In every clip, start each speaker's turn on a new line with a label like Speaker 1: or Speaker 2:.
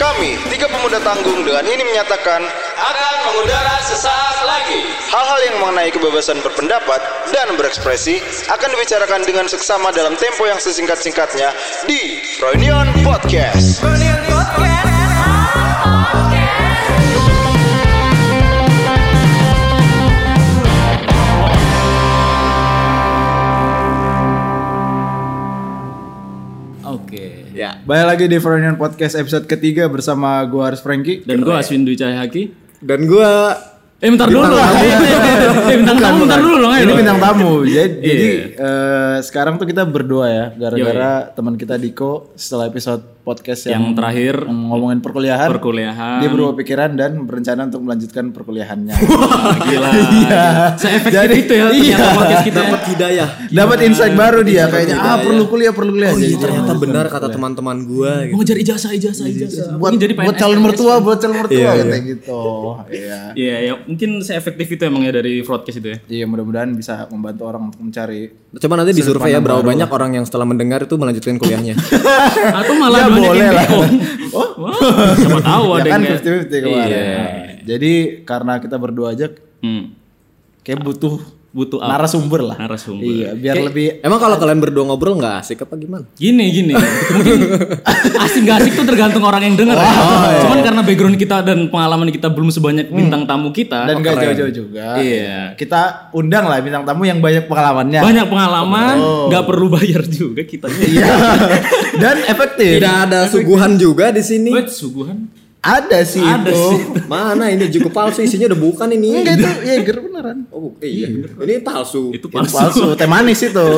Speaker 1: Kami, tiga pemuda tanggung dengan ini menyatakan
Speaker 2: akan mengudara sesaat lagi.
Speaker 1: hal-hal yang mengenai kebebasan berpendapat dan berekspresi akan dibicarakan dengan seksama dalam tempo yang sesingkat-singkatnya di Reunion Podcast.
Speaker 3: Oke.
Speaker 4: Ya.
Speaker 5: Balik lagi di Foreigner Podcast episode ketiga bersama gua Haris Franky.
Speaker 3: Dan gue Aswin Dwi Cahyaki.
Speaker 4: Dan gua
Speaker 3: Eh bentar dulu. Eh, eh, eh, bintang tamu bentar dulu dong.
Speaker 5: Ini bintang tamu. Jadi,
Speaker 3: Iya.
Speaker 5: jadi eh, sekarang tuh kita berdua ya gara-gara teman kita Diko setelah episode podcast
Speaker 3: Yang
Speaker 5: yang,
Speaker 3: terakhir
Speaker 5: yang ngomongin perkuliahan,
Speaker 3: perkuliahan.
Speaker 5: dia berubah pikiran dan berencana untuk melanjutkan perkuliahannya.
Speaker 3: Wah, gila. Se-efektif
Speaker 5: Iya. Jadi-
Speaker 3: itu ya ternyata
Speaker 5: iya.
Speaker 3: podcast kita. ya.
Speaker 4: hidayah.
Speaker 5: Dapat insight baru dia kayaknya ah perlu kuliah perlu
Speaker 3: Oh,
Speaker 5: kuliah. Jadi
Speaker 4: Iya,
Speaker 3: iya.
Speaker 4: Ternyata benar kata
Speaker 5: Iya.
Speaker 4: teman-teman gua gitu.
Speaker 3: Mau ngejar ijazah, ijazah, ijazah.
Speaker 5: buat,
Speaker 3: Mungkin jadi
Speaker 5: Iya, buat
Speaker 3: PNS.
Speaker 5: calon mertua, buat calon mertua katanya gitu. Iya.
Speaker 3: Iya, ya, mungkin se-efektif itu emang ya dari broadcast itu ya.
Speaker 5: Iya mudah-mudahan bisa membantu orang untuk mencari
Speaker 4: Coba nanti di survei ya berapa banyak orang yang setelah mendengar itu melanjutkan kuliahnya.
Speaker 3: Atau malah
Speaker 5: Ya,
Speaker 3: banyak
Speaker 5: boleh
Speaker 3: yang
Speaker 5: lah. Oh.
Speaker 3: bingung. Wah, siapa tahu Oh, ada
Speaker 5: ya
Speaker 3: yang
Speaker 5: kan
Speaker 3: kayak-
Speaker 5: 50-50 kemarin.
Speaker 3: Iya.
Speaker 5: Nah, Jadi karena kita berdua aja
Speaker 3: Hmm,
Speaker 5: kayak butuh
Speaker 3: butuh apa?
Speaker 5: narasumber lah.
Speaker 3: Oh, Narasumber.
Speaker 5: Iya, biar lebih
Speaker 4: Emang kalau kalian berdua ngobrol nggak asik apa gimana?
Speaker 3: Gini gini, mungkin asik gak asik tuh tergantung orang yang denger. ya.
Speaker 5: iya.
Speaker 3: Cuman karena background kita dan pengalaman kita belum sebanyak bintang tamu kita.
Speaker 5: Hmm. dan gak jauh-jauh juga.
Speaker 3: Iya.
Speaker 5: Kita undang lah bintang tamu yang banyak pengalamannya.
Speaker 3: banyak pengalaman, nggak perlu bayar juga kita.
Speaker 5: Oh. Iya. dan efektif.
Speaker 4: Tidak ada suguhan juga di sini.
Speaker 3: Iya. Buat suguhan.
Speaker 5: Ada sih
Speaker 3: Ada
Speaker 5: itu.
Speaker 3: sih.
Speaker 4: Mana ini juga palsu isinya udah bukan
Speaker 5: Enggak
Speaker 4: ini.
Speaker 5: itu ya ger beneran.
Speaker 4: Oh, iya. Ini palsu.
Speaker 3: Itu
Speaker 5: Palsu.
Speaker 3: palsu.
Speaker 5: teh manis itu.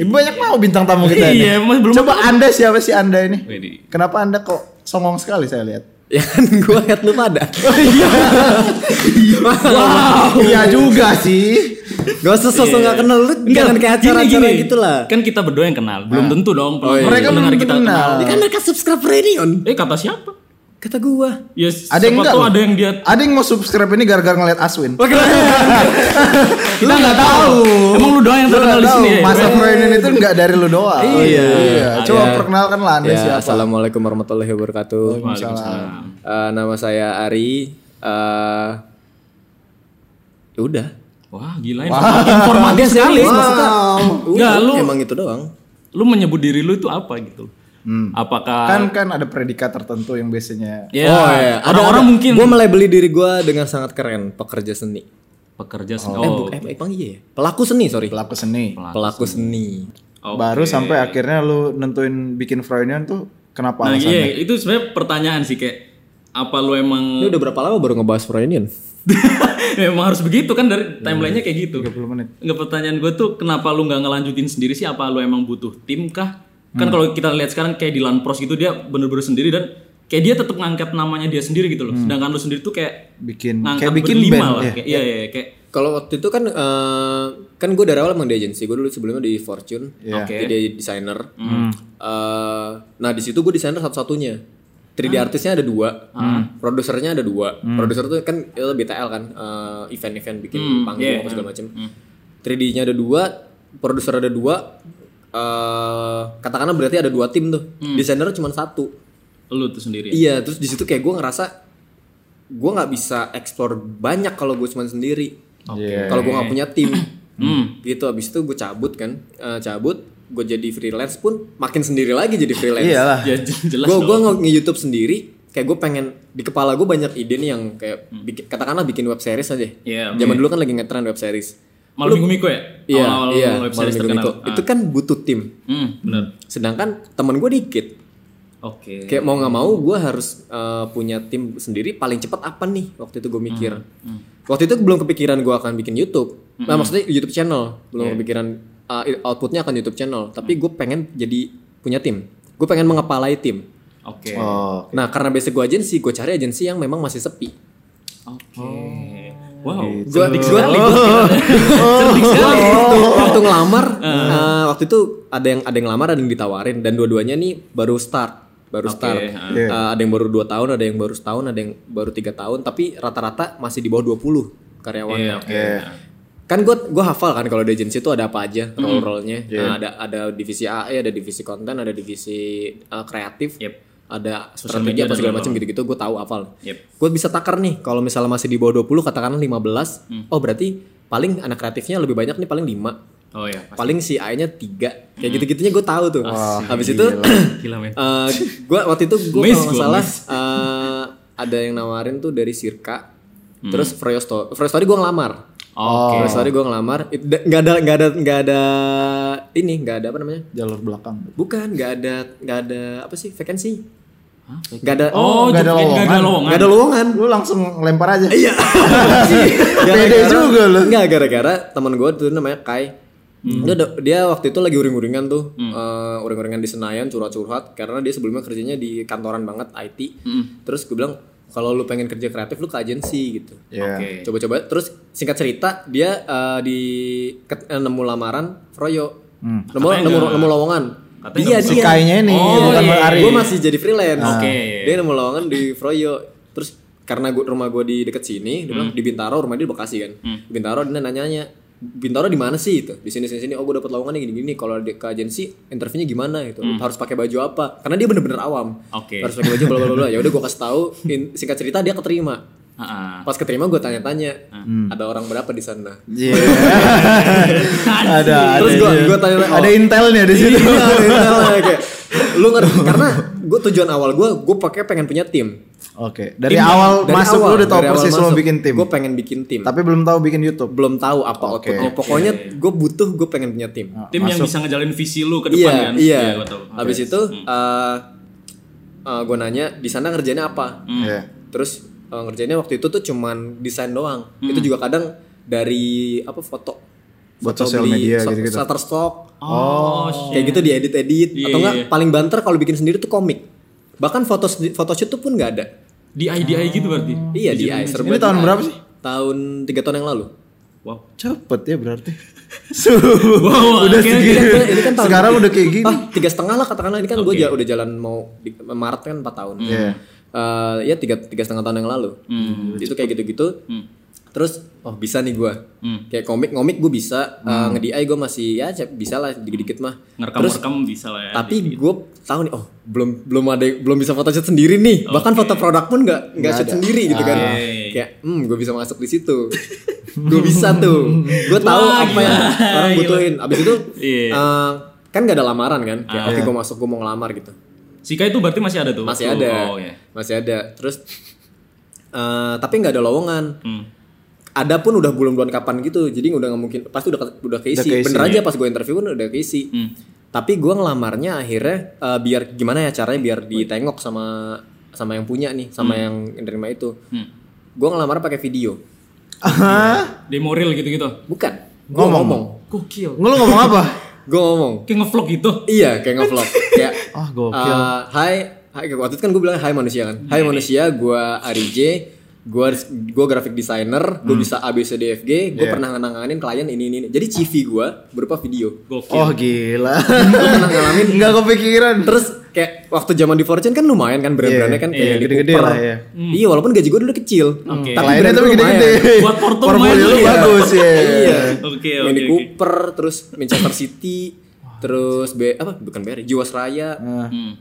Speaker 5: Ini banyak mau bintang tamu kita ini.
Speaker 3: Iya, mas belum.
Speaker 5: Coba Anda siapa sih Anda ini?
Speaker 3: Ini.
Speaker 5: Kenapa Anda kok songong sekali saya lihat?
Speaker 4: Ya kan gua lihat lu pada.
Speaker 5: Oh, Iya juga sih.
Speaker 4: Gak usah sosok
Speaker 5: Iya.
Speaker 4: nggak kenal lu
Speaker 5: kan
Speaker 4: jangan kayak acara-acara gitu lah.
Speaker 3: Kan kita berdua yang kenal, belum tentu dong.
Speaker 4: Oh,
Speaker 3: pendengar
Speaker 5: Nah.
Speaker 4: iya.
Speaker 3: Iya,
Speaker 5: Mereka belum tentu kenal.
Speaker 4: Ya kan mereka subscribe Radion.
Speaker 3: Eh kata siapa?
Speaker 4: Kata gua.
Speaker 3: Ya,
Speaker 5: Ada
Speaker 3: siapa
Speaker 5: yang enggak?
Speaker 3: tahu
Speaker 5: loh.
Speaker 3: Ada yang dia.
Speaker 5: Ada yang mau subscribe ini gara-gara ngeliat Aswin.
Speaker 3: Oh, Kita nggak tahu. Emang lu doang yang terkenal di
Speaker 5: Tahu,
Speaker 3: sini. ya?
Speaker 5: masa Proinin itu nggak dari lu doang. Iya. Coba perkenalkan lah
Speaker 3: Iya,
Speaker 5: Anda
Speaker 4: Ya,
Speaker 5: siapa.
Speaker 4: assalamualaikum warahmatullahi wabarakatuh.
Speaker 3: Waalaikumsalam.
Speaker 4: Eh, nama saya Ari. Eh, ya udah.
Speaker 3: Wah gila informatif sekali.
Speaker 4: Maksudnya,
Speaker 3: Nggak, lu-
Speaker 4: emang itu doang.
Speaker 3: Lu menyebut diri lu itu apa gitu? Apakah
Speaker 5: Kan kan ada predikat tertentu yang biasanya
Speaker 3: ya
Speaker 4: Oh, iya,
Speaker 3: orang-orang mungkin
Speaker 4: Gue melebeli diri gue dengan sangat keren, pekerja seni.
Speaker 3: pekerja seni.
Speaker 4: Eh,
Speaker 3: Oh,
Speaker 4: bu- eh, emang iya. ya? Pelaku seni, sorry.
Speaker 5: pelaku seni.
Speaker 4: Pelaku seni.
Speaker 3: oke.
Speaker 5: Baru sampai akhirnya lu nentuin bikin Freudian tuh kenapa
Speaker 3: Nah,
Speaker 5: alasannya?
Speaker 3: iya, itu sebenarnya pertanyaan sih kayak apa lu emang
Speaker 4: Ini udah berapa lama baru ngebahas Freudian?
Speaker 3: emang harus begitu kan dari timelinenya kayak gitu.
Speaker 5: 30 menit.
Speaker 3: Nggak pertanyaan gue tuh kenapa lu nggak ngelanjutin sendiri sih? Apa lu emang butuh tim kah? Kan kalau kita lihat sekarang kayak di Lanpros gitu dia bener-bener sendiri dan kayak dia tetap ngangkat namanya dia sendiri gitu loh. Sedangkan lu sendiri tuh kayak
Speaker 5: Bikin
Speaker 3: ngangkat
Speaker 5: kayak bikin
Speaker 3: berlima
Speaker 5: band
Speaker 3: lah.
Speaker 5: ya.
Speaker 3: Kayak, iya, iya, kayak
Speaker 4: Kalau waktu itu kan eh, kan gue dari awal emang di agensi gue dulu sebelumnya di Fortune,
Speaker 5: Iya.
Speaker 3: Oke.
Speaker 4: jadi desainer. Eh, nah di situ gue desainer satu-satunya. 3D artisnya ada dua, produsernya ada dua. Produser tuh kan itu BTL kan, eh, event-event bikin panggung
Speaker 3: yeah.
Speaker 4: apa segala macam. 3D-nya ada dua, produser ada dua. eh katakanlah berarti ada dua tim tuh. Desainer cuma satu.
Speaker 3: lu tuh sendiri.
Speaker 4: Iya, terus di situ kayak gue ngerasa gue nggak bisa explore banyak kalau gue cuma sendiri.
Speaker 3: Iya.
Speaker 4: Kalau gue nggak punya tim,
Speaker 3: Hmm.
Speaker 4: gitu. Abis itu gue cabut kan, Eh, cabut. Gue jadi freelance pun makin sendiri lagi jadi freelance.
Speaker 5: Iyalah.
Speaker 3: Ya jelas
Speaker 4: Gue
Speaker 3: dong.
Speaker 4: gue nge YouTube sendiri. Kayak gue pengen di kepala gue banyak ide nih yang kayak bikin- katakanlah bikin web series aja.
Speaker 3: Hmm. Iya,
Speaker 4: Zaman dulu kan lagi ngetren web series.
Speaker 3: Malam Minggu Miko ya?
Speaker 4: Iya,
Speaker 3: Awal-awal
Speaker 4: iya.
Speaker 3: web
Speaker 4: Malam
Speaker 3: series
Speaker 4: Minggu
Speaker 3: terkenal. Ah.
Speaker 4: Minggu. Itu kan butuh tim.
Speaker 3: Hmm, benar.
Speaker 4: Sedangkan temen gue dikit.
Speaker 3: Oke.
Speaker 4: Kayak mau nggak mau gue harus eh, punya tim sendiri paling cepat apa nih waktu itu gue
Speaker 3: Hmm,
Speaker 4: mikir. Waktu itu belum kepikiran gue akan bikin YouTube.
Speaker 3: Hmm.
Speaker 4: Nah maksudnya YouTube channel belum
Speaker 3: Iya.
Speaker 4: kepikiran eh, outputnya akan YouTube channel. Tapi
Speaker 3: Hmm.
Speaker 4: gue pengen jadi punya tim. Gue pengen mengepalai tim.
Speaker 3: Oke.
Speaker 5: Oh,
Speaker 4: Nah karena basic gue agensi, gue cari agensi yang memang masih sepi.
Speaker 3: Oke. Wow.
Speaker 4: Gue
Speaker 3: ya.
Speaker 4: Oh. Gitu.
Speaker 3: Oh.
Speaker 4: waktu ngelamar, eh, waktu itu ada yang ada yang ngelamar ada yang ditawarin dan dua-duanya nih baru start baru start.
Speaker 3: ah.
Speaker 5: Iya.
Speaker 4: Eh, ada yang baru 2 tahun, ada yang baru setahun, ada yang baru tiga tahun, tapi rata-rata masih di bawah 20 karyawan.
Speaker 3: Iya, oke.
Speaker 5: Iya.
Speaker 4: Kan gue gua hafal kan kalau di agensi itu ada apa
Speaker 3: Hmm.
Speaker 4: aja role-role-nya. Nah, ada ada divisi AE, ada divisi konten, ada divisi eh, kreatif.
Speaker 3: Yep.
Speaker 4: ada
Speaker 3: Social
Speaker 4: strategi
Speaker 3: media
Speaker 4: apa
Speaker 3: dan
Speaker 4: segala
Speaker 3: apa.
Speaker 4: macam gitu-gitu gue tahu hafal.
Speaker 3: Yep.
Speaker 4: Gue bisa takar nih kalau misalnya masih di bawah 20 katakanlah 15.
Speaker 3: Hmm.
Speaker 4: Oh berarti paling anak kreatifnya lebih banyak nih paling 5.
Speaker 3: Oh ya.
Speaker 4: Paling si A-nya 3. Kayak gitu-gitunya gue tahu tuh. Habis itu
Speaker 3: Hmm. Gila men.
Speaker 4: eh gue waktu itu gue
Speaker 3: Miss
Speaker 4: kalau nggak
Speaker 3: gua,
Speaker 4: salah
Speaker 3: miss.
Speaker 4: eh, ada yang nawarin tuh dari Sirka terus Freo Story Freo Story gue ngelamar
Speaker 3: Hmm. Oke.
Speaker 4: Freo Story gue ngelamar It- da- nggak ada nggak ada nggak ada ini nggak ada apa namanya
Speaker 5: jalur belakang
Speaker 4: bukan nggak ada nggak ada apa sih vacancy nggak ada
Speaker 3: Oh,
Speaker 5: nggak
Speaker 3: jadi nggak ada
Speaker 5: ada lowongan.
Speaker 3: lowongan.
Speaker 4: nggak ada lowongan
Speaker 5: lu langsung lempar aja
Speaker 4: Iya.
Speaker 5: Pede juga lu.
Speaker 4: Enggak gara-gara teman gue tuh namanya Kai.
Speaker 3: Hmm.
Speaker 4: Dia, dia waktu itu lagi uring-uringan tuh, Eh, uring-uringan di Senayan curhat-curhat karena dia sebelumnya kerjanya di kantoran banget IT.
Speaker 3: Hmm.
Speaker 4: Terus gue bilang kalau lu pengen kerja kreatif lu ke agensi gitu.
Speaker 5: Iya.
Speaker 3: Oke.
Speaker 4: Coba-coba terus singkat cerita dia eh, di ket- eh, nemu lamaran Froyo. Nemu
Speaker 3: Katanya
Speaker 4: nemu,
Speaker 3: nggak-
Speaker 4: nemu lowongan.
Speaker 3: katanya nggak
Speaker 5: Hmm. si kainya ini
Speaker 3: Oh,
Speaker 5: bukan
Speaker 3: iya,
Speaker 5: Bang
Speaker 3: iya.
Speaker 5: Ari
Speaker 4: Gue masih jadi freelance.
Speaker 3: Oke.
Speaker 4: Dia nemu lowongan di Froyo. Terus karena gua, rumah gue di dekat sini, dia bilang di Bintaro, rumah dia di Bekasi kan. Bintaro dia nanya-nanya, Bintaro di mana sih itu? Di sini sini sini. Oh, gue dapat lowongan gini gini. Kalau di ke agensi, interviewnya gimana gitu. Harus pakai baju apa? Karena dia bener-bener awam.
Speaker 3: Oke.
Speaker 4: Harus pakai baju bla bla bla. Ya udah gue kasih tahu. In- singkat cerita dia keterima.
Speaker 3: Ah,
Speaker 4: Pas keterima gue tanya-tanya, ada orang berapa di sana?
Speaker 5: Iya.
Speaker 3: ah.
Speaker 5: ada ada
Speaker 4: Terus gua-
Speaker 5: iya.
Speaker 4: gua tanya, oh.
Speaker 5: ada intelnya di situ
Speaker 4: Iya, iya, kayak, lu ngerti karena gue tujuan awal gue gue pakai pengen punya tim
Speaker 5: Oke, ya? dari awal masuk lu udah tahu persis lu bikin tim.
Speaker 4: gue pengen bikin tim
Speaker 5: Tapi belum tahu bikin YouTube.
Speaker 4: belum tahu apa outputnya pokoknya gue butuh gue pengen punya tim
Speaker 3: tim yang bisa ngejalin visi lu ke depan
Speaker 4: iya
Speaker 3: kan.
Speaker 4: iya
Speaker 3: gua tahu.
Speaker 4: habis itu gue nanya di sana ngerjainnya apa
Speaker 5: Iya.
Speaker 4: terus eh, ngerjainnya waktu itu tuh cuman desain doang itu juga kadang dari apa foto
Speaker 5: Buat
Speaker 4: Foto
Speaker 5: sosial
Speaker 4: beli
Speaker 5: media
Speaker 4: shut-
Speaker 5: gitu-gitu.
Speaker 4: Shutterstock
Speaker 3: Oh, shit.
Speaker 4: kayak gitu diedit edit
Speaker 3: Iya,
Speaker 4: atau enggak
Speaker 3: iya.
Speaker 4: paling banter kalau bikin sendiri tuh komik bahkan foto photoshoot tuh pun nggak ada
Speaker 3: Di IDI gitu berarti.
Speaker 4: iya di
Speaker 3: Digital
Speaker 4: Icer
Speaker 3: Management.
Speaker 5: Ini tahun berapa sih?
Speaker 4: tahun tiga tahun yang lalu
Speaker 3: Wow.
Speaker 5: Cepet ya berarti.
Speaker 3: Wow,
Speaker 5: udah
Speaker 3: oke,
Speaker 5: segini.
Speaker 4: Ini kan- ini kan tahun-
Speaker 5: Sekarang udah kayak gini.
Speaker 4: ah tiga setengah lah katakanlah ini kan gue udah jalan mau di- Maret kan empat tahun
Speaker 5: Iya.
Speaker 4: Eh, ya tiga tiga setengah tahun yang lalu itu kayak gitu gitu terus oh bisa nih gue kayak komik komik gue bisa eh, ngedi gue masih ya cep- bisa lah dikit dikit mah
Speaker 3: Ngerekam
Speaker 4: terus
Speaker 3: ngerekam bisa lah ya.
Speaker 4: tapi gue tahu nih oh belum belum ada belum bisa foto shoot sendiri nih bahkan foto produk pun nggak nggak shoot sendiri gitu kan kayak hmm gue bisa masuk di situ gue bisa tuh gue tahu
Speaker 3: Wah,
Speaker 4: apa yang
Speaker 3: gila.
Speaker 4: orang
Speaker 3: Gila.
Speaker 4: butuhin abis itu
Speaker 3: Iya. Ah.
Speaker 4: eh, kan nggak ada lamaran kan kayak oke gue masuk gue mau ngelamar gitu
Speaker 3: Sika itu berarti masih ada tuh.
Speaker 4: masih
Speaker 3: waktu-
Speaker 4: ada
Speaker 3: Oh ya.
Speaker 4: masih ada terus eh, tapi nggak ada lowongan
Speaker 3: Hmm.
Speaker 4: ada pun udah bulan-bulan kapan gitu jadi udah nggak mungkin pasti udah ke- udah keisi,
Speaker 5: Udah keisi, iya. Hmm.
Speaker 4: bener aja pas gue interview pun udah keisi tapi gue ngelamarnya akhirnya eh, biar gimana ya caranya biar ditengok sama sama yang punya nih sama
Speaker 5: Hmm.
Speaker 4: yang nerima itu gue ngelamar pakai video
Speaker 3: Demo reel gitu-gitu.
Speaker 4: bukan gue
Speaker 5: Ngomong.
Speaker 4: ngomong
Speaker 3: Gokil.
Speaker 5: Nggak, Lu ngomong apa?
Speaker 4: gue ngomong
Speaker 3: Kayak ngevlog gitu.
Speaker 4: iya kayak ngevlog kayak
Speaker 5: Ah, gokil. Iya,
Speaker 4: eh, hai hai waktu itu kan gue bilang hai manusia kan hai manusia gue Arij gue gue graphic designer
Speaker 5: Hmm.
Speaker 4: gue bisa
Speaker 5: Iya.
Speaker 4: ABCDFG gue pernah ngenanganin klien ini ini, ini. jadi CV gue berupa video
Speaker 3: Gokil.
Speaker 5: Oh gila.
Speaker 4: pernah ngalamin
Speaker 5: Nggak kepikiran.
Speaker 4: terus kayak waktu zaman di Fortune kan lumayan kan brand-brandnya
Speaker 5: Iya,
Speaker 4: kan kayak
Speaker 5: iya,
Speaker 4: di
Speaker 5: gede-gede
Speaker 4: Cooper.
Speaker 5: lah, iya. Hmm.
Speaker 4: iya walaupun gaji gue dulu kecil
Speaker 3: Oke.
Speaker 4: tapi
Speaker 5: Lainnya
Speaker 4: brand
Speaker 5: tapi
Speaker 4: gue
Speaker 5: gede-gede.
Speaker 4: lumayan.
Speaker 3: Buat porto
Speaker 5: Portfolio
Speaker 3: lumayan
Speaker 5: lu
Speaker 3: ya.
Speaker 5: bagus ya.
Speaker 4: iya
Speaker 3: Oke,
Speaker 4: Yang
Speaker 3: oke,
Speaker 4: di
Speaker 3: oke.
Speaker 4: Cooper terus Manchester City terus B apa bukan BR Jiwasraya
Speaker 3: Hmm.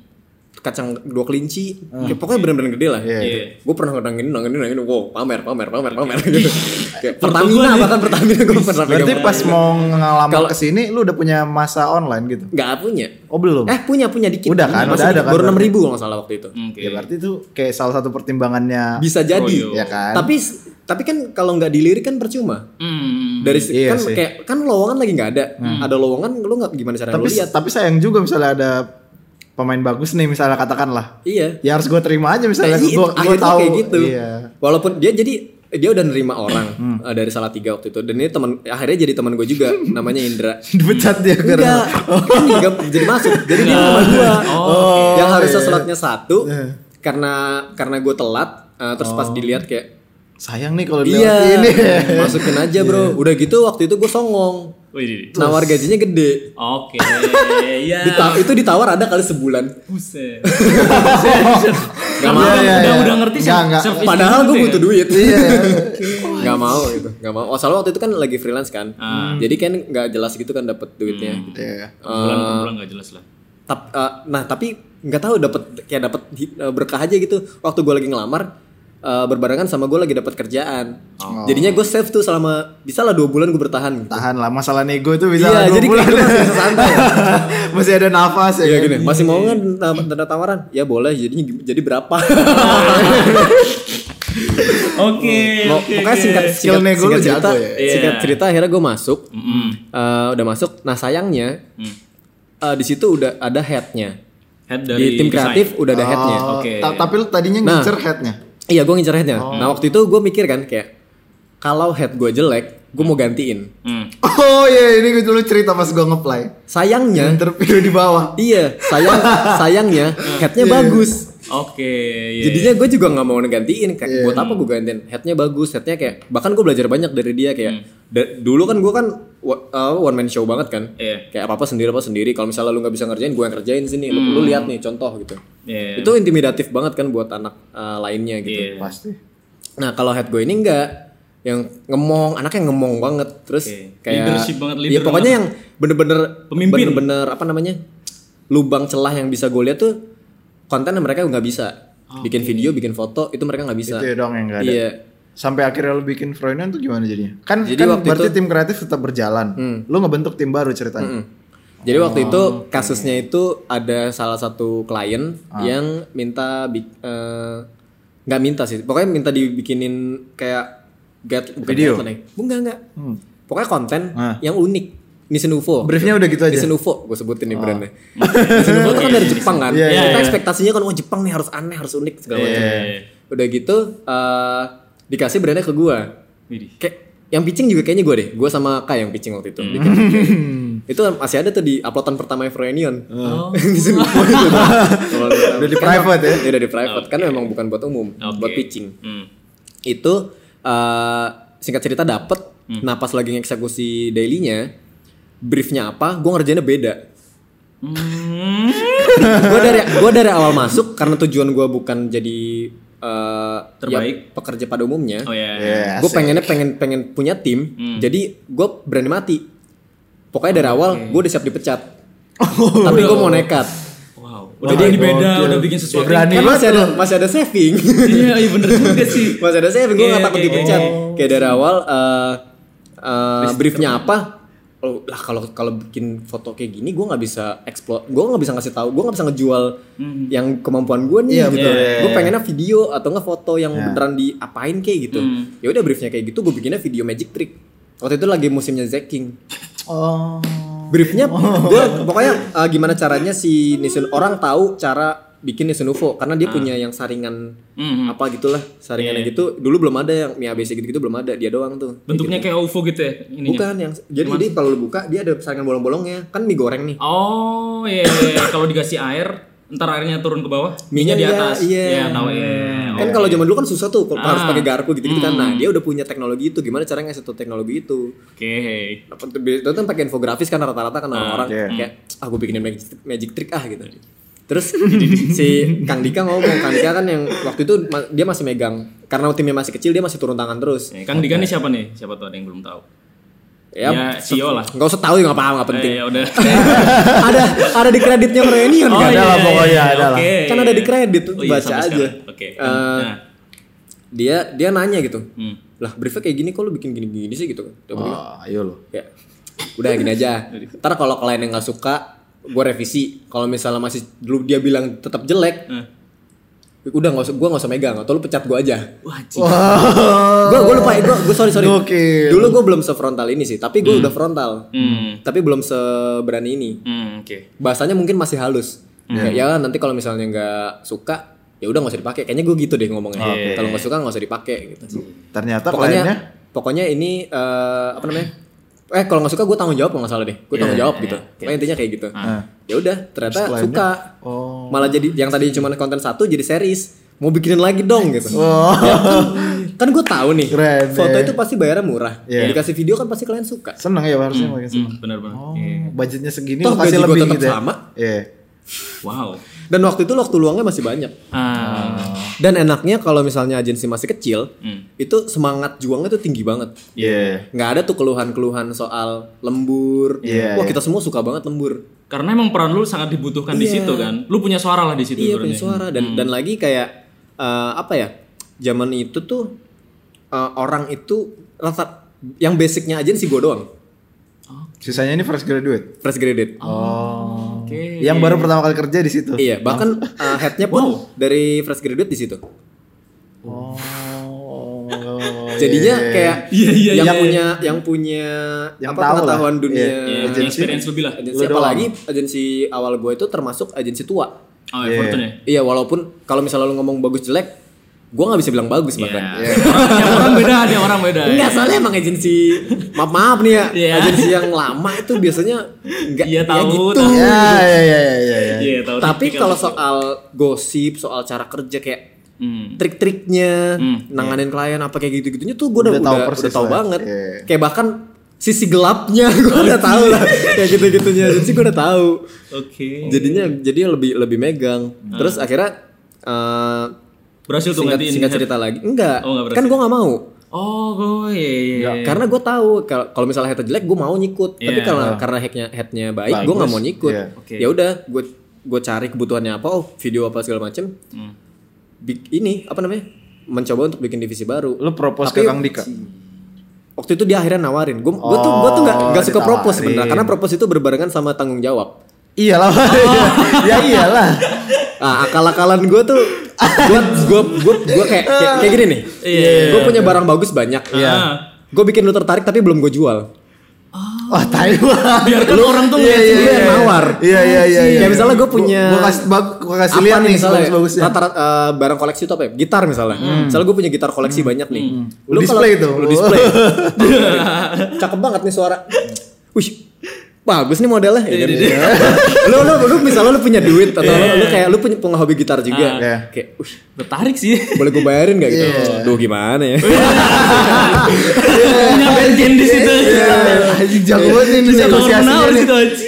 Speaker 4: kacang dua kelinci Kayak pokoknya bener-bener gede lah
Speaker 5: Iya.
Speaker 3: Ah. Iya.
Speaker 4: gue pernah nangin nangin nangin wow pamer pamer pamer pamer gitu kayak Pertamina
Speaker 3: Pertumbuhan ya.
Speaker 4: bahkan Pertamina gue pernah
Speaker 5: Berarti
Speaker 4: pegang.
Speaker 5: pas mau ngelamar
Speaker 4: Iya. Kalau-
Speaker 5: ke sini lu udah punya masa online gitu.
Speaker 4: nggak punya
Speaker 5: Oh, belum.
Speaker 4: eh punya punya dikit
Speaker 5: Udah kan,
Speaker 4: Masih
Speaker 5: udah ada
Speaker 4: dikit.
Speaker 5: kan
Speaker 4: baru
Speaker 5: berarti.
Speaker 4: enam ribu kalau nggak salah waktu itu
Speaker 3: Oke.
Speaker 5: Ya berarti itu kayak salah satu pertimbangannya
Speaker 4: bisa jadi
Speaker 3: Hmm. iya.
Speaker 5: ya kan.
Speaker 4: tapi tapi kan kalau nggak dilirik kan percuma
Speaker 3: Hmm.
Speaker 4: dari se-
Speaker 5: Iya
Speaker 4: kan
Speaker 5: sih.
Speaker 4: kayak kan lowongan lagi nggak ada ada lowongan lu nggak gimana cara lu
Speaker 5: tapi
Speaker 4: lihat
Speaker 5: tapi sayang juga misalnya ada pemain bagus nih misalnya katakanlah
Speaker 4: iya
Speaker 5: ya harus gue terima aja misalnya
Speaker 4: Nah, iya,
Speaker 5: gue
Speaker 4: akhirnya
Speaker 5: tahu
Speaker 4: kayak gitu.
Speaker 5: iya Hmm.
Speaker 4: Walaupun dia jadi dia udah nerima orang eh, dari salah tiga waktu itu dan ini teman akhirnya jadi teman gue juga namanya Indra.
Speaker 5: dipecat dia
Speaker 4: Enggak,
Speaker 5: karena
Speaker 4: kan nggak jadi masuk. Jadi dia teman gue yang harusnya
Speaker 5: iya.
Speaker 4: slotnya satu karena karena gue telat eh, terus pas dilihat kayak
Speaker 5: sayang nih kalau
Speaker 4: iya
Speaker 5: dilewat ini Iya.
Speaker 4: masukin aja bro. Udah gitu waktu itu gue songong.
Speaker 3: Wih, di- di.
Speaker 4: Nawar gajinya gede.
Speaker 3: Oke. Ya.
Speaker 4: Dita- itu ditawar ada kali sebulan.
Speaker 3: Buset. Udah-
Speaker 4: Gak mau.
Speaker 5: Iya, iya,
Speaker 3: udah
Speaker 5: iya.
Speaker 3: udah ngerti
Speaker 5: Nggak, nggak.
Speaker 3: self-esteem
Speaker 4: Padahal
Speaker 3: gitu
Speaker 4: gue
Speaker 3: ya?
Speaker 4: butuh duit.
Speaker 5: Iya.
Speaker 4: Gak mau gitu, gak mau. Oh, soalnya waktu itu kan lagi freelance kan,
Speaker 5: Hmm.
Speaker 4: jadi kan nggak jelas gitu kan dapat duitnya.
Speaker 3: Eh.
Speaker 5: Iya.
Speaker 3: Bulan bulan nggak jelas lah.
Speaker 4: Tap- eh, nah tapi nggak tahu dapat kayak dapat berkah aja gitu waktu gue lagi ngelamar eh, berbarengan sama gue lagi dapat kerjaan jadinya gue save tuh selama bisa lah dua bulan gue bertahan
Speaker 5: Oh.
Speaker 4: gitu.
Speaker 5: Tahan lah masalah nego itu bisa
Speaker 4: Iya,
Speaker 5: dua
Speaker 4: jadi
Speaker 5: bulan.
Speaker 4: kayak gitu, santai.
Speaker 5: Masih ada nafas ya.
Speaker 4: Iya
Speaker 5: kan?
Speaker 4: gini, masih mau nggak tanda, tanda tawaran? Ya boleh, jadinya gi- jadi berapa?
Speaker 3: Oke.
Speaker 4: Mau,
Speaker 3: oke,
Speaker 4: pokoknya
Speaker 3: oke.
Speaker 4: singkat,
Speaker 5: Skill
Speaker 4: singkat,
Speaker 5: nego
Speaker 4: singkat
Speaker 5: lu
Speaker 4: cerita,
Speaker 5: jago ya.
Speaker 3: Iya.
Speaker 4: singkat cerita akhirnya gue masuk,
Speaker 3: Mm-mm.
Speaker 4: Eh, udah masuk. Nah sayangnya eh, di situ udah ada headnya
Speaker 3: Hmm. Head dari
Speaker 4: di tim
Speaker 3: design.
Speaker 4: kreatif udah ada headnya.
Speaker 5: Oh,
Speaker 3: Oke.
Speaker 5: ta- Tapi lu tadinya
Speaker 4: Nah.
Speaker 5: ngincer headnya.
Speaker 4: Iya, gue ngincer headnya.
Speaker 5: Oh.
Speaker 4: Nah waktu itu gue mikir kan kayak kalau head gue jelek, gue mau gantiin.
Speaker 3: Hmm.
Speaker 5: Oh iya ini gue dulu cerita pas gue ngeplay.
Speaker 4: Sayangnya,
Speaker 5: Yang terpilih di bawah.
Speaker 4: iya sayang sayangnya headnya
Speaker 5: Iya.
Speaker 4: bagus.
Speaker 3: Oke. iya.
Speaker 4: Jadinya gue juga nggak mau ngegantiin kayak buat apa gue gantiin headnya bagus headnya kayak bahkan gue belajar banyak dari dia kayak
Speaker 3: Hmm.
Speaker 4: da- dulu kan gue kan wa- uh, one man show banget kan
Speaker 3: Iya.
Speaker 4: kayak apa apa sendiri apa sendiri kalau misalnya lu nggak bisa ngerjain gue yang kerjain sini lu, lu lihat nih contoh gitu
Speaker 3: Hmm. Iya.
Speaker 4: itu intimidatif banget kan buat anak uh, lainnya gitu
Speaker 3: Iya.
Speaker 5: Pasti.
Speaker 4: nah kalau head gue ini enggak yang ngemong anaknya ngemong banget terus
Speaker 3: Oke.
Speaker 4: kayak
Speaker 3: Leadership banget,
Speaker 4: Iya,
Speaker 3: leader
Speaker 4: pokoknya
Speaker 3: banget.
Speaker 4: yang bener-bener
Speaker 3: Pemimpin.
Speaker 4: bener-bener apa namanya lubang celah yang bisa gue lihat tuh konten yang mereka nggak bisa
Speaker 3: Ah,
Speaker 4: bikin video bikin foto itu mereka nggak bisa
Speaker 5: Itu ya dong yang nggak ada.
Speaker 4: iya
Speaker 5: Sampai akhirnya lu bikin Froynion tuh gimana jadinya? Kan,
Speaker 4: Jadi
Speaker 5: kan
Speaker 4: waktu
Speaker 5: berarti
Speaker 4: itu- Hmm.
Speaker 5: tim kreatif tetap berjalan. Lu ngebentuk tim baru ceritanya.
Speaker 4: jadi waktu itu
Speaker 3: Ah,
Speaker 4: kasusnya itu ada salah satu klien
Speaker 5: Ah.
Speaker 4: yang minta bi- eh, nggak minta sih pokoknya minta dibikinin kayak get bukan
Speaker 5: Video? Hmm.
Speaker 4: guideline ya. enggak enggak pokoknya konten
Speaker 5: Ah.
Speaker 4: yang unik Mission UFO
Speaker 5: Briefnya udah gitu aja.
Speaker 4: Nissin UFO gue sebutin nih brandnya. Nissin UFO itu kan dari Jepang kan.
Speaker 5: Iya,
Speaker 4: Kita
Speaker 3: iya.
Speaker 4: ekspektasinya kan wah Jepang nih harus aneh, harus unik segala macam.
Speaker 3: Iya.
Speaker 4: Udah gitu eh, dikasih brandnya ke gue.
Speaker 3: Widih.
Speaker 4: Kayak yang pitching juga kayaknya gue deh. Gue sama Kak yang pitching waktu itu. bikin video. itu masih ada tuh di uploadan pertama Frenion.
Speaker 3: Oh.
Speaker 4: Nissin UFO itu. Udah
Speaker 5: di private ya?
Speaker 4: Kan Udah di private kan memang bukan buat umum,
Speaker 3: Oke.
Speaker 4: buat pitching
Speaker 3: Hmm.
Speaker 4: itu eh, singkat cerita dapet
Speaker 3: Hmm.
Speaker 4: nah pas lagi ngeksekusi dailynya briefnya apa gue ngerjainnya beda
Speaker 3: Hmm.
Speaker 4: gue dari gua dari awal masuk karena tujuan gue bukan jadi eh, ya,
Speaker 3: Terbaik.
Speaker 4: pekerja pada umumnya
Speaker 3: Oh Hmm. ya.
Speaker 5: Iya,
Speaker 4: gue
Speaker 5: asik.
Speaker 4: pengennya pengen pengen punya tim jadi gue berani mati pokoknya dari awal gue udah siap dipecat
Speaker 5: Oh.
Speaker 4: tapi gue mau nekat
Speaker 3: Wow. Udah jadi beda,
Speaker 5: gokil.
Speaker 3: udah bikin sesuatu.
Speaker 5: Berani.
Speaker 4: kan masih
Speaker 5: banget
Speaker 4: ada masih ada saving
Speaker 3: Iya, iya bener juga sih.
Speaker 4: Masih ada saving, gue
Speaker 3: Iya,
Speaker 4: gak takut
Speaker 3: iya,
Speaker 4: dipecat.
Speaker 3: iya.
Speaker 4: Kayak dari awal eh eh, briefnya apa? Oh, lah kalau kalau bikin foto kayak gini gue nggak bisa explore gue nggak bisa ngasih tahu gue nggak bisa ngejual yang kemampuan gue nih
Speaker 5: Iya,
Speaker 4: gitu
Speaker 5: betul.
Speaker 4: gue pengennya video atau nggak foto yang beneran diapain kayak gitu
Speaker 3: Mm.
Speaker 4: ya udah briefnya kayak gitu gue bikinnya video magic trick waktu itu lagi musimnya Zeking
Speaker 5: Oh.
Speaker 4: briefnya gue pokoknya eh, gimana caranya si Nisun orang tahu cara bikin Nisun UFO karena
Speaker 3: Ah.
Speaker 4: dia punya yang saringan
Speaker 3: Hmm.
Speaker 4: apa gitulah saringan
Speaker 3: Iya.
Speaker 4: yang gitu dulu belum ada yang mie ABC gitu-gitu belum ada dia doang tuh
Speaker 3: Bentuknya kayak UFO gitu ya ininya.
Speaker 4: bukan yang jadi jadi kalau lu buka dia ada saringan bolong-bolongnya kan mie goreng nih
Speaker 3: Oh, iya. iya. kalau dikasih air, ntar airnya turun ke bawah, minyak di
Speaker 4: Iya,
Speaker 3: atas.
Speaker 4: iya.
Speaker 3: Iya, tahu ya.
Speaker 4: kan kalau zaman dulu kan susah tuh kalau harus
Speaker 3: Ah. Mm.
Speaker 4: pakai garpu gitu-gitu kan nah dia udah punya teknologi itu gimana caranya ngasih tau teknologi itu
Speaker 3: Oke.
Speaker 4: Apa tuh, bi- itu kan pakai infografis kan rata-rata kan orang-orang
Speaker 3: Ah,
Speaker 5: iya.
Speaker 4: kayak aku bikinin magic, magic trick ah gitu
Speaker 3: Iya.
Speaker 4: terus si Kang Dika ngomong Kang Dika kan yang waktu itu ma- dia masih megang karena timnya masih kecil dia masih turun tangan terus
Speaker 3: Eh, Kang Dika nih siapa nih? Siapa tuh ada yang belum tahu? Ya, CEO lah.
Speaker 4: nggak usah tahu ya nggak paham nggak penting
Speaker 3: Eh, ya udah.
Speaker 4: ada ada di kreditnya Merenion
Speaker 3: Oh,
Speaker 5: ada
Speaker 4: kan
Speaker 3: iya,
Speaker 5: lah
Speaker 3: iya,
Speaker 5: pokoknya,
Speaker 3: iya,
Speaker 5: ada lah.
Speaker 3: oke.
Speaker 4: kan ada di kredit
Speaker 3: Oh, iya,
Speaker 4: baca
Speaker 3: sampai
Speaker 4: aja
Speaker 3: sekarang. Oke.
Speaker 4: Eh,
Speaker 3: Nah.
Speaker 4: dia dia nanya gitu
Speaker 3: Hmm. Oh.
Speaker 4: lah briefnya kayak gini kok lu bikin gini-gini sih gitu kan Dia bilang,
Speaker 5: Wah, Oh, ayo lo.
Speaker 4: ya udah gini aja ntar kalau klien yang nggak suka gue revisi kalau misalnya masih dulu dia bilang tetap jelek
Speaker 3: Eh.
Speaker 4: udah nggak usah gue nggak usah megang atau lu pecat gue aja
Speaker 3: Wah, cik.
Speaker 4: gue gue lupa gue gue sorry sorry
Speaker 5: Gokil.
Speaker 4: dulu gue belum sefrontal ini sih tapi gue udah frontal
Speaker 3: Hmm.
Speaker 4: tapi belum seberani ini
Speaker 3: Hmm, oke.
Speaker 4: bahasanya mungkin masih halus Kayak, ya nanti kalau misalnya nggak suka ya udah nggak usah dipakai kayaknya gue gitu deh ngomongnya kalau nggak suka nggak usah dipakai gitu
Speaker 5: Ternyata
Speaker 4: pokoknya
Speaker 5: kliennya
Speaker 4: pokoknya ini eh, apa namanya eh kalau nggak suka gue tanggung jawab kalau nggak salah deh gue tanggung jawab gitu pokoknya intinya kayak gitu ya udah ternyata
Speaker 5: Ah. Terus kliennya,
Speaker 4: suka
Speaker 5: oh.
Speaker 4: malah jadi yang tadinya cuma konten satu jadi series mau bikinin lagi dong gitu Ya kan, kan gue tahu nih
Speaker 5: Oh. Keren
Speaker 4: foto
Speaker 5: deh.
Speaker 4: itu pasti bayarnya murah
Speaker 5: Iya.
Speaker 4: dikasih video kan pasti kalian suka
Speaker 5: seneng ya harusnya
Speaker 4: Iya
Speaker 5: makin seneng.
Speaker 3: Hmm, Benar benar.
Speaker 5: Oh,
Speaker 3: Iya.
Speaker 5: budgetnya segini
Speaker 4: Hmm. Toh
Speaker 5: lo kasih
Speaker 4: gaji gua
Speaker 5: lebih
Speaker 4: tetap
Speaker 5: gitu ya.
Speaker 4: sama.
Speaker 5: Iya.
Speaker 3: Wow.
Speaker 4: dan waktu itu waktu luangnya masih banyak
Speaker 3: Ah,
Speaker 4: Dan enaknya kalau misalnya agensi masih kecil, itu semangat juangnya tuh tinggi banget.
Speaker 5: Iya.
Speaker 4: Nggak ada tuh keluhan-keluhan soal lembur.
Speaker 5: Iya, iya.
Speaker 4: Wah, kita semua suka banget lembur.
Speaker 3: Karena emang peran lu sangat dibutuhkan di
Speaker 4: Iya.
Speaker 3: situ kan. Lu punya suara lah di situ
Speaker 4: Iya
Speaker 3: ibaratnya.
Speaker 4: punya suara dan dan lagi kayak eh, apa ya zaman itu tuh eh, orang itu rata yang basicnya aja sih gue doang
Speaker 5: Sisanya ini fresh graduate. Oh.
Speaker 4: fresh graduate.
Speaker 3: Oke.
Speaker 5: Yang baru pertama kali kerja di situ.
Speaker 4: Oh, Iya bahkan eh, headnya pun
Speaker 3: Wow.
Speaker 4: dari fresh graduate di situ.
Speaker 5: Oh.
Speaker 4: Jadinya kayak
Speaker 3: Iya, iya,
Speaker 4: yang
Speaker 3: iya, iya.
Speaker 4: punya yang punya
Speaker 5: Yang
Speaker 4: apa
Speaker 5: tahu lah.
Speaker 4: pengetahuan dunia
Speaker 5: Iya,
Speaker 3: Iya, punya
Speaker 5: Agensi-
Speaker 3: experience lebih lah.
Speaker 4: agensi
Speaker 5: Lu doang.
Speaker 4: apalagi agensi awal gue itu termasuk agensi tua.
Speaker 3: Oh, ya, Fortune ya.
Speaker 4: Iya walaupun kalau misalnya lu ngomong bagus jelek, gue nggak bisa bilang bagus bahkan.
Speaker 3: Iya. Orang- Tiap orang beda, tiap orang beda. ya.
Speaker 4: Enggak, soalnya emang agensi maaf maaf nih ya,
Speaker 3: Iya.
Speaker 4: agensi yang lama itu biasanya enggak
Speaker 3: Iya, tahu,
Speaker 4: gitu.
Speaker 3: tahu.
Speaker 5: Ya, ya, ya, ya, ya, ya.
Speaker 3: Iya, tahu
Speaker 4: Tapi
Speaker 3: tipikal
Speaker 4: kalau
Speaker 3: itu.
Speaker 4: soal gosip, soal cara kerja kayak
Speaker 3: Hmm.
Speaker 4: trik-triknya, nanganin klien apa kayak gitu-gitunya tuh gue
Speaker 5: Iya. Udah
Speaker 4: udah, udah
Speaker 5: tahu
Speaker 4: udah tahu,
Speaker 5: persis lah.
Speaker 4: banget.
Speaker 5: Iya.
Speaker 4: Kayak bahkan sisi gelapnya gue udah tahu lah kayak gitu-gitunya. Agensi gue udah tahu.
Speaker 3: Oke.
Speaker 4: Jadinya jadinya lebih lebih megang. Terus akhirnya eh,
Speaker 3: Hmm. Berhasil tuh
Speaker 4: singkat,
Speaker 3: gantiin.
Speaker 4: singkat cerita lagi. Enggak.
Speaker 3: Oh, nggak berhasil.
Speaker 4: kan gue nggak mau.
Speaker 3: Oh, gue. Iya, iya, iya.
Speaker 4: Karena gue tahu kalau kalau misalnya headnya jelek gue mau nyikut, tapi
Speaker 3: Iya.
Speaker 4: karena karena headnya headnya baik gue nggak mau nyikut.
Speaker 5: Iya.
Speaker 3: Oke.
Speaker 4: Ya udah gue gue cari kebutuhannya apa, oh video apa segala macem.
Speaker 3: Hmm.
Speaker 4: Bik- ini apa namanya? Mencoba untuk bikin divisi baru.
Speaker 5: Lu propose ke
Speaker 4: Tapi
Speaker 5: Kang Dika.
Speaker 4: Waktu itu dia akhirnya nawarin. Gue gue tuh gue tuh nggak nggak suka
Speaker 5: Oh, ditawarin.
Speaker 4: propose sebenarnya karena propose itu berbarengan sama tanggung jawab.
Speaker 5: Iyalah.
Speaker 4: Oh.
Speaker 5: ya iyalah.
Speaker 4: Ah, akal-akalan gue tuh gue gue gue gue kayak kayak kayak gini nih.
Speaker 3: Iya.
Speaker 4: Gue punya barang bagus banyak.
Speaker 3: Ah.
Speaker 4: Gue bikin lu tertarik tapi belum gue jual.
Speaker 5: Wah, Oh, tai banget.
Speaker 3: Biarkan orang tuh
Speaker 5: Iya,
Speaker 3: lihat
Speaker 5: iya,
Speaker 4: Gue
Speaker 5: iya.
Speaker 4: yang nawar.
Speaker 5: Iya, iya, iya.
Speaker 4: Kayak
Speaker 5: iya.
Speaker 4: Ya, misalnya gua
Speaker 5: Gua-
Speaker 4: punya-
Speaker 5: gua kasih bag- gua kasih
Speaker 4: Apa
Speaker 5: lihat
Speaker 4: nih
Speaker 5: nih
Speaker 4: misalnya
Speaker 5: bagus-bagusnya.
Speaker 4: rata-rata eh, barang koleksi itu apa ya? Gitar misalnya. Misalnya gue punya gitar koleksi banyak nih.
Speaker 5: Lu Hmm. display
Speaker 4: kalau-
Speaker 5: tuh.
Speaker 4: Lu display. Cakep banget nih suara. Wih. Bagus nih modelnya.
Speaker 5: Iya,
Speaker 4: Ya, kan? lu, lu, lu misalnya lu punya duit atau lu, lu kayak lu punya penghobi gitar
Speaker 5: iya. Ah.
Speaker 4: juga.
Speaker 5: Iya.
Speaker 4: Kayak, "Wih,
Speaker 3: Tertarik sih.
Speaker 4: boleh gue bayarin gak gitu?
Speaker 5: Iya.
Speaker 4: Duh gimana ya?
Speaker 3: Punya band di situ.
Speaker 5: Iya, anjing jago banget nih
Speaker 3: Bisa
Speaker 5: negosiasinya
Speaker 3: terkenal di
Speaker 5: nih.
Speaker 3: situ aja.
Speaker 4: gitu.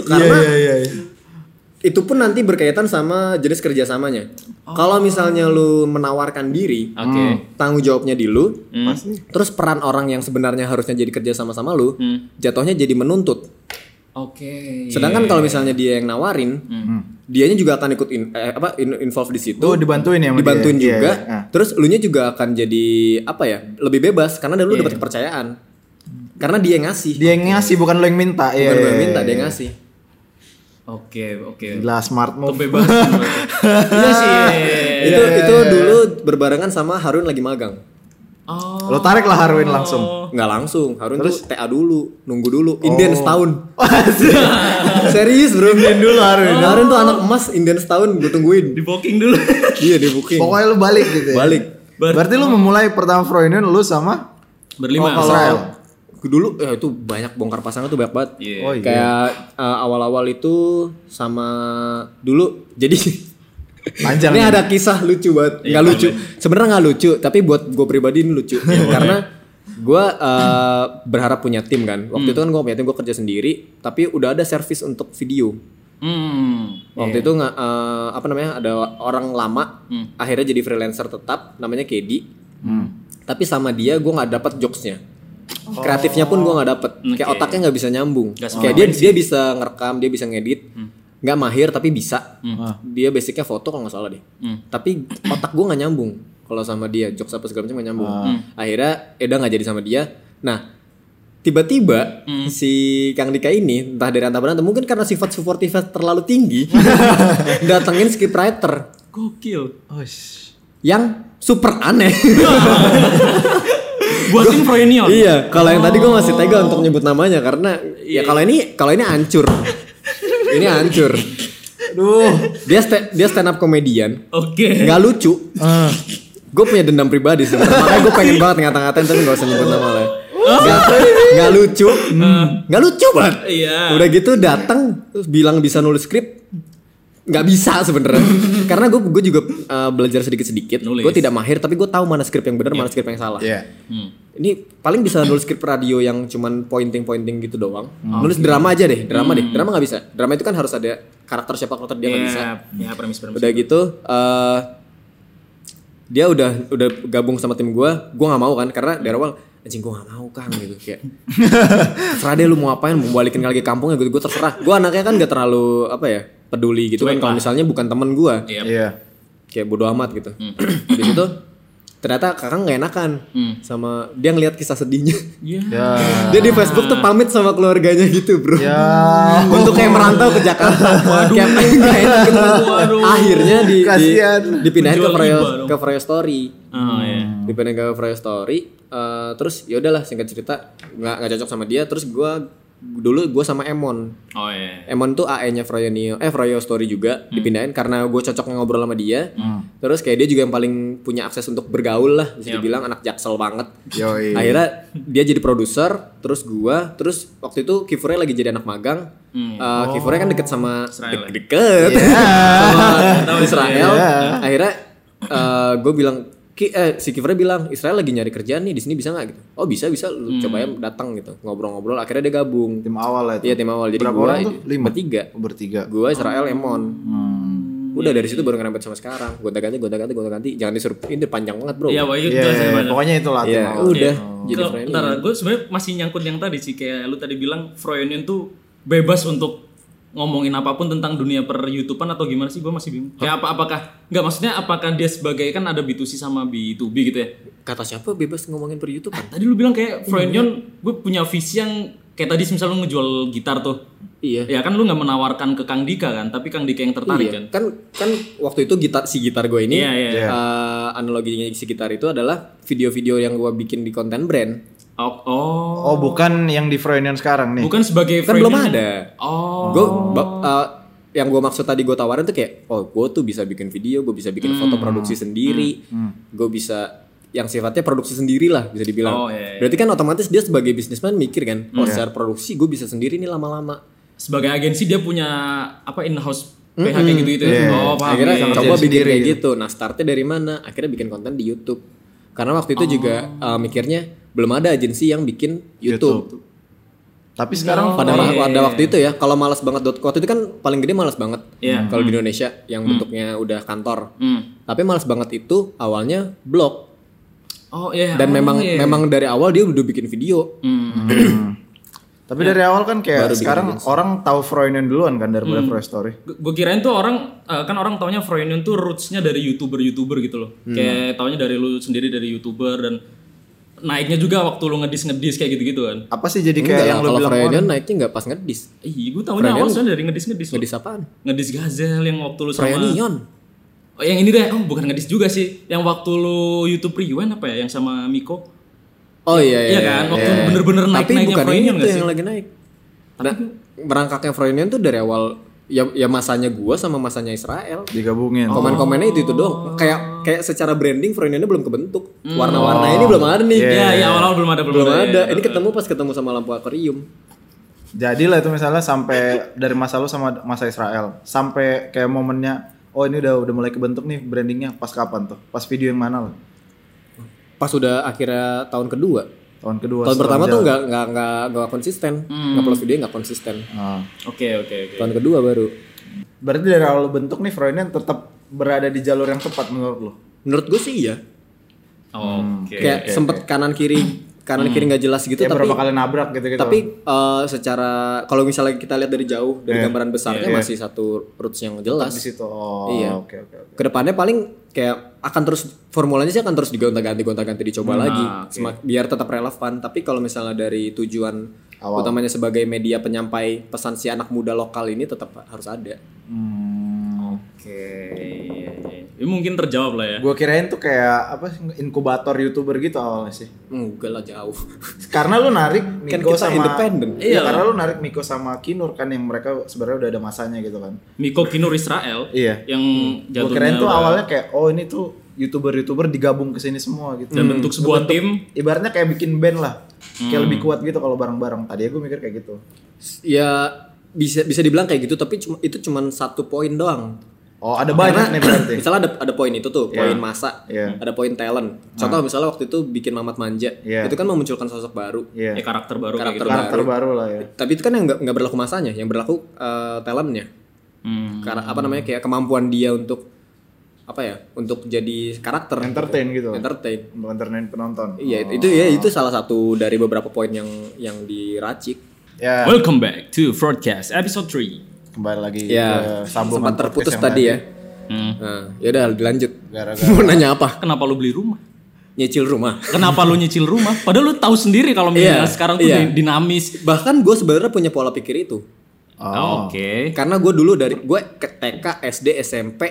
Speaker 5: Iya,
Speaker 4: Karena
Speaker 5: iya, iya. iya.
Speaker 4: itu pun nanti berkaitan sama jenis kerjasamanya.
Speaker 5: Oh.
Speaker 4: Kalau misalnya lu menawarkan diri,
Speaker 3: Oke. Hmm.
Speaker 4: tanggung jawabnya di lu, terus peran orang yang sebenarnya harusnya jadi kerja sama-sama lu,
Speaker 5: Hmm.
Speaker 4: jatuhnya jadi menuntut.
Speaker 3: Oke.
Speaker 5: Iya,
Speaker 4: Sedangkan kalau misalnya dia yang nawarin,
Speaker 5: Hmm.
Speaker 4: dianya juga akan ikut in- eh, apa in- involve di situ.
Speaker 5: Tuh dibantuin ya sama
Speaker 4: dibantuin
Speaker 5: dia. Iya,
Speaker 4: juga.
Speaker 5: iya. Ah.
Speaker 4: Terus lu nya juga akan jadi apa ya? Lebih bebas karena lu dapat kepercayaan. Karena dia yang ngasih.
Speaker 5: Iya, Dia yang ngasih bukan lo yang minta. Iya.
Speaker 4: Bukan lu yang
Speaker 5: iya,
Speaker 4: minta,
Speaker 5: iya.
Speaker 4: dia yang ngasih.
Speaker 3: Oke, oke.
Speaker 5: Gila smart move.
Speaker 3: Kebebasan. Iya sih.
Speaker 4: itu
Speaker 5: iya,
Speaker 4: itu dulu berbarengan sama Harun lagi magang.
Speaker 3: Oh.
Speaker 5: Lo tarik lah Harwin langsung.
Speaker 4: Nggak langsung, Harun tuh TA dulu, nunggu dulu, inden
Speaker 5: Oh.
Speaker 4: setahun. Serius bro, inden dulu Harun. Harun
Speaker 5: Oh.
Speaker 4: tuh anak emas, inden setahun gue tungguin.
Speaker 3: Di booking dulu.
Speaker 4: Iya di booking.
Speaker 5: Pokoknya lu balik gitu ya.
Speaker 4: Balik.
Speaker 3: Ber-
Speaker 5: Berarti lu memulai pertama Freudian lu sama
Speaker 3: Berlima.
Speaker 4: Oh,
Speaker 5: Israel.
Speaker 4: Iya. Dulu ya itu banyak bongkar pasangan tuh banyak banget.
Speaker 3: Iya.
Speaker 5: Oh, iya.
Speaker 4: Kayak eh, awal-awal itu sama dulu jadi
Speaker 5: Panjang. ya.
Speaker 4: ini
Speaker 5: nih.
Speaker 4: ada kisah lucu banget.
Speaker 5: Iya,
Speaker 4: Nggak lucu. Sebenarnya nggak lucu, tapi buat gue pribadi ini lucu
Speaker 5: Iya,
Speaker 4: karena gue eh, berharap punya tim
Speaker 5: Hmm.
Speaker 4: kan. Waktu itu kan gue punya tim, gue kerja sendiri, tapi udah ada service untuk video.
Speaker 3: Hmm.
Speaker 4: Waktu itu nggak eh, apa namanya ada orang lama akhirnya jadi freelancer tetap namanya Kedi. Tapi sama dia gue nggak dapat jokesnya. Kreatifnya pun gue nggak dapat. Kayak otaknya nggak bisa nyambung. Kayak dia dia bisa ngerekam, dia bisa ngedit. Nggak mahir tapi bisa. Dia basicnya foto kalau nggak salah deh. Tapi otak gue nggak nyambung kalau sama dia jokes apa segala macam nggak nyambung. Akhirnya Eda nggak jadi sama dia. Nah tiba-tiba si Kang Dika ini entah dari antah berantem mungkin karena sifat suportifnya terlalu tinggi datengin scriptwriter
Speaker 3: Gokil.
Speaker 4: yang super aneh
Speaker 3: Buat tim Froynion.
Speaker 4: iya kalau yang tadi gue masih tega untuk nyebut namanya karena ya kalau ini kalau ini hancur ini hancur
Speaker 5: Aduh.
Speaker 4: dia sta- dia stand up komedian
Speaker 3: Oke.
Speaker 4: nggak lucu gue punya dendam pribadi sebenarnya makanya gue pengen banget ngata-ngatain tapi gak usah nyebut nama lah nggak nggak lucu nggak lucu banget
Speaker 3: Iya.
Speaker 4: udah gitu datang terus bilang bisa nulis skrip nggak bisa sebenarnya karena gue gue juga uh, belajar sedikit sedikit
Speaker 3: Nulis.
Speaker 4: gue tidak mahir tapi gue tahu mana skrip yang benar mana skrip yang salah
Speaker 5: Iya.
Speaker 4: ini paling bisa nulis skrip radio yang cuman pointing pointing gitu doang nulis drama aja deh drama deh drama nggak bisa drama itu kan
Speaker 3: Iya,
Speaker 4: harus ada karakter siapa karakter dia nggak bisa
Speaker 3: Ya, ya permis permis.
Speaker 4: Udah gitu eh gitu, dia udah udah gabung sama tim gue gue nggak mau kan karena dari awal anjing gue nggak mau kang gitu kayak terserah deh lu mau apain mau balikin lagi ke kampungnya gitu gue terserah gue anaknya kan gak terlalu apa ya peduli gitu kan kalau misalnya bukan temen gue
Speaker 3: Iya.
Speaker 5: Iya.
Speaker 4: kayak bodo amat gitu di situ ternyata kakak nggak enakan sama dia ngelihat kisah sedihnya
Speaker 3: Iya.
Speaker 5: Ya.
Speaker 4: dia di Facebook tuh pamit sama keluarganya gitu bro
Speaker 5: Ya.
Speaker 4: untuk kayak merantau ke Jakarta Kayak pengen kayak gitu.
Speaker 3: Waduh.
Speaker 4: akhirnya di, di
Speaker 5: Kasian.
Speaker 4: dipindahin ke
Speaker 3: Menjual
Speaker 4: Freo
Speaker 3: iba dong.
Speaker 4: ke Freo Story
Speaker 3: Oh iya.
Speaker 4: dipindahin ke Freo Story eh, terus ya udahlah singkat cerita nggak nggak cocok sama dia terus gua dulu gua sama Emon
Speaker 3: Oh iya.
Speaker 4: Emon tuh AE-nya Froyo Neo, eh Froyo Story juga
Speaker 3: Hmm.
Speaker 4: dipindahin karena gue cocok ngobrol sama dia. Terus kayak dia juga yang paling punya akses untuk bergaul lah,
Speaker 3: Iya.
Speaker 4: bisa dibilang anak jaksel banget.
Speaker 5: Yoi.
Speaker 4: Akhirnya dia jadi produser, terus gua, terus waktu itu Kifure lagi jadi anak magang. Eh, Kifure kan deket sama
Speaker 3: Hmm. Israel ya?
Speaker 4: de- deket sama Israel. Akhirnya
Speaker 3: Iya.
Speaker 4: gue bilang Ki, eh, si Kifure bilang Israel lagi nyari kerjaan nih di sini bisa nggak gitu? Oh bisa bisa, lu
Speaker 3: Hmm.
Speaker 4: coba ya datang gitu ngobrol-ngobrol. Akhirnya dia gabung.
Speaker 5: Tim awal lah itu.
Speaker 4: Iya tim awal. Jadi
Speaker 5: Berapa
Speaker 4: gua
Speaker 5: orang tuh? Lima.
Speaker 4: Bertiga.
Speaker 5: Bertiga.
Speaker 4: Gua
Speaker 3: Oh.
Speaker 4: Israel Emon.
Speaker 3: Hmm.
Speaker 4: Udah dari
Speaker 3: Iya,
Speaker 4: situ baru ngerempet sama sekarang. Gonta ganti, gonta ganti, gonta ganti. Jangan disuruh ini panjang banget bro.
Speaker 3: Iya, pokoknya
Speaker 5: Iya,
Speaker 3: jelas ya, Pak.
Speaker 5: pokoknya itulah tim
Speaker 4: Iya,
Speaker 5: awal.
Speaker 4: udah. Jadi
Speaker 3: Kalau
Speaker 4: friendly. ya.
Speaker 3: bentar, gue sebenarnya masih nyangkut yang tadi sih kayak lu tadi bilang Froyonion tuh bebas untuk ngomongin apapun tentang dunia per YouTubean atau gimana sih gue masih bingung. Kayak apa apakah nggak maksudnya apakah dia sebagai kan ada B2C sama B2B gitu ya.
Speaker 4: Kata siapa bebas ngomongin per YouTube? kan?
Speaker 3: Tadi lu bilang kayak Froyonion gue punya visi yang kayak tadi misalnya lu ngejual gitar tuh.
Speaker 4: Iya.
Speaker 3: Ya kan lu nggak menawarkan ke Kang Dika kan, tapi Kang Dika yang tertarik kan.
Speaker 4: Iya. Kan kan waktu itu gitar si gitar gue ini
Speaker 3: Iya, iya.
Speaker 4: eh, analoginya si gitar itu adalah video-video yang gua bikin di konten brand. Kan
Speaker 3: Oh, oh.
Speaker 5: Oh, bukan yang di Froyonian sekarang nih.
Speaker 3: bukan sebagai
Speaker 4: Kan belum
Speaker 3: Froyonion-
Speaker 4: ada.
Speaker 3: Oh.
Speaker 4: Gue yang gue maksud tadi gue tawarin tuh kayak oh gue tuh bisa bikin video, gue bisa bikin
Speaker 3: Hmm.
Speaker 4: foto produksi sendiri, gue bisa yang sifatnya produksi sendiri lah bisa dibilang.
Speaker 3: Oh, iya, Hmm. iya.
Speaker 4: Berarti kan otomatis dia sebagai bisnisman mikir kan, oh secara produksi gue bisa sendiri nih lama-lama.
Speaker 3: sebagai agensi dia punya apa in house PH kayak gitu gitu ya. Oh, paham.
Speaker 4: Akhirnya
Speaker 3: Iya, iya.
Speaker 5: kerja
Speaker 4: coba bikin
Speaker 5: sendiri
Speaker 4: kayak gitu. Nah startnya dari mana? Akhirnya bikin konten di YouTube. Karena waktu itu juga
Speaker 3: Oh.
Speaker 4: eh, mikirnya belum ada agensi yang bikin YouTube.
Speaker 5: Tapi sekarang
Speaker 3: Oh,
Speaker 4: pada wa-
Speaker 3: iya,
Speaker 4: pada
Speaker 3: iya.
Speaker 4: waktu itu ya kalau malas banget dot waktu itu kan paling gede malas banget
Speaker 3: Iya.
Speaker 4: kalau di Indonesia yang bentuknya udah kantor
Speaker 3: Hmm.
Speaker 4: tapi malas banget itu awalnya blog
Speaker 3: Oh iya. Oh,
Speaker 4: dan memang
Speaker 3: iya.
Speaker 4: memang dari awal dia udah bikin video
Speaker 3: Hmm.
Speaker 5: tapi dari awal kan kayak
Speaker 4: Iya. Baru bikin Hmm.
Speaker 5: sekarang orang tahu Froyonian duluan kan daripada Froy Story.
Speaker 3: Gue kirain tuh orang eh, kan orang taunya Froyonion tuh rootsnya dari youtuber-youtuber gitu loh.
Speaker 4: Hmm.
Speaker 3: Kayak taunya dari lu sendiri dari youtuber dan naiknya juga waktu lu ngedis ngedis kayak gitu gitu kan.
Speaker 5: Apa sih jadi
Speaker 4: Enggak
Speaker 5: kayak yang
Speaker 4: lah,
Speaker 5: lo
Speaker 4: kalau
Speaker 5: bilang
Speaker 4: Freudian naiknya nggak pas ngedis
Speaker 3: Ih, gue taunya awal soalnya dari ngedis ngedis.
Speaker 4: ngedis apaan
Speaker 3: Ngedis Gazel yang waktu lu sama.
Speaker 4: Freudian
Speaker 3: Oh, yang ini deh. Oh bukan ngedis juga sih. Yang waktu lu YouTube Rewind apa ya? Yang sama Miko.
Speaker 4: oh iya iya,
Speaker 3: Iya kan? Waktu bener-bener
Speaker 4: tapi
Speaker 3: naik-naiknya
Speaker 4: bukan
Speaker 3: Freudian
Speaker 4: itu
Speaker 3: nggak sih?
Speaker 4: yang lagi naik nah, merangkaknya Freudian tuh dari awal ya ya masanya gua sama masanya Israel
Speaker 5: digabungin.
Speaker 4: Komen-komennya itu
Speaker 3: Oh.
Speaker 4: itu doang. Kayak kayak secara branding Froyoniannya belum kebentuk. Warna-warnanya ini belum ada nih.
Speaker 3: Hmm. Iya, iya awal-awal belum ada
Speaker 4: Belum ada.
Speaker 3: ya.
Speaker 4: Ini ketemu pas ketemu sama lampu akuarium.
Speaker 5: Jadi lah itu misalnya sampai dari masa lu sama masa Israel sampai kayak momennya oh ini udah udah mulai kebentuk nih brandingnya pas kapan tuh? Pas video yang mana lo?
Speaker 4: Pas udah akhirnya tahun kedua.
Speaker 5: Tahun ya. kedua.
Speaker 4: Tahun
Speaker 5: setelah
Speaker 4: pertama tuh
Speaker 5: berjalan.
Speaker 4: nggak nggak nggak nggak konsisten.
Speaker 3: Hmm.
Speaker 4: Ngupload video nggak konsisten.
Speaker 5: Ah.
Speaker 3: Oke oke oke.
Speaker 4: Tahun kedua baru.
Speaker 5: Berarti dari awal lu bentuk nih Froyonian tetap berada di jalur yang tepat menurut lo?
Speaker 4: Menurut gue sih iya.
Speaker 3: Oke.
Speaker 5: Iya,
Speaker 4: Kayak sempet kanan kiri kanan kiri nggak jelas gitu.
Speaker 5: Ya
Speaker 4: tapi
Speaker 5: berapa kali nabrak gitu-gitu.
Speaker 4: tapi eh, secara kalau misalnya kita lihat dari jauh dari gambaran besarnya masih satu roots yang jelas.
Speaker 5: di situ. Oh,
Speaker 4: Iya.
Speaker 5: oke oke oke.
Speaker 4: kedepannya paling kayak akan terus formulanya sih akan terus digonta-ganti gonta-ganti dicoba lagi Semak- biar tetap relevan tapi kalau misalnya dari tujuan utamanya sebagai media penyampai pesan si anak muda lokal ini tetap harus ada
Speaker 5: Hmm.
Speaker 3: Oke. iya, iya. Ini mungkin terjawab lah ya.
Speaker 5: Gue kirain tuh kayak apa sih, inkubator youtuber gitu awalnya sih.
Speaker 4: enggak lah jauh
Speaker 5: Karena lu narik
Speaker 4: kan
Speaker 5: Miko
Speaker 4: kita
Speaker 5: sama
Speaker 4: independen
Speaker 5: Iya, karena lu narik Miko sama Kinur kan yang mereka sebenarnya udah ada masanya gitu kan.
Speaker 3: Miko Kinur Israel
Speaker 5: Iya.
Speaker 3: yang
Speaker 5: Gue
Speaker 3: jatuhnya
Speaker 5: kirain tuh
Speaker 3: udah-
Speaker 5: awalnya kayak oh ini tuh youtuber-youtuber digabung ke sini semua gitu.
Speaker 4: Iya.
Speaker 3: dan bentuk sebuah tim.
Speaker 5: Ibaratnya kayak bikin band lah. Kayak lebih
Speaker 4: Hmm.
Speaker 5: kuat gitu kalau bareng-bareng. Tadi aku mikir kayak gitu.
Speaker 4: ya bisa bisa dibilang kayak gitu tapi cuma, itu cuma satu poin doang
Speaker 5: Oh, ada banyak nih berarti.
Speaker 4: misalnya ada ada poin itu tuh poin masa
Speaker 5: Iya. Ah.
Speaker 4: ada poin talent contoh misalnya waktu itu bikin Mamat Manja
Speaker 5: Iya.
Speaker 4: itu kan memunculkan sosok baru
Speaker 5: Iya.
Speaker 3: Ya, karakter baru kayak
Speaker 4: karakter
Speaker 3: gitu.
Speaker 5: Karakter baru lah ya.
Speaker 4: Tapi itu kan yang nggak nggak berlaku masanya, yang berlaku eh, talentnya.
Speaker 3: Hmm.
Speaker 4: Karena apa namanya kayak kemampuan dia untuk apa ya untuk jadi karakter
Speaker 5: Entertain gitu.
Speaker 4: entertain
Speaker 5: Untuk entertain penonton.
Speaker 4: iya itu ya itu salah satu dari beberapa poin yang yang diracik
Speaker 5: Ya,
Speaker 3: gitu. Welcome back to broadcast episode 3
Speaker 5: kembali lagi
Speaker 4: ya
Speaker 5: ke Iya, sambungan
Speaker 4: sempat terputus
Speaker 5: podcast yang
Speaker 4: tadi ya nah, ya udah dilanjut
Speaker 5: Gara-gara-
Speaker 4: mau nanya apa
Speaker 3: Hmm. Kenapa lu beli rumah?
Speaker 4: nyicil rumah
Speaker 3: Kenapa lu nyicil rumah? Padahal lu tahu sendiri kalau milenial
Speaker 4: Iya,
Speaker 3: sekarang tuh
Speaker 4: iya.
Speaker 3: di- dinamis.
Speaker 4: bahkan gue sebenarnya punya pola pikir itu
Speaker 5: Oh.
Speaker 3: Oke.
Speaker 4: karena gue dulu dari gue ke TK SD SMP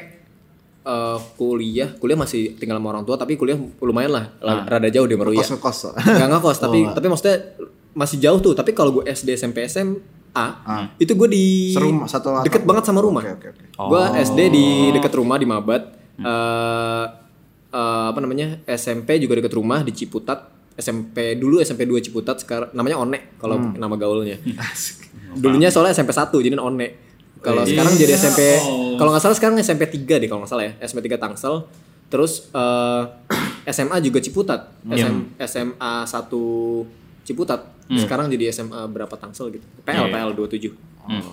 Speaker 4: eh, kuliah kuliah masih tinggal sama orang tua tapi kuliah lumayan lah la- rada jauh di Meruya
Speaker 5: Kos ngekos.
Speaker 4: nggak ngekos tapi
Speaker 5: Oh.
Speaker 4: tapi maksudnya masih jauh tuh tapi kalau gue SD SMP SMA itu gue di
Speaker 5: Serum Ah. satu atap.
Speaker 4: deket banget sama rumah
Speaker 5: Oke, oke, Oh. Hmm. oke.
Speaker 4: gue SD di deket rumah di Mabat Eh, eh, apa namanya SMP juga deket rumah di Ciputat SMP dulu SMP 2 Ciputat sekarang namanya One kalau
Speaker 5: Hmm.
Speaker 4: nama gaulnya dulunya soalnya SMP 1 jadi One kalau
Speaker 5: Iya.
Speaker 4: sekarang jadi
Speaker 5: Oh,
Speaker 4: SMP Iya.
Speaker 3: Oh.
Speaker 4: kalau nggak salah sekarang SMP 3 deh kalau nggak salah ya SMP 3 Tangsel terus eh, SMA juga Ciputat
Speaker 3: Hmm. Iya.
Speaker 4: SM SMA 1 Ciputat
Speaker 3: Hmm.
Speaker 4: sekarang jadi SMA berapa Tangsel gitu
Speaker 3: Iya,
Speaker 4: PL PL 27
Speaker 3: Hmm.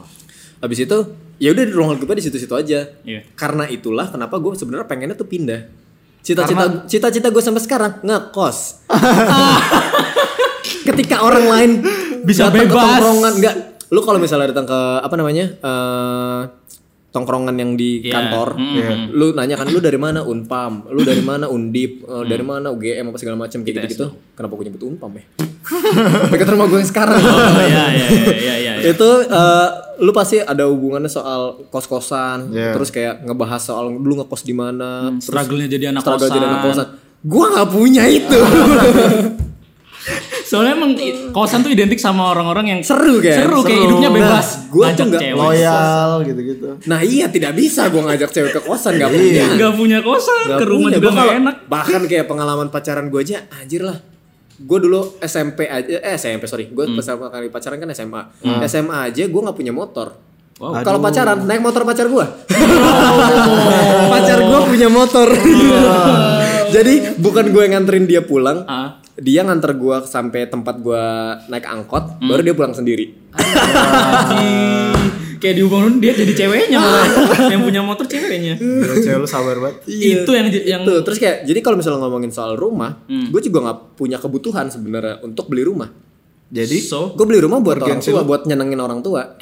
Speaker 4: habis itu ya udah ruang lingkup gue di situ-situ aja
Speaker 3: Iya.
Speaker 4: karena itulah kenapa gue sebenarnya pengennya tuh pindah cita-cita cita-cita gue sampai sekarang ngekos ketika orang lain
Speaker 3: Bisa
Speaker 4: datang ke
Speaker 3: bebas.
Speaker 4: tongkrongan enggak lu kalau misalnya datang ke apa namanya eh, tongkrongan yang di
Speaker 3: Iya.
Speaker 4: kantor
Speaker 3: Mm.
Speaker 5: Iya.
Speaker 4: lu nanya kan lu dari mana unpam lu dari mana undip
Speaker 3: Hmm.
Speaker 4: eh, dari mana ugm apa segala macam
Speaker 3: ya,
Speaker 4: kayak gitu gitu kenapa gue nyebut unpam ya dekat rumah gue yang sekarang
Speaker 3: Oh iya iya iya iya iya. iya.
Speaker 4: itu eh, lu pasti ada hubungannya soal kos-kosan
Speaker 5: Yeah.
Speaker 4: terus kayak ngebahas soal lu ngekos di mana
Speaker 3: Hmm,
Speaker 4: terus
Speaker 3: Struggle-nya jadi anak
Speaker 4: struggle
Speaker 3: kosan.
Speaker 4: jadi anak kosan gua nggak punya itu
Speaker 3: Soalnya emang i- kosan tuh identik sama orang-orang yang
Speaker 4: seru kan
Speaker 3: Seru, kayak hidupnya bebas.
Speaker 4: nah, gua tuh
Speaker 3: Ngajak
Speaker 4: nggak
Speaker 3: cewek.
Speaker 5: Loyal gitu-gitu.
Speaker 4: nah iya tidak bisa gua ngajak cewek ke kosan
Speaker 3: Iya,
Speaker 4: nggak punya
Speaker 3: nggak punya kosan,
Speaker 4: Iya. Nggak
Speaker 3: ke rumah
Speaker 4: punya.
Speaker 3: juga
Speaker 4: Gua
Speaker 3: nggak
Speaker 4: kalau-
Speaker 3: enak.
Speaker 4: bahkan kayak pengalaman pacaran gua aja anjir lah gue dulu SMP aja eh SMP sorry gue
Speaker 3: Hmm.
Speaker 4: pertama kali pacaran kan SMA SMA aja gua nggak punya motor kalau pacaran naik motor pacar gua pacar gua punya motor jadi bukan gue nganterin dia pulang
Speaker 3: Ah.
Speaker 4: dia nganter gua sampai tempat gua naik angkot
Speaker 3: Hmm.
Speaker 4: baru dia pulang sendiri Ah.
Speaker 3: Ih, kayak diubah dia jadi ceweknya malah. yang punya motor ceweknya.
Speaker 5: Gila, cewek lu sabar banget.
Speaker 3: Iya. Itu yang yang Hmm.
Speaker 4: Tuh, terus kayak jadi kalau misalnya ngomongin soal rumah, gue juga nggak punya kebutuhan sebenarnya untuk beli rumah.
Speaker 5: Jadi
Speaker 3: so
Speaker 4: Gue beli rumah buat orang
Speaker 5: Urgensi
Speaker 4: tua, buat nyenengin orang tua.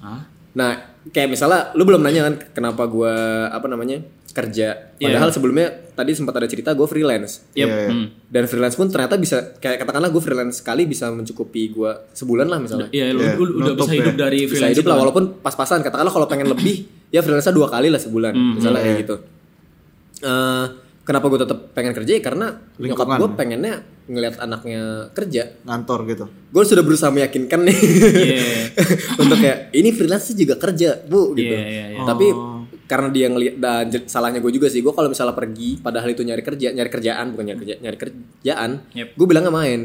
Speaker 3: ah,
Speaker 4: Nah, kayak misalnya lu belum nanya kan kenapa gue apa namanya kerja.
Speaker 3: Iya.
Speaker 4: Padahal sebelumnya tadi sempat ada cerita gue freelance.
Speaker 3: yep.
Speaker 5: Iya, iya.
Speaker 3: hmm.
Speaker 4: Dan freelance pun ternyata bisa kayak katakanlah gue freelance sekali bisa mencukupi gue sebulan lah misalnya.
Speaker 3: Iya, lu,
Speaker 5: Iya,
Speaker 3: lu udah
Speaker 5: nutup
Speaker 3: bisa hidup
Speaker 5: ya.
Speaker 3: dari
Speaker 4: bisa
Speaker 3: freelance
Speaker 4: hidup
Speaker 3: itu
Speaker 4: lah
Speaker 3: kan.
Speaker 4: walaupun pas-pasan katakanlah kalau pengen lebih ya freelance dua kali lah sebulan
Speaker 3: Hmm,
Speaker 4: misalnya
Speaker 3: iya.
Speaker 4: kayak gitu Eh, kenapa gue tetap pengen kerja ya karena nyokap
Speaker 5: Lingkungan.
Speaker 4: gue pengennya ngelihat anaknya kerja
Speaker 5: ngantor gitu.
Speaker 4: gue sudah berusaha meyakinkan nih
Speaker 3: Iya.
Speaker 4: untuk kayak ini freelance juga kerja bu gitu
Speaker 3: Iya, iya, iya.
Speaker 4: tapi karena dia ngelihat dan j- salahnya gue juga sih gue kalau misalnya pergi padahal itu nyari kerja nyari kerjaan bukan nyari kerja nyari kerjaan
Speaker 3: Yep.
Speaker 4: gue bilang nggak main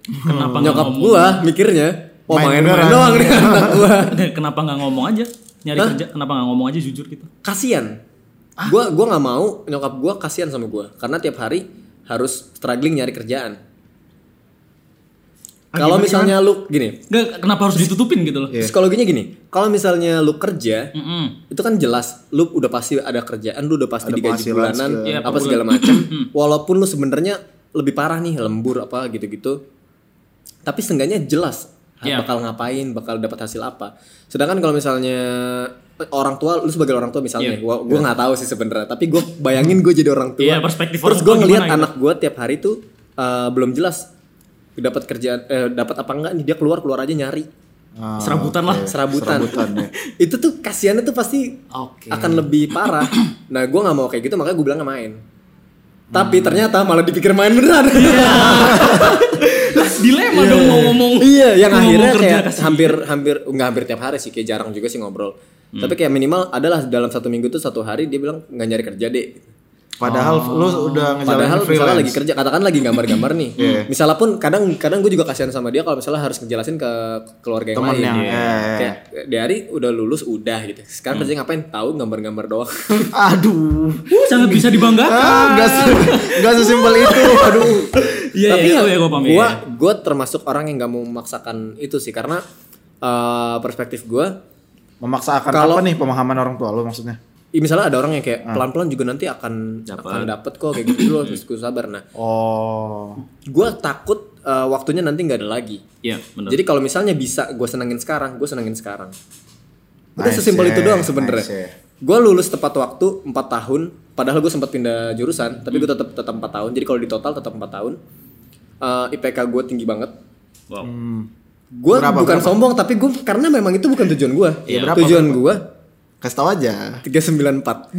Speaker 3: Kenapa nggak
Speaker 4: nyokap
Speaker 3: ngomong?
Speaker 4: gue mikirnya Oh
Speaker 5: Main
Speaker 4: main, main,
Speaker 5: beneran.
Speaker 4: doang nih anak gue
Speaker 3: Kenapa nggak ngomong aja? Nyari
Speaker 4: Hah?
Speaker 3: kerja, kenapa nggak ngomong aja jujur gitu?
Speaker 4: kasihan. Gua gua nggak mau nyokap gua kasihan sama gua karena tiap hari harus struggling nyari kerjaan. Kalau misalnya lu gini,
Speaker 3: Nggak, kenapa harus ditutupin gitu loh?
Speaker 4: Iya. psikologinya gini. Kalau misalnya lu kerja,
Speaker 3: Mm-mm.
Speaker 4: itu kan jelas lu udah pasti ada kerjaan, lu udah pasti
Speaker 5: Ada
Speaker 4: digaji
Speaker 5: penghasilan
Speaker 4: bulanan,
Speaker 5: segala-
Speaker 3: Iya,
Speaker 4: apa
Speaker 3: per
Speaker 4: segala macam. Walaupun lu sebenarnya lebih parah nih, lembur apa gitu-gitu. Tapi seenggaknya jelas ha-
Speaker 3: Iya.
Speaker 4: bakal ngapain, bakal dapat hasil apa. Sedangkan kalau misalnya eh, orang tua lu sebagai orang tua misalnya,
Speaker 3: Iya.
Speaker 4: gua gua nggak tahu sih sebenarnya, tapi gua bayangin gue jadi orang tua.
Speaker 3: Iya, perspektif
Speaker 4: Terus
Speaker 3: orang
Speaker 4: gua
Speaker 3: tua
Speaker 4: ngelihat
Speaker 3: gimana gitu.
Speaker 4: anak gua tiap hari tuh eh, belum jelas dapat kerjaan eh, dapat apa enggak nih dia keluar keluar aja nyari
Speaker 5: Ah,
Speaker 3: Serabutan lah.
Speaker 5: oke.
Speaker 4: serabutan.
Speaker 5: Serabutan, ya.
Speaker 4: itu tuh kasihannya tuh pasti
Speaker 3: Oke.
Speaker 4: akan lebih parah. Nah, gua nggak mau kayak gitu, makanya gue bilang nggak main. Tapi
Speaker 3: Hmm.
Speaker 4: ternyata malah dipikir main beneran.
Speaker 3: Iya. Lah, dilema dong mau ngomong.
Speaker 4: Iya, yang
Speaker 3: mau ngomong
Speaker 4: akhirnya
Speaker 3: kerja
Speaker 4: kayak
Speaker 3: kasih.
Speaker 4: hampir hampir nggak hampir tiap hari sih, kayak jarang juga sih ngobrol.
Speaker 3: Hmm.
Speaker 4: Tapi kayak minimal adalah dalam satu minggu tuh satu hari dia bilang nggak nyari kerja deh.
Speaker 5: Nah, Padahal lu udah
Speaker 3: Kan
Speaker 5: ngejalanin
Speaker 4: Padahal misalnya
Speaker 5: freelance.
Speaker 4: lagi kerja, katakan lagi gambar-gambar nih.
Speaker 5: Iya.
Speaker 4: Misalnya pun kadang-kadang gue juga kasihan sama dia kalau misalnya harus ngejelasin ke keluarga yang
Speaker 5: Temennya,
Speaker 4: lain.
Speaker 5: iya, iya.
Speaker 4: Kayak dari udah lulus udah gitu.
Speaker 3: Hmm.
Speaker 4: Sekarang kerja ngapain? Tahu gambar-gambar doang.
Speaker 5: Aduh.
Speaker 3: Uh, sangat bisa dibanggakan.
Speaker 5: Ah, Enggak se enggak sesimpel itu. Aduh.
Speaker 3: Iya,
Speaker 4: tapi
Speaker 3: iya,
Speaker 4: ya,
Speaker 3: iya, gua paham,
Speaker 4: gua,
Speaker 3: iya.
Speaker 4: gua termasuk orang yang nggak mau memaksakan itu sih karena eh, perspektif gua
Speaker 5: Memaksakan
Speaker 4: Kalau-
Speaker 5: apa nih pemahaman orang tua lu maksudnya?
Speaker 4: i- misalnya ada orang yang kayak
Speaker 5: Hmm.
Speaker 4: pelan-pelan juga nanti akan akan dapat kok kayak gitu loh terus gue sabar nah
Speaker 5: Oh.
Speaker 4: gue takut eh, waktunya nanti nggak ada lagi
Speaker 3: Iya, benar.
Speaker 4: jadi kalau misalnya bisa gue senengin sekarang gue senengin sekarang udah
Speaker 5: Nice,
Speaker 4: sesimpel itu
Speaker 5: yeah.
Speaker 4: doang sebenarnya
Speaker 5: Nice, yeah.
Speaker 4: gue lulus tepat waktu 4 tahun padahal gue sempat pindah jurusan tapi gue tetap tetap 4 tahun jadi kalau di total tetap 4 tahun Eh, IPK gue tinggi banget
Speaker 3: Wow.
Speaker 4: gue
Speaker 5: Berapa,
Speaker 4: bukan
Speaker 5: berapa?
Speaker 4: sombong tapi gue karena memang itu bukan tujuan gue
Speaker 5: Iya, berapa,
Speaker 4: tujuan
Speaker 5: berapa?
Speaker 4: gue
Speaker 5: Kasih tau aja.
Speaker 4: 394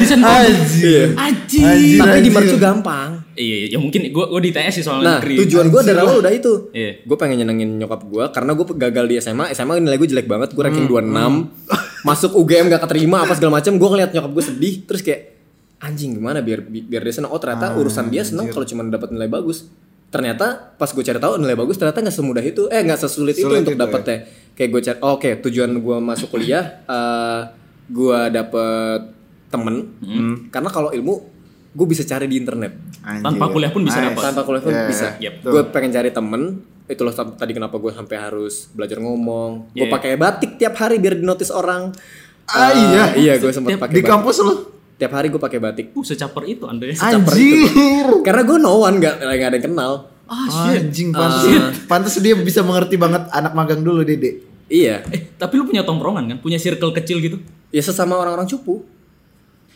Speaker 3: Bisa
Speaker 4: Iya.
Speaker 3: Aji.
Speaker 5: Anjir,
Speaker 4: tapi di
Speaker 5: anjir.
Speaker 4: Mercu gampang
Speaker 3: Iya, iya, ya mungkin gua gua di TS sih soalnya
Speaker 4: nah tujuan gue dari awal udah itu
Speaker 3: Iya.
Speaker 4: gue pengen nyenengin nyokap gue karena gue gagal di SMA SMA nilai gue jelek banget gue
Speaker 5: Hmm,
Speaker 4: ranking 26 masuk UGM gak keterima apa segala macam gue ngeliat nyokap gue sedih terus kayak anjing gimana biar bi- biar dia senang
Speaker 5: Ah,
Speaker 4: oh ternyata urusan dia senang kalau cuma dapat nilai bagus ternyata pas gue cari tahu nilai bagus ternyata nggak semudah itu eh nggak sesulit
Speaker 5: Sulit
Speaker 4: itu untuk
Speaker 5: itu, ya.
Speaker 4: dapetnya kayak gue cari oh, oke tujuan gue masuk kuliah eh gue dapet temen
Speaker 5: Hmm.
Speaker 4: karena kalau ilmu gue bisa cari di internet
Speaker 5: Anjir.
Speaker 3: Tanpa kuliah pun bisa dapat.
Speaker 4: Eh, tanpa kuliah pun
Speaker 5: Yeah,
Speaker 4: bisa.
Speaker 3: yep.
Speaker 4: Gue pengen cari temen. Itulah sam- tadi kenapa gue sampai harus belajar ngomong.
Speaker 3: Yeah.
Speaker 4: Gue pakai batik tiap hari biar dinotis orang.
Speaker 5: Ah,
Speaker 4: Eh,
Speaker 5: iya.
Speaker 4: Iya gue sempat
Speaker 3: Tiap-
Speaker 4: pakai
Speaker 5: Di
Speaker 4: batik.
Speaker 5: kampus lu.
Speaker 4: Tiap hari gue pakai batik.
Speaker 3: Uh, secaper itu Anda ya.
Speaker 4: Caper
Speaker 5: Anjir.
Speaker 4: itu. Karena gue no one nggak nggak ada yang kenal.
Speaker 5: Ah, Anjing pantas. pantas dia bisa mengerti banget anak magang dulu Dede.
Speaker 4: Iya.
Speaker 3: Eh, tapi lu punya tongkrongan kan? Punya circle kecil gitu?
Speaker 4: Ya sesama orang-orang cupu.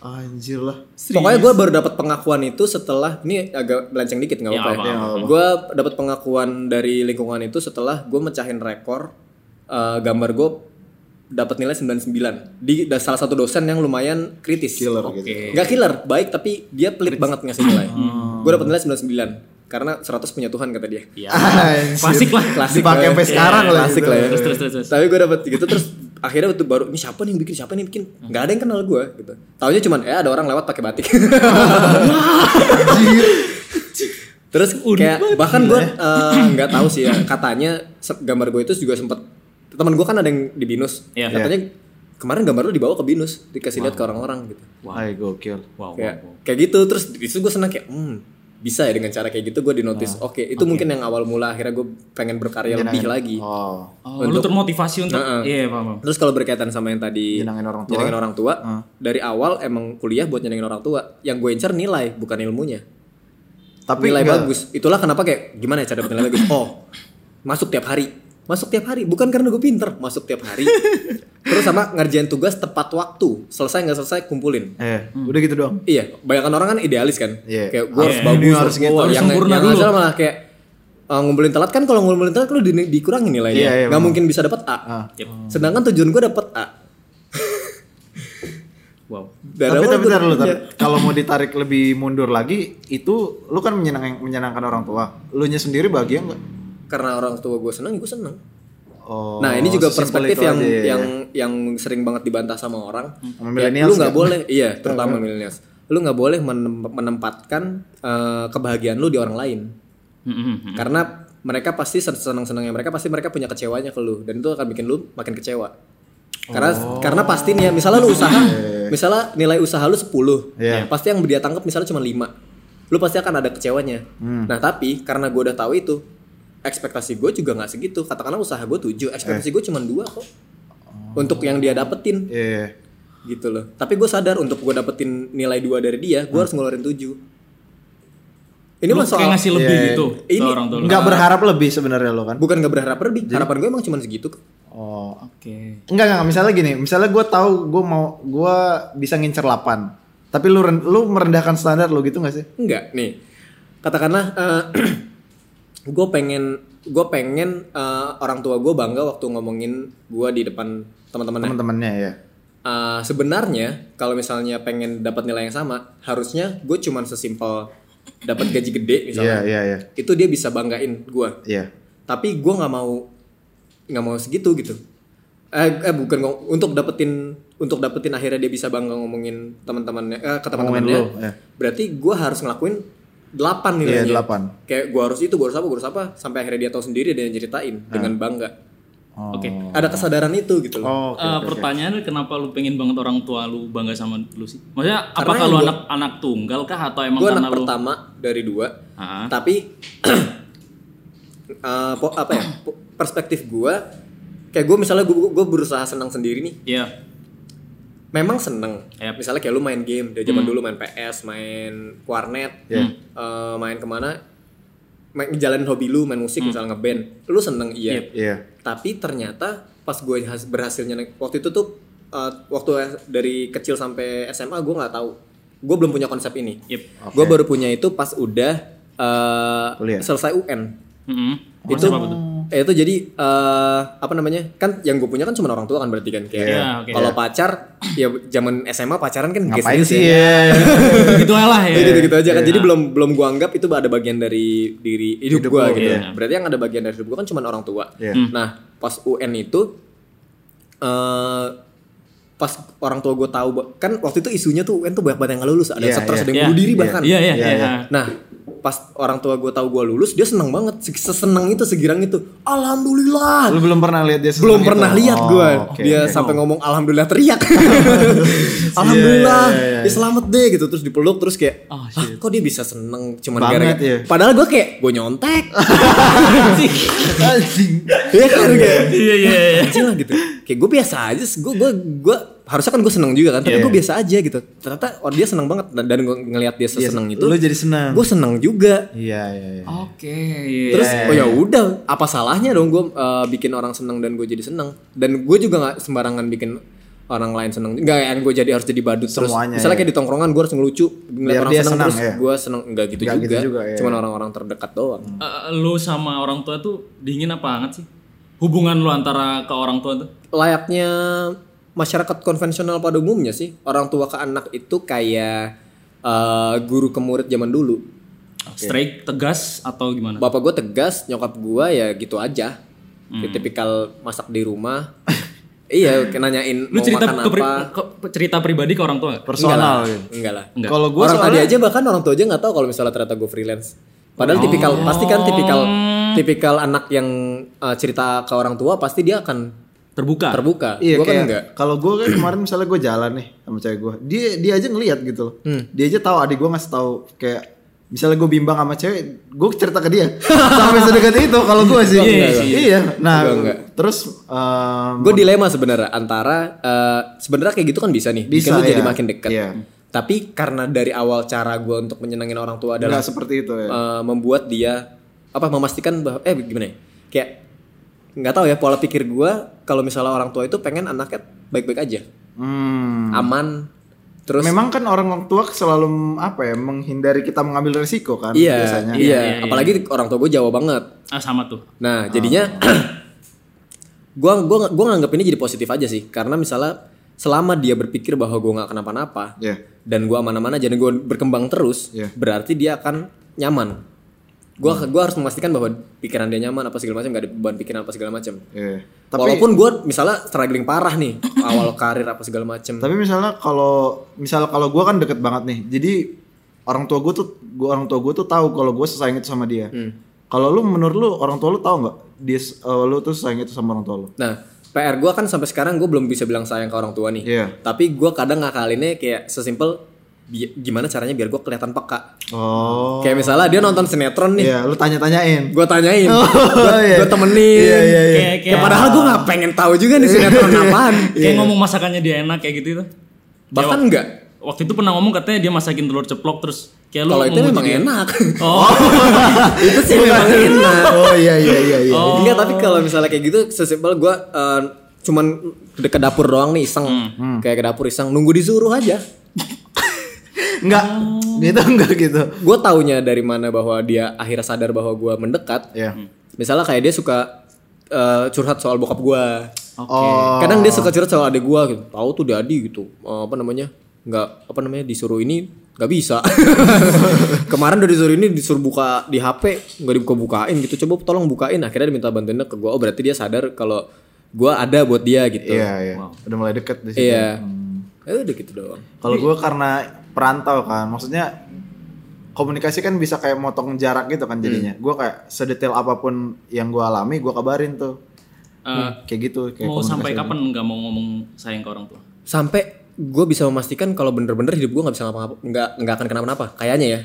Speaker 5: Anjir lah.
Speaker 4: Pokoknya gue baru dapat pengakuan itu setelah ini agak melenceng dikit nggak
Speaker 3: Ya,
Speaker 4: apa-apa.
Speaker 3: apa-apa.
Speaker 4: Ya, Gue dapat pengakuan dari lingkungan itu setelah gue mecahin rekor eh, gambar gue dapat nilai 99 di da- salah satu dosen yang lumayan kritis.
Speaker 5: Killer gitu.
Speaker 4: Gak killer, baik tapi dia pelit banget ngasih nilai.
Speaker 3: Hmm.
Speaker 4: Gue dapat nilai 99 karena 100 punya Tuhan kata dia.
Speaker 3: Iya.
Speaker 5: Anjir.
Speaker 3: Klasik lah.
Speaker 4: Klasik
Speaker 5: Dipakai
Speaker 4: lah.
Speaker 5: sampai
Speaker 4: Iya,
Speaker 5: sekarang lah
Speaker 4: klasik
Speaker 5: gitu.
Speaker 4: lah ya.
Speaker 3: Terus, terus, terus, terus.
Speaker 4: Tapi gue dapat gitu terus akhirnya waktu baru ini siapa nih yang bikin siapa nih yang bikin nggak ada yang kenal gue gitu. Taunya cuman eh ada orang lewat pakai batik. terus kayak bahkan gue eh, nggak tahu sih ya katanya se- gambar gue itu juga sempet teman gue kan ada yang di binus
Speaker 3: Iya.
Speaker 4: katanya kemarin gambar lu dibawa ke binus dikasih lihat ke orang-orang gitu
Speaker 5: Ay gokil.
Speaker 3: Wow, wow,
Speaker 4: kayak
Speaker 3: wow.
Speaker 4: kayak gitu terus di situ gue senang kayak hmm bisa ya dengan cara kayak gitu gue di notice oke itu mungkin yang awal mula akhirnya gue pengen berkarya lebih lagi
Speaker 5: Oh.
Speaker 3: Oh, lu termotivasi untuk Iya,
Speaker 4: Heeh.
Speaker 3: paham, paham.
Speaker 4: terus kalau berkaitan sama yang tadi
Speaker 5: Nyenengin orang tua. Hmm.
Speaker 4: nyenengin orang tua, dari awal emang kuliah buat nyenengin orang tua yang gue incer nilai bukan ilmunya
Speaker 5: Tapi
Speaker 4: nilai
Speaker 5: enggak.
Speaker 4: bagus itulah kenapa kayak gimana ya cara dapet nilai bagus oh masuk tiap hari masuk tiap hari bukan karena gue pinter masuk tiap hari terus sama ngerjain tugas tepat waktu selesai nggak selesai kumpulin
Speaker 5: Eh, udah gitu doang.
Speaker 4: Iya, banyak orang kan idealis kan.
Speaker 5: Iya.
Speaker 4: Kayak gue harus
Speaker 3: Iya,
Speaker 4: bagus,
Speaker 5: ini harus
Speaker 4: harus
Speaker 5: gitu,
Speaker 4: oh,
Speaker 3: harus
Speaker 4: yang,
Speaker 3: sempurna
Speaker 4: yang
Speaker 3: dulu.
Speaker 4: asal malah kayak uh, ngumpulin telat kan kalau ngumpulin telat kan lu di, dikurangin nilainya.
Speaker 5: Iya, iya,
Speaker 4: Nggak
Speaker 5: benar.
Speaker 4: mungkin bisa dapat A.
Speaker 5: Ah.
Speaker 3: Yep.
Speaker 4: Sedangkan tujuan gue dapat A.
Speaker 3: Wow.
Speaker 4: Dan
Speaker 5: tapi
Speaker 4: awal
Speaker 5: tapi
Speaker 4: gua
Speaker 5: tar lu, tar.
Speaker 4: punya-
Speaker 5: kalau mau ditarik lebih mundur lagi itu lu kan menyenangkan menyenangkan orang tua. Lu nya sendiri bahagia enggak?
Speaker 4: Karena orang tua gue seneng, gue seneng.
Speaker 5: Oh.
Speaker 4: nah ini juga
Speaker 5: sesimpel
Speaker 4: perspektif
Speaker 5: itu
Speaker 4: yang
Speaker 5: aja ya.
Speaker 4: yang yang sering banget dibantah sama orang.
Speaker 5: Sama
Speaker 4: Ya,
Speaker 5: millennials
Speaker 4: lu nggak
Speaker 5: kan?
Speaker 4: boleh, iya, terutama millennials. Lu nggak boleh menem- menempatkan uh, kebahagiaan lu di orang lain.
Speaker 3: Mm-mm.
Speaker 4: karena mereka pasti senang-senangnya mereka pasti mereka punya kecewanya ke lu dan itu akan bikin lu makin kecewa karena
Speaker 3: Oh.
Speaker 4: karena pasti nih ya misalnya lu usaha misalnya nilai usaha lu 10
Speaker 5: Iya.
Speaker 4: pasti yang dia tangkap misalnya cuma 5 lu pasti akan ada kecewanya
Speaker 5: Hmm.
Speaker 4: nah tapi karena gue udah tahu itu ekspektasi gue juga nggak segitu katakanlah usaha gue
Speaker 5: Eh.
Speaker 4: 7 ekspektasi gue cuma dua kok untuk yang dia dapetin
Speaker 5: Iya. iya.
Speaker 4: gitu loh tapi gue sadar untuk gue dapetin nilai dua dari dia
Speaker 5: Hmm.
Speaker 4: gue harus ngeluarin 7 ini
Speaker 3: Lu
Speaker 4: mah soal
Speaker 3: kayak ngasih lebih
Speaker 5: Iya,
Speaker 3: gitu
Speaker 4: ini
Speaker 3: ke orang tua lu.
Speaker 5: Nggak berharap lebih sebenarnya lo kan?
Speaker 4: bukan nggak berharap lebih harapan gue emang cuma segitu kok.
Speaker 5: Oh.
Speaker 3: Oke.
Speaker 5: Enggak enggak, misalnya gini, misalnya gue tahu gue mau gue bisa ngincer 8. Tapi lu ren- lu merendahkan standar lu gitu gak sih?
Speaker 4: enggak nih katakanlah eh, gue pengen gue pengen eh, orang tua gue bangga waktu ngomongin gue di depan teman-teman
Speaker 5: Teman-temannya ya.
Speaker 4: Eh, sebenarnya kalau misalnya pengen dapat nilai yang sama harusnya gue cuman sesimpel dapat gaji gede
Speaker 5: Iya,
Speaker 4: misalnya
Speaker 5: iya, iya.
Speaker 4: itu dia bisa banggain gue
Speaker 5: Iya.
Speaker 4: tapi gue nggak mau nggak mau segitu gitu eh, eh, bukan ngom- untuk dapetin untuk dapetin akhirnya dia bisa bangga ngomongin teman-temannya eh, ke teman-temannya
Speaker 5: Ngomongin lu, ya.
Speaker 4: berarti gue harus ngelakuin 8 nilainya
Speaker 5: Iya, delapan.
Speaker 4: kayak gue harus itu gue harus apa gue harus apa sampai akhirnya dia tahu sendiri dan dia ceritain
Speaker 5: Ah.
Speaker 4: dengan bangga
Speaker 5: Oh.
Speaker 3: Oke.
Speaker 4: ada kesadaran itu gitu loh
Speaker 5: Oh,
Speaker 3: Eh,
Speaker 5: oke, oke, oke.
Speaker 3: pertanyaannya kenapa lu pengen banget orang tua lu bangga sama lu sih? Maksudnya
Speaker 4: Karena
Speaker 3: apakah lu
Speaker 4: gua-
Speaker 3: anak anak tunggal kah atau emang
Speaker 4: gue
Speaker 3: karena
Speaker 4: anak
Speaker 3: lu
Speaker 4: pertama dari dua
Speaker 3: Ah.
Speaker 4: tapi eh, po- apa ya po- perspektif gue kayak gue misalnya gue berusaha senang sendiri nih
Speaker 3: Iya.
Speaker 4: memang seneng.
Speaker 3: Yap.
Speaker 4: Misalnya kayak lu main game dari zaman dulu main PS, main warnet, eh, main kemana, main jalanin hobi lu, main musik misalnya ngeband, lu seneng iya.
Speaker 3: Yep.
Speaker 5: Iya.
Speaker 4: Tapi ternyata pas gue has- berhasilnya naik- waktu itu tuh eh, waktu dari kecil sampai SMA gue nggak tahu, gue belum punya konsep ini.
Speaker 3: Yep.
Speaker 5: Oke.
Speaker 4: Gue baru punya itu pas udah eh,
Speaker 5: Kuliah.
Speaker 4: selesai UN
Speaker 3: Mm-mm.
Speaker 4: itu
Speaker 3: Hmm, Apa tuh?
Speaker 4: eh, itu jadi eh, apa namanya kan yang gue punya kan cuma orang tua kan berarti kan kayak
Speaker 3: Iya, oke.
Speaker 4: kalau pacaർ ya zaman SMA pacaran kan
Speaker 5: Ngapain
Speaker 4: gesek-gesek
Speaker 5: sih ya?
Speaker 4: ya.
Speaker 3: gitu lah ya.
Speaker 4: Ya, gitu-gitu aja kan jadi belum belum gue anggap itu ada bagian dari diri hidup,
Speaker 5: Hidup
Speaker 4: gue
Speaker 5: lu,
Speaker 4: gitu
Speaker 5: iya.
Speaker 4: berarti yang ada bagian dari hidup gue kan cuma orang tua
Speaker 5: Iya.
Speaker 3: Hmm.
Speaker 4: nah pas UN itu eh pas orang tua gue tahu ba- kan waktu itu isunya tuh UN tuh banyak banget yang nggak lulus
Speaker 5: Iya,
Speaker 4: ada yang stres
Speaker 5: iya.
Speaker 4: ada yang bunuh diri
Speaker 5: Iya.
Speaker 4: bahkan
Speaker 3: Iya, iya,
Speaker 5: Iya,
Speaker 3: iya.
Speaker 5: iya.
Speaker 4: Nah, pas orang tua gue tahu gue lulus, dia seneng banget, Se- seseneng itu, segirang itu. Alhamdulillah.
Speaker 5: Lu belum pernah lihat dia
Speaker 4: Belum
Speaker 5: sesenang
Speaker 4: pernah
Speaker 5: itu?
Speaker 4: lihat
Speaker 5: Oh,
Speaker 4: gue.
Speaker 5: oke,
Speaker 4: dia
Speaker 5: oke.
Speaker 4: sampai ngomong alhamdulillah teriak. alhamdulillah.
Speaker 5: Iya, iya, iya,
Speaker 4: Ya selamat deh gitu, terus dipeluk terus kayak,
Speaker 3: Oh,
Speaker 4: "Ah, kok dia bisa seneng cuman
Speaker 5: Banget,
Speaker 4: gara-gara."
Speaker 5: ya.
Speaker 4: Padahal gue kayak gue nyontek.
Speaker 5: Anjing.
Speaker 4: Iya kan kayak
Speaker 3: Iya iya iya.
Speaker 4: kecil lah gitu kayak gue biasa aja gue gue gue harusnya kan gue seneng juga kan tapi
Speaker 5: Iya.
Speaker 4: gue biasa aja gitu ternyata oh, dia seneng banget dan, dan gue ngelihat dia
Speaker 5: Iya,
Speaker 4: seneng itu
Speaker 5: Lu jadi senang.
Speaker 4: gue seneng juga
Speaker 5: Iya, iya, iya.
Speaker 3: Oke.
Speaker 4: Terus oh ya udah, apa salahnya dong gue bikin orang seneng dan gue jadi seneng. Dan gue juga nggak sembarangan bikin orang lain seneng. Nggak yang gue jadi harus jadi badut
Speaker 5: Semuanya,
Speaker 4: terus. Misalnya
Speaker 5: ya.
Speaker 4: kayak di tongkrongan gue harus ngelucu, ngeliat
Speaker 5: Biar
Speaker 4: orang
Speaker 5: dia
Speaker 4: seneng,
Speaker 5: senang,
Speaker 4: terus
Speaker 5: ya.
Speaker 4: gue seneng nggak gitu
Speaker 5: Nggak
Speaker 4: juga.
Speaker 5: gitu juga, ya.
Speaker 4: Cuman orang-orang terdekat doang.
Speaker 3: Eh, lu sama orang tua tuh dingin apa hangat sih? Hubungan lu antara ke orang tua tuh?
Speaker 4: Layaknya masyarakat konvensional pada umumnya sih, orang tua ke anak itu kayak eh, guru ke murid zaman dulu.
Speaker 3: Straight, tegas atau gimana?
Speaker 4: Bapak gue tegas, nyokap gue ya gitu aja.
Speaker 5: Hmm.
Speaker 4: Kayak Tipikal masak di rumah. iya, kayak nanyain
Speaker 3: Lu
Speaker 4: mau
Speaker 3: cerita
Speaker 4: makan
Speaker 3: ke pri-
Speaker 4: apa.
Speaker 3: ke- cerita pribadi ke orang tua? nggak?
Speaker 5: Personal
Speaker 4: Enggak lah.
Speaker 5: gitu.
Speaker 4: Enggak lah.
Speaker 3: Enggak.
Speaker 5: Kalau gue
Speaker 4: orang
Speaker 5: soalnya Oh.
Speaker 4: tadi aja bahkan orang tua aja nggak tahu kalau misalnya ternyata gue freelance. Padahal tipikal pasti kan tipikal
Speaker 5: Hmm.
Speaker 4: tipikal anak yang uh, cerita ke orang tua pasti dia akan
Speaker 3: Terbuka.
Speaker 4: terbuka.
Speaker 5: Iya
Speaker 4: gue kan
Speaker 5: kayak
Speaker 4: enggak.
Speaker 5: kalau gue kan kemarin misalnya gue jalan nih sama cewek gue, dia dia aja ngelihat gitu loh, dia aja tahu adik gue ngasih tahu kayak misalnya gue bimbang sama cewek, gue cerita ke dia sampai sedekat itu kalau gue sih,
Speaker 3: Iya,
Speaker 5: iya,
Speaker 3: iya,
Speaker 5: nah
Speaker 4: Enggak, enggak.
Speaker 5: terus em,
Speaker 4: Gue dilema sebenarnya antara uh, sebenarnya kayak gitu kan bisa nih, bikin
Speaker 5: Bisa,
Speaker 4: lu jadi
Speaker 5: iya.
Speaker 4: makin dekat.
Speaker 5: Iya.
Speaker 4: Tapi karena dari awal cara gue untuk menyenangin orang tua adalah
Speaker 5: enggak seperti itu ya,
Speaker 4: eh, membuat dia apa memastikan bahwa eh gimana ya? Kayak nggak tahu ya pola pikir gua kalau misalnya orang tua itu pengen anaknya baik-baik aja,
Speaker 5: Hmm.
Speaker 4: aman, terus
Speaker 5: memang kan orang tua selalu apa ya menghindari kita mengambil resiko kan
Speaker 4: iya,
Speaker 5: biasanya,
Speaker 4: iya, apalagi orang tua gue Jawa banget.
Speaker 3: Ah sama tuh.
Speaker 4: Nah, jadinya gua gua gua nganggap ini jadi positif aja sih karena misalnya selama dia berpikir bahwa gua nggak kenapa-napa
Speaker 5: Iya.
Speaker 4: dan gua mana-mana jadi gua berkembang terus,
Speaker 5: Iya. Hmm.
Speaker 4: berarti dia akan nyaman. Gua gua harus memastikan bahwa pikiran dia nyaman apa segala macam nggak ada beban pikiran apa segala macam.
Speaker 5: Iya. Tapi
Speaker 4: Walaupun gua misalnya struggling parah nih awal karir apa segala macam.
Speaker 5: Tapi misalnya kalau misal kalau gue kan deket banget nih, jadi orang tua gue tuh gua orang tua gue tuh tahu kalau gue sesayang itu sama dia.
Speaker 4: Hmm.
Speaker 5: Kalau lu menurut lu orang tua lu tahu nggak dia s- eh, lu tuh sesayang itu sama orang tua lu?
Speaker 4: Nah, PR gua kan sampai sekarang gue belum bisa bilang sayang ke orang tua nih.
Speaker 5: Iya.
Speaker 4: Tapi gua kadang ngakalinnya kayak sesimpel bi- gimana caranya biar gua kelihatan peka.
Speaker 5: Oh,
Speaker 4: Kayak misalnya dia nonton sinetron nih,
Speaker 5: iya lu tanya-tanyain.
Speaker 4: gua tanyain, gua
Speaker 5: iya.
Speaker 4: gua temenin.
Speaker 5: Iya, iya, iya.
Speaker 4: Kayak, kayak padahal gua nggak pengen tahu juga nih sinetron apaan.
Speaker 3: Kayak ngomong masakannya dia enak kayak gitu itu.
Speaker 4: Bahkan enggak.
Speaker 3: Waktu itu pernah ngomong katanya dia masakin telur ceplok terus kayak lu
Speaker 4: Kalau itu
Speaker 3: memuji
Speaker 4: memang
Speaker 3: dia.
Speaker 4: enak.
Speaker 3: Oh,
Speaker 4: itu sih memang enak.
Speaker 5: Oh iya iya iya iya.
Speaker 4: Enggak, tapi kalau misalnya kayak gitu sesimpel gua eh, cuman ke ke dapur doang nih iseng.
Speaker 3: Hmm,
Speaker 4: Kayak ke dapur iseng nunggu disuruh aja.
Speaker 5: Enggak.
Speaker 4: Oh.
Speaker 5: Gitu enggak gitu.
Speaker 4: Gua taunya dari mana bahwa dia akhirnya sadar bahwa gua mendekat.
Speaker 5: Iya.
Speaker 4: Misalnya kayak dia suka eh, curhat soal bokap gua.
Speaker 5: Oh.
Speaker 4: kadang dia suka curhat sama adik gua gitu tahu tuh dadi gitu eh, apa namanya nggak apa namanya disuruh ini nggak bisa kemarin udah disuruh ini disuruh buka di HP nggak dibuka bukain gitu coba tolong bukain akhirnya dia minta bantuinnya ke gua oh berarti dia sadar kalau gua ada buat dia gitu
Speaker 5: Iya iya. Udah mulai deket di situ.
Speaker 4: iya Eh, udah gitu doang
Speaker 5: Kalau gue karena perantau kan, maksudnya komunikasi kan bisa kayak motong jarak gitu kan jadinya. Gue kayak sedetail apapun yang gue alami, gue kabarin tuh.
Speaker 3: Eh,
Speaker 5: Kayak gitu.
Speaker 4: kan
Speaker 5: Kayak
Speaker 3: mau
Speaker 5: komunikasi.
Speaker 3: sampai kapan nggak mau ngomong sayang ke orang tua?
Speaker 4: sampai gua bisa memastikan kalau bener-bener hidup gua nggak bisa ngapa nggak nggak akan kenapa-napa kayaknya ya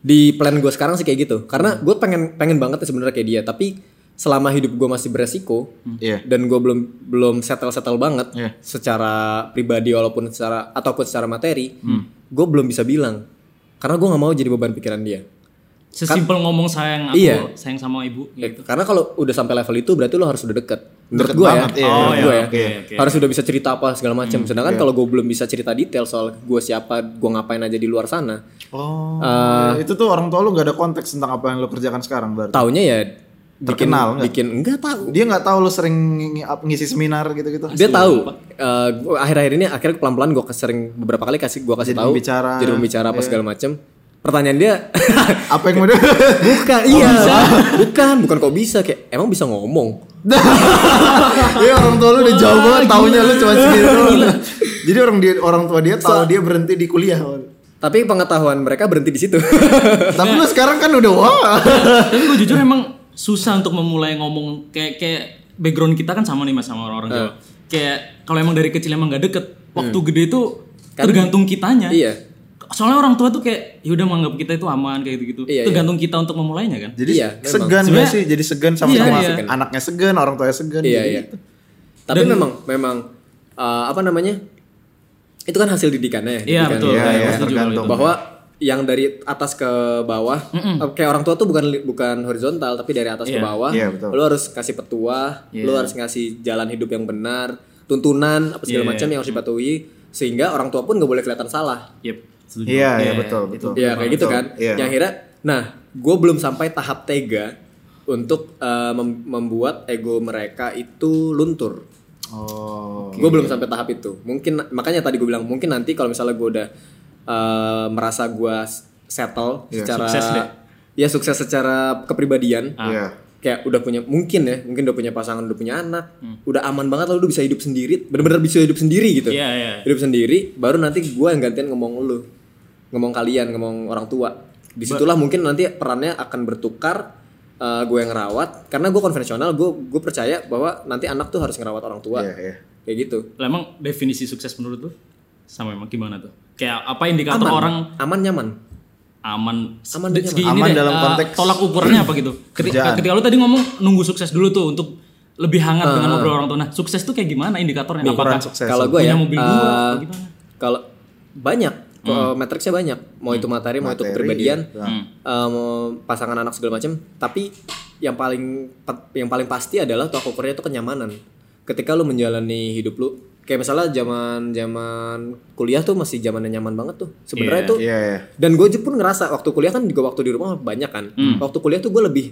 Speaker 4: di plan gua sekarang sih kayak gitu karena gua pengen pengen banget sebenarnya kayak dia tapi selama hidup gue masih beresiko
Speaker 5: Iya.
Speaker 4: dan gue belum belum settle settle banget
Speaker 5: Iya.
Speaker 4: secara pribadi walaupun secara ataupun secara materi gue belum bisa bilang karena gue nggak mau jadi beban pikiran dia
Speaker 3: Sesimpel ngomong sayang aku,
Speaker 4: Kan Iya.
Speaker 3: sayang sama ibu gitu.
Speaker 4: karena kalau udah sampai level itu berarti lo harus udah deket menurut
Speaker 5: Deket
Speaker 4: gue ya
Speaker 5: banget, iya,
Speaker 4: menurut
Speaker 3: iya,
Speaker 4: gua ya.
Speaker 3: oke, oke. Hmm,
Speaker 4: harus udah bisa cerita apa segala macam sedangkan kalau gue belum bisa cerita detail soal gue siapa gue ngapain aja di luar sana
Speaker 5: Oh. itu tuh orang tua lu nggak ada konteks tentang apa yang lu kerjakan sekarang berarti.
Speaker 4: taunya ya bikin
Speaker 5: Terkenal nggak?
Speaker 4: bikin enggak tahu
Speaker 5: Dia nggak tahu lu sering ng- ngisi seminar gitu-gitu.
Speaker 4: dia tahu eh, gua- akhir-akhir ini akhirnya pelan-pelan gue sering beberapa kali kasih gue kasih
Speaker 5: Jadi
Speaker 4: tahu
Speaker 5: pembicara. Iya.
Speaker 4: jadi pembicara apa segala macem pertanyaan dia
Speaker 5: Apa yang udah
Speaker 4: bukan iya bukan bukan kok bisa kayak emang bisa ngomong
Speaker 5: Iya orang tua lu udah jauh banget taunya lu cuma segitu. Jadi orang dia orang tua dia tahu dia berhenti di kuliah.
Speaker 4: tapi pengetahuan mereka berhenti di situ
Speaker 5: Tapi lu sekarang kan udah wah.
Speaker 3: Tapi gue jujur emang susah untuk memulai ngomong kayak kayak background kita kan sama nih mas sama
Speaker 4: Iya.
Speaker 3: orang-orang Jawa. Kayak kalau emang dari kecil emang gak deket, waktu gede itu tergantung kitanya.
Speaker 4: Hmm. Kan iya
Speaker 3: Soalnya orang tua tuh kayak ya udah menganggap kita itu aman kayak gitu-gitu.
Speaker 4: Iya,
Speaker 3: tergantung kita untuk memulainya kan.
Speaker 5: Jadi
Speaker 4: Iya, memang.
Speaker 5: segan gak sih? Jadi segan sama-sama
Speaker 3: Iya, iya.
Speaker 5: anaknya segan, orang tuanya segan. gitu.
Speaker 4: iya
Speaker 5: Jadi
Speaker 4: iya
Speaker 3: gitu.
Speaker 4: tapi memang memang eh, apa namanya itu kan hasil
Speaker 3: Iya
Speaker 4: didikannya ya didikan.
Speaker 3: betul.
Speaker 5: Iya,
Speaker 3: Kayak
Speaker 5: iya,
Speaker 3: gua setuju kalau
Speaker 5: tergantung.
Speaker 3: itu.
Speaker 4: bahwa yang dari atas ke bawah eh, kayak orang tua tuh bukan li- bukan horizontal tapi dari atas ke bawah
Speaker 5: Iya, betul.
Speaker 4: lu harus kasih petua lu
Speaker 3: Iya.
Speaker 4: harus ngasih jalan hidup yang benar tuntunan apa
Speaker 3: Iya,
Speaker 4: segala macam yang harus dipatuhi sehingga orang tua pun nggak boleh kelihatan salah
Speaker 3: Yep, setuju.
Speaker 5: Iya, iya betul, betul.
Speaker 4: ya kayak gitu
Speaker 5: Betul,
Speaker 4: kan
Speaker 5: iya.
Speaker 4: yang akhirnya nah gue belum sampai tahap tega untuk eh, mem- membuat ego mereka itu luntur
Speaker 5: Oh.
Speaker 4: Gue belum sampai tahap itu. Mungkin makanya tadi gue bilang mungkin nanti kalau misalnya gue udah eh, merasa gue settle secara
Speaker 3: Iya, sukses deh.
Speaker 4: ya sukses secara kepribadian.
Speaker 3: Ah.
Speaker 5: Iya.
Speaker 4: Kayak udah punya mungkin ya, mungkin udah punya pasangan, udah punya anak,
Speaker 3: Hmm.
Speaker 4: udah aman banget lalu udah bisa hidup sendiri, bener-bener bisa hidup sendiri gitu.
Speaker 3: Iya, iya.
Speaker 4: Hidup sendiri, baru nanti gue yang gantian ngomong lu. Ngomong kalian, ngomong orang tua. Disitulah mungkin nanti perannya akan bertukar gue yang ngerawat karena gue konvensional gue gue percaya bahwa nanti anak tuh harus ngerawat orang tua
Speaker 5: Iya, iya.
Speaker 4: kayak gitu
Speaker 3: Lah emang definisi sukses menurut lu sama emang gimana tuh? Kayak apa indikator orang
Speaker 4: aman nyaman
Speaker 3: aman
Speaker 4: Aman
Speaker 3: De-
Speaker 4: dan
Speaker 3: segini
Speaker 5: nyaman. Aman
Speaker 3: deh,
Speaker 5: dalam
Speaker 3: eh,
Speaker 5: konteks
Speaker 3: tolak ukurannya apa gitu ketika,
Speaker 5: kerjaan.
Speaker 3: ketika lu tadi ngomong nunggu sukses dulu tuh untuk lebih hangat dengan ngobrol orang tua nah sukses tuh kayak gimana indikatornya apakah
Speaker 5: Eh. sukses.
Speaker 4: kalau gue
Speaker 3: punya
Speaker 4: ya
Speaker 3: mobil dua
Speaker 4: eh,
Speaker 3: atau gimana? Oh, gitu.
Speaker 4: kalau banyak eh, matriksnya banyak mau itu materi mau itu
Speaker 5: Hmm. Materi,
Speaker 4: kepribadian
Speaker 5: iya.
Speaker 4: eh, mau pasangan anak segala macam tapi yang paling pe- yang paling pasti adalah tolak ukurnya itu kenyamanan ketika lu menjalani hidup lu kayak misalnya zaman zaman kuliah tuh masih zamannya nyaman banget tuh sebenarnya
Speaker 3: Iya.
Speaker 4: itu
Speaker 5: Iya, iya.
Speaker 4: dan gue pun ngerasa waktu kuliah kan juga waktu di rumah banyak kan
Speaker 5: Hmm.
Speaker 4: waktu kuliah tuh gue lebih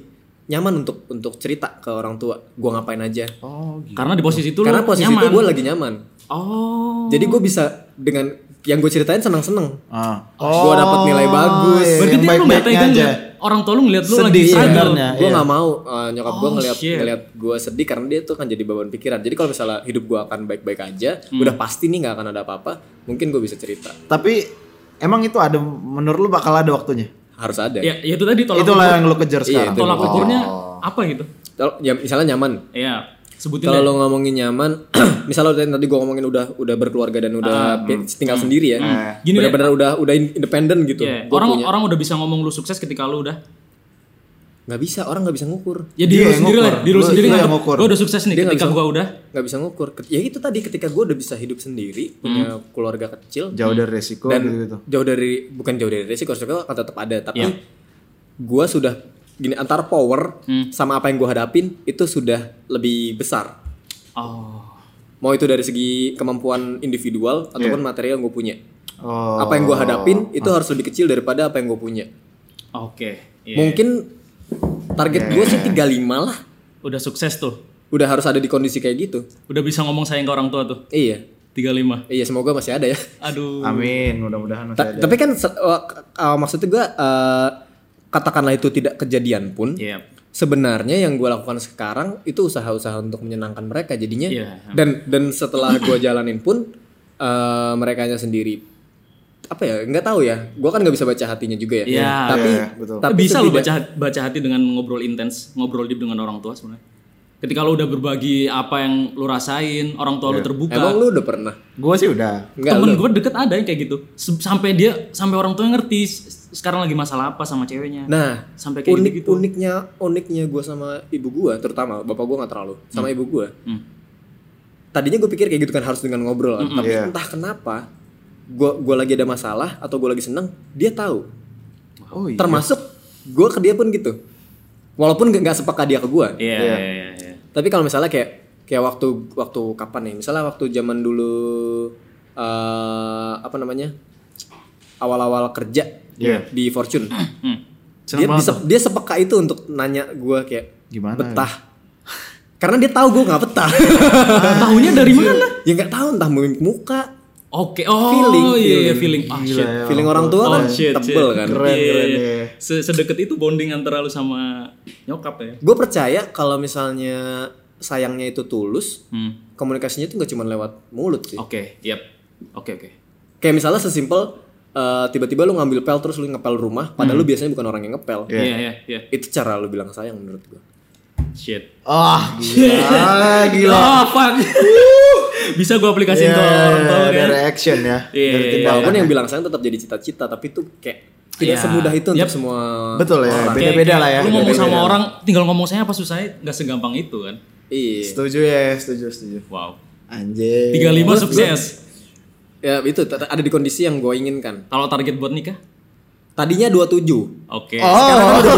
Speaker 4: nyaman untuk untuk cerita ke orang tua gue ngapain aja
Speaker 5: Oh.
Speaker 3: karena di posisi itu lu
Speaker 4: karena posisi
Speaker 3: nyaman
Speaker 4: itu gue lagi nyaman
Speaker 3: oh
Speaker 4: jadi gue bisa dengan yang gue ceritain senang seneng
Speaker 5: Ah.
Speaker 4: gue dapat nilai bagus
Speaker 5: iya.
Speaker 3: berarti
Speaker 5: yang
Speaker 3: dia lu nggak
Speaker 5: baik-baiknya
Speaker 3: tega
Speaker 5: aja.
Speaker 3: ngeliat orang tua lu ngeliat lu
Speaker 5: Sedih
Speaker 3: lagi sadar
Speaker 5: sebenarnya.
Speaker 4: gue
Speaker 5: iya.
Speaker 4: nggak mau eh, nyokap gue
Speaker 3: Oh,
Speaker 4: ngeliat
Speaker 3: shit.
Speaker 4: ngeliat gue sedih karena dia tuh kan jadi beban pikiran jadi kalau misalnya hidup gue akan baik baik aja
Speaker 5: Hmm.
Speaker 4: udah pasti nih nggak akan ada apa apa mungkin gue bisa cerita
Speaker 5: Tapi emang itu ada menurut lu bakal ada waktunya.
Speaker 4: harus ada Iya,
Speaker 3: ya ya itu tadi tolak
Speaker 5: Itulah
Speaker 3: ukur-
Speaker 5: yang lu kejar sekarang.
Speaker 3: tolak ukurnya
Speaker 4: Oh.
Speaker 3: apa gitu
Speaker 4: Kalau- ya, misalnya nyaman
Speaker 3: ya sebutin
Speaker 4: kalau
Speaker 3: deh.
Speaker 4: lo ngomongin nyaman misalnya udah- tadi gue ngomongin udah udah berkeluarga dan
Speaker 5: Ah,
Speaker 4: udah pe-
Speaker 5: hmm.
Speaker 4: tinggal sendiri ya
Speaker 3: Gini deh.
Speaker 4: benar-benar udah udah in- independen gitu
Speaker 3: Ya,
Speaker 4: Gua
Speaker 3: orang
Speaker 4: punya-
Speaker 3: orang udah bisa ngomong lu sukses ketika lu udah
Speaker 4: nggak bisa orang nggak bisa ngukur
Speaker 3: ya diri lu
Speaker 5: Dia yang
Speaker 3: sendiri lah
Speaker 5: ngukur.
Speaker 3: diri lu
Speaker 5: Lu-
Speaker 3: sendiri
Speaker 5: lu yang
Speaker 3: nganggap,
Speaker 5: ngukur.
Speaker 3: gua udah sukses nih
Speaker 4: Dia nggak
Speaker 3: ketika
Speaker 4: bisa-
Speaker 3: gua udah
Speaker 4: nggak bisa ngukur Ket- ya itu tadi ketika gue udah bisa hidup sendiri punya
Speaker 5: Hmm.
Speaker 4: keluarga kecil
Speaker 5: Jauh dari resiko
Speaker 4: dan
Speaker 5: gitu.
Speaker 4: jauh dari bukan jauh dari resiko resiko akan tetap ada
Speaker 3: Iya.
Speaker 4: tapi gue sudah gini antara power
Speaker 3: Hmm.
Speaker 4: sama apa yang gue hadapin itu sudah lebih besar
Speaker 3: oh
Speaker 4: mau itu dari segi kemampuan individual ataupun materi yang gue punya
Speaker 5: Iya. Oh. Ah.
Speaker 4: apa yang gue hadapin itu harus lebih kecil daripada apa yang gue punya
Speaker 3: oke Iya.
Speaker 4: mungkin
Speaker 5: Iya,
Speaker 4: target gue sih 35 lah
Speaker 3: udah sukses tuh
Speaker 4: udah harus ada di kondisi kayak gitu
Speaker 3: udah bisa ngomong sayang ke orang tua tuh
Speaker 4: iya
Speaker 3: 35
Speaker 4: iya semoga masih ada ya
Speaker 3: aduh
Speaker 5: Amin, mudah-mudahan masih
Speaker 4: Ta-
Speaker 5: ada.
Speaker 4: tapi kan se- uh, k- uh, maksudnya gue katakanlah itu tidak kejadian pun
Speaker 3: Iya.
Speaker 4: sebenarnya yang gue lakukan sekarang itu usaha-usaha untuk menyenangkan mereka jadinya
Speaker 3: Iya.
Speaker 4: dan dan setelah gue jalanin pun eh mereka sendiri apa ya nggak tahu ya gue kan nggak bisa baca hatinya juga ya
Speaker 3: Iya.
Speaker 4: tapi
Speaker 5: Iya, betul.
Speaker 4: tapi
Speaker 3: bisa lo
Speaker 4: setidak-
Speaker 3: baca hat- baca hati dengan ngobrol intens ngobrol deep dengan orang tua sebenarnya ketika lo udah berbagi apa yang lo rasain orang tua lo terbuka
Speaker 4: emang lu udah pernah
Speaker 5: Gue sih udah.
Speaker 4: Enggak,
Speaker 3: temen gue deket ada yang kayak gitu S- sampai dia sampai orang tua ngerti S- sekarang lagi masalah apa sama ceweknya.
Speaker 4: Nah,
Speaker 3: Sampai kayak
Speaker 4: unik,
Speaker 3: gitu-gitu.
Speaker 4: uniknya uniknya gue sama ibu gue, terutama bapak gue nggak terlalu, sama ibu gue.
Speaker 3: Hmm.
Speaker 4: Tadinya gue pikir kayak gitu kan harus dengan ngobrol, kan. tapi
Speaker 5: Iya.
Speaker 4: entah kenapa gue gua lagi ada masalah atau gue lagi seneng, dia tahu.
Speaker 5: Oh iya.
Speaker 4: Termasuk gue ke dia pun gitu. Walaupun nggak- nggak sepeka dia ke gue,
Speaker 3: Iya, iya,
Speaker 5: Iya.
Speaker 3: iya, iya.
Speaker 4: tapi kalau misalnya kayak kayak waktu waktu kapan nih? Misalnya waktu zaman dulu eh apa namanya awal-awal kerja
Speaker 5: Iya.
Speaker 4: di Fortune,
Speaker 3: Hmm.
Speaker 4: dia
Speaker 5: Seneng banget
Speaker 4: bisa- dia sepeka itu untuk nanya gue kayak
Speaker 5: Gimana?
Speaker 4: betah. Karena dia tahu gue nggak betah.
Speaker 5: Ah.
Speaker 3: Tahunya dari mana?
Speaker 4: ya nggak tahu entah mungkin muka,
Speaker 3: Oke, oh
Speaker 4: Feeling,
Speaker 3: iya, iya,
Speaker 4: feeling.
Speaker 3: feeling. Ah,
Speaker 5: Gila
Speaker 3: shit.
Speaker 5: ya.
Speaker 4: feeling orang tua
Speaker 3: Oh,
Speaker 4: kan
Speaker 3: shit, shit.
Speaker 4: tebel kan.
Speaker 5: Keren,
Speaker 3: Iya,
Speaker 5: keren,
Speaker 3: iya.
Speaker 5: iya.
Speaker 3: Se- Sedekat itu bonding antara lu sama nyokap ya.
Speaker 4: Gue percaya kalau misalnya sayangnya itu tulus,
Speaker 3: Hmm.
Speaker 4: komunikasinya itu nggak cuma lewat mulut sih.
Speaker 3: Oke, yep. Oke, oke.
Speaker 4: Kayak misalnya sesimpel eh, tiba-tiba lu ngambil pel terus lu ngepel rumah, padahal lu biasanya bukan orang yang ngepel.
Speaker 5: Iya.
Speaker 3: Hmm. Iya, iya, iya.
Speaker 4: Itu cara lu bilang sayang menurut gue.
Speaker 3: Shit.
Speaker 5: Ah, gila, gila.
Speaker 3: Oh, fuck. Bisa gua aplikasiin ke orang tua
Speaker 5: Iya,
Speaker 3: kan.
Speaker 5: Dari action ya.
Speaker 3: Iya,
Speaker 5: Dari
Speaker 3: iya,
Speaker 5: tindakan.
Speaker 4: Walaupun yang bilang sayang tetap jadi cita-cita, tapi itu kayak tidak
Speaker 3: Iya.
Speaker 4: semudah itu untuk
Speaker 3: Yep.
Speaker 4: semua.
Speaker 5: Betul ya,
Speaker 4: orang.
Speaker 3: Kayak-
Speaker 5: beda-beda lah ya.
Speaker 3: Lu ngomong
Speaker 5: Beda-beda.
Speaker 3: sama orang, tinggal ngomong saya apa susahnya ya? nggak segampang itu kan.
Speaker 4: Iya.
Speaker 5: Setuju ya, setuju, setuju.
Speaker 3: Wow.
Speaker 5: Anjir.
Speaker 3: 35 sukses.
Speaker 4: Ya itu t- ada di kondisi yang gue inginkan.
Speaker 3: Kalau target buat nikah?
Speaker 4: Tadinya 27.
Speaker 3: Oke.
Speaker 5: Oh,
Speaker 4: itu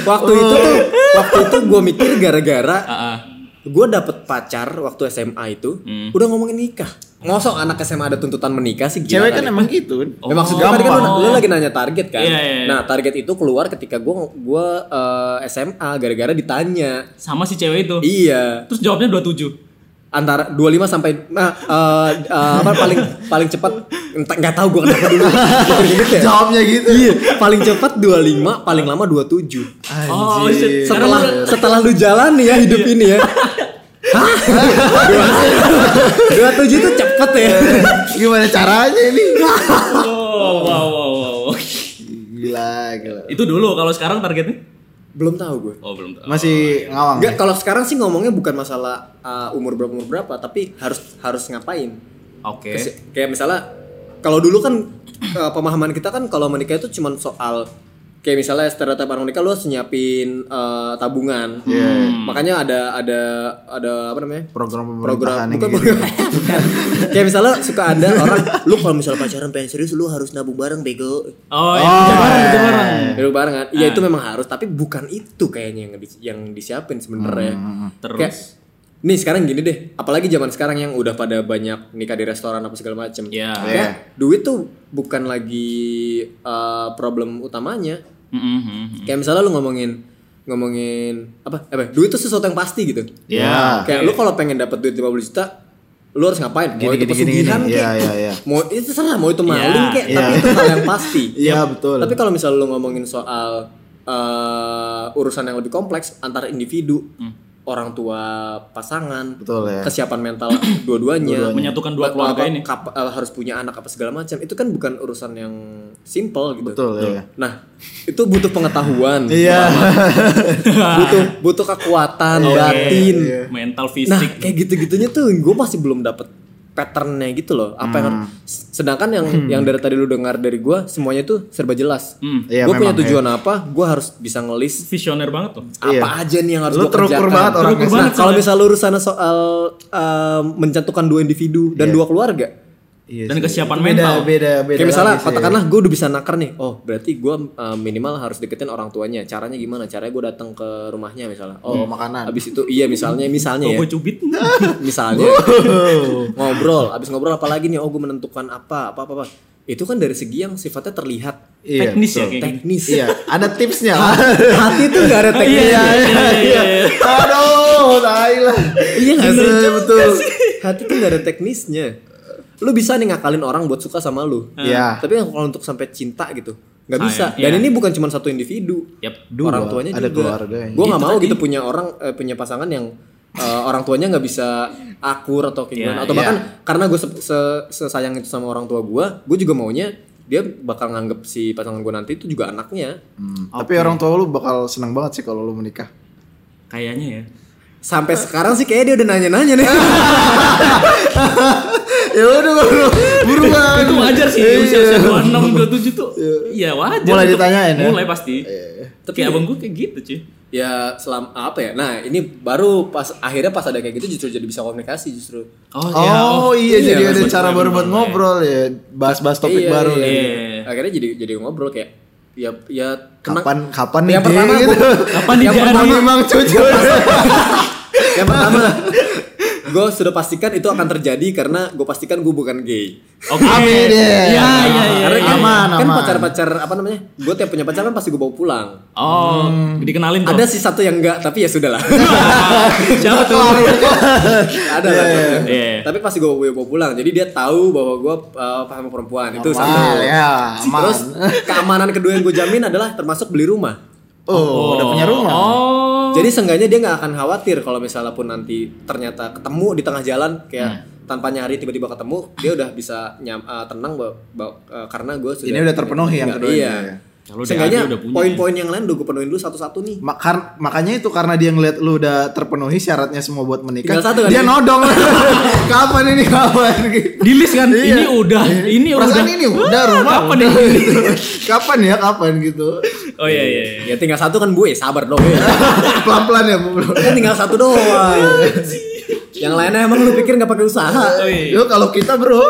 Speaker 4: waktu itu tuh waktu itu gue mikir gara-gara
Speaker 3: Oh. Ah, ah.
Speaker 4: gue dapet pacar waktu SMA itu
Speaker 3: Hmm.
Speaker 4: udah ngomongin nikah. Ngosok anak SMA ada tuntutan menikah sih
Speaker 5: cewek
Speaker 4: gila.
Speaker 5: kan
Speaker 4: Iya, kali.
Speaker 5: emang gitu kan.
Speaker 3: Eh,
Speaker 4: Ya, maksud gue tadi kan
Speaker 3: gampang.
Speaker 4: lu, lu lagi nanya target kan.
Speaker 3: Iya, iya, iya.
Speaker 4: Nah, target itu keluar ketika gue gua eh, SMA gara-gara ditanya.
Speaker 3: Sama si cewek itu.
Speaker 4: Iya.
Speaker 3: Terus jawabnya 27.
Speaker 4: antara 25 sampai nah, eh, eh, apa paling paling cepat entah nggak tahu gua kenapa dulu Gitu-gitu ya.
Speaker 5: Jawabnya gitu.
Speaker 4: iya paling cepat 25 paling lama 27
Speaker 3: Oh, shit.
Speaker 5: Anjir.
Speaker 4: setelah setelah lu jalani ya hidup
Speaker 3: Iya.
Speaker 4: ini ya Hah? 27 itu cepet
Speaker 3: Iya.
Speaker 4: ya
Speaker 5: Gimana caranya ini?
Speaker 3: Oh, wow, wow, wow.
Speaker 5: Gila, gila.
Speaker 3: Itu dulu kalau sekarang targetnya?
Speaker 4: belum tahu gue
Speaker 3: Oh, belum tahu.
Speaker 5: Masih ngawang.
Speaker 4: Enggak, kalau sekarang sih ngomongnya bukan masalah eh, umur berapa umur berapa, tapi harus harus ngapain.
Speaker 3: Oke.
Speaker 4: Kes- Kayak misalnya kalau dulu kan eh, pemahaman kita kan kalau menikah itu cuman soal kayak misalnya stereotip orang menikah lu harus nyiapin eh, tabungan.
Speaker 5: Iya.
Speaker 4: Makanya ada ada ada apa namanya?
Speaker 5: Program pemerintahan
Speaker 4: program
Speaker 5: yang
Speaker 4: bukan,
Speaker 5: gitu.
Speaker 4: bukan. kayak misalnya suka ada orang lu kalau misalnya pacaran pengen serius lu harus nabung bareng bego
Speaker 3: Oh,
Speaker 5: Oh,
Speaker 3: iya. Jarang,
Speaker 5: iya.
Speaker 3: jarang.
Speaker 4: Duduk bareng kan? Iya
Speaker 5: Ah.
Speaker 4: itu memang harus, tapi bukan itu kayaknya yang di- yang disiapin sebenarnya.
Speaker 5: Hmm,
Speaker 3: Terus?
Speaker 4: Kayak, nih sekarang gini deh, apalagi zaman sekarang yang udah pada banyak nikah di restoran apa segala macem.
Speaker 3: Iya.
Speaker 4: Kayak, duit tuh bukan lagi eh, problem utamanya.
Speaker 3: Mm, mm,
Speaker 5: Hmm.
Speaker 3: mm.
Speaker 4: Kayak misalnya lu ngomongin ngomongin apa? Eh, apa, duit tuh sesuatu yang pasti gitu.
Speaker 5: Ya.
Speaker 4: Kayak lu kalau pengen dapat duit 50 juta, lu harus ngapain? Mau
Speaker 5: Gini, gini,
Speaker 4: itu
Speaker 5: gini,
Speaker 4: pesugihan
Speaker 5: gini.
Speaker 4: kek.
Speaker 5: Iya, iya, iya.
Speaker 4: Mau itu serah, mau itu
Speaker 3: Iya,
Speaker 4: maling kek,
Speaker 5: iya.
Speaker 4: tapi itu hal yang pasti.
Speaker 5: Iya, betul.
Speaker 4: Tapi kalau misalnya lu ngomongin soal eh, urusan yang lebih kompleks antara individu,
Speaker 3: Hmm.
Speaker 4: orang tua, pasangan,
Speaker 5: Betul ya.
Speaker 4: kesiapan mental dua-duanya,
Speaker 3: Menyatukan dua keluarga
Speaker 4: apa-
Speaker 3: ini.
Speaker 4: kap- eh, harus punya anak apa segala macam, itu kan bukan urusan yang simple gitu.
Speaker 5: Betul ya.
Speaker 4: Nah, itu butuh pengetahuan,
Speaker 5: Iya.
Speaker 4: butuh butuh kekuatan
Speaker 3: Oke.
Speaker 4: batin.
Speaker 5: Iya,
Speaker 3: Mental
Speaker 4: Nah,
Speaker 3: fisik.
Speaker 4: kayak gitu-gitunya tuh gue masih belum dapet patternnya gitu loh. Apa yang
Speaker 3: Hmm.
Speaker 4: sedangkan yang yang dari tadi lu dengar dari gue semuanya tuh serba jelas.
Speaker 3: Hmm.
Speaker 5: Iya,
Speaker 4: gue punya
Speaker 5: memang,
Speaker 4: tujuan apa, gue harus bisa ngelis
Speaker 3: Visioner banget tuh.
Speaker 5: Iya.
Speaker 4: apa aja nih yang harus
Speaker 5: Lu
Speaker 4: gue
Speaker 5: terukur
Speaker 4: kerjakan.
Speaker 5: banget orangnya.
Speaker 4: Terukur
Speaker 3: Nah,
Speaker 4: banget. Kalau
Speaker 3: soalnya.
Speaker 4: misalnya urusannya soal um, mencantumkan dua individu dan dua keluarga.
Speaker 5: Iya
Speaker 3: Dan
Speaker 5: sih.
Speaker 3: kesiapan
Speaker 5: Itu
Speaker 3: mental.
Speaker 5: Beda, beda, beda.
Speaker 4: kayak misalnya
Speaker 5: lagi sih. iya.
Speaker 4: katakanlah gue udah bisa nakar nih. Oh, berarti gue minimal harus deketin orang tuanya. Caranya gimana? Caranya gue datang ke rumahnya misalnya. Oh,
Speaker 5: Bawa makanan.
Speaker 4: Habis itu iya misalnya misalnya ya.
Speaker 3: Gue cubit.
Speaker 4: misalnya ngobrol abis ngobrol apa lagi nih oh gue menentukan apa apa apa, apa. itu kan dari segi yang sifatnya terlihat
Speaker 5: Iya,
Speaker 3: Teknis ya
Speaker 5: betul.
Speaker 3: kayak gini.
Speaker 4: teknis
Speaker 5: Iya, ada tipsnya.
Speaker 4: hati tuh nggak ada teknis
Speaker 3: Iya, iya, iya.
Speaker 5: Aduh, tai lah.
Speaker 4: iya nggak sih?
Speaker 5: Bener, betul.
Speaker 4: hati tuh nggak ada teknisnya lu bisa nih ngakalin orang buat suka sama lu
Speaker 5: Iya.
Speaker 4: tapi kalau untuk sampai cinta gitu nggak bisa
Speaker 3: Sayang,
Speaker 4: dan
Speaker 3: iya.
Speaker 4: ini bukan cuma satu individu
Speaker 3: Yep.
Speaker 5: Dua,
Speaker 4: orang tuanya
Speaker 5: ada
Speaker 4: juga
Speaker 5: keluarganya.
Speaker 4: gue nggak
Speaker 3: Itu
Speaker 4: mau
Speaker 3: tadi.
Speaker 4: gitu punya orang eh, punya pasangan yang eh, orang tuanya nggak bisa akur atau kayak
Speaker 3: Iya,
Speaker 4: gimana atau
Speaker 5: iya.
Speaker 4: bahkan karena gue sesayang itu sama orang tua gue gue juga maunya dia bakal nganggep si pasangan gue nanti itu juga anaknya
Speaker 5: Hmm, Tapi orang tua lu bakal seneng banget sih kalau lu menikah.
Speaker 3: Kayaknya ya.
Speaker 4: sampai sekarang sih kayaknya dia udah nanya-nanya nih
Speaker 5: ya udah buruan Iya.
Speaker 3: itu wajar sih usia usia dua enam dua tujuh tuh ya wajar
Speaker 5: Mulai
Speaker 3: untuk-
Speaker 5: ditanyain ya?
Speaker 3: mulai pasti tapi kayak abang gue kayak gitu cuy
Speaker 4: ya selam apa ya nah ini baru pas akhirnya pas ada kayak gitu justru jadi bisa komunikasi justru
Speaker 3: oh, ya,
Speaker 5: Oh iya, jadi
Speaker 3: Mas,
Speaker 5: ada
Speaker 3: bener,
Speaker 5: cara baru
Speaker 3: bener,
Speaker 5: buat
Speaker 3: bener.
Speaker 5: ngobrol ya, bahas-bahas topik
Speaker 4: Iya,
Speaker 5: baru.
Speaker 4: iya,
Speaker 5: nih.
Speaker 4: iya. akhirnya jadi jadi ngobrol kayak ya ya kena-
Speaker 5: Kapan kapan nih
Speaker 4: yang pertama
Speaker 5: gitu.
Speaker 4: gua-
Speaker 3: kapan di
Speaker 4: yang
Speaker 3: daerah
Speaker 4: pertama
Speaker 3: ini?
Speaker 5: Emang cucu.
Speaker 4: yang pertama gue sudah pastikan itu akan terjadi karena gue pastikan gue bukan gay
Speaker 3: oke
Speaker 5: Amin, ya.
Speaker 3: ya ya ya
Speaker 4: karena
Speaker 3: ya.
Speaker 5: aman.
Speaker 4: kan pacar-pacar apa namanya gue tiap punya pacar kan pasti gue bawa pulang
Speaker 3: oh dikenalin tuh
Speaker 4: ada sih satu yang enggak tapi ya sudahlah
Speaker 3: siapa tuh
Speaker 5: Oh,
Speaker 4: ada lah tapi-
Speaker 3: Iya.
Speaker 4: tapi pasti gue bawa pulang jadi dia tahu bahwa gue eh, paham perempuan itu satu
Speaker 5: Normal, ya, aman.
Speaker 4: terus keamanan kedua yang gue jamin adalah termasuk beli rumah
Speaker 5: Oh, udah punya rumah.
Speaker 3: oh
Speaker 4: Jadi seenggaknya dia nggak akan khawatir kalau misalnya pun nanti ternyata ketemu di tengah jalan kayak
Speaker 3: Hmm.
Speaker 4: tanpa nyari tiba-tiba ketemu dia udah bisa nyam, eh, tenang bahwa, bahwa, eh, karena gue sudah
Speaker 5: Ini udah terpenuhi yang
Speaker 4: Nggak,
Speaker 5: keduanya,
Speaker 4: Iya.
Speaker 5: ya.
Speaker 3: Kalau dia
Speaker 4: Seenggaknya
Speaker 3: udah punya,
Speaker 4: poin-poin yang lain udah gue penuhin dulu satu-satu nih.
Speaker 5: Makar, makanya itu karena dia ngeliat lu udah terpenuhi syaratnya semua buat menikah.
Speaker 4: Tinggal satu kan
Speaker 5: dia
Speaker 4: ini?
Speaker 5: nodong. kapan ini kapan?
Speaker 3: di list kan ini udah ini
Speaker 5: Iya. Perasaan
Speaker 3: udah
Speaker 5: ini udah
Speaker 3: Wah,
Speaker 5: rumah.
Speaker 3: kapan
Speaker 5: udah.
Speaker 3: ini?
Speaker 5: kapan ya kapan gitu.
Speaker 3: oh iya iya iya.
Speaker 4: Ya tinggal satu kan gue sabar dong. kan
Speaker 5: Pelan-pelan ya, Bu.
Speaker 4: tinggal satu doang. yang lainnya emang lu pikir nggak pakai usaha?
Speaker 3: Oh, iya.
Speaker 5: Yo kalau kita, Bro,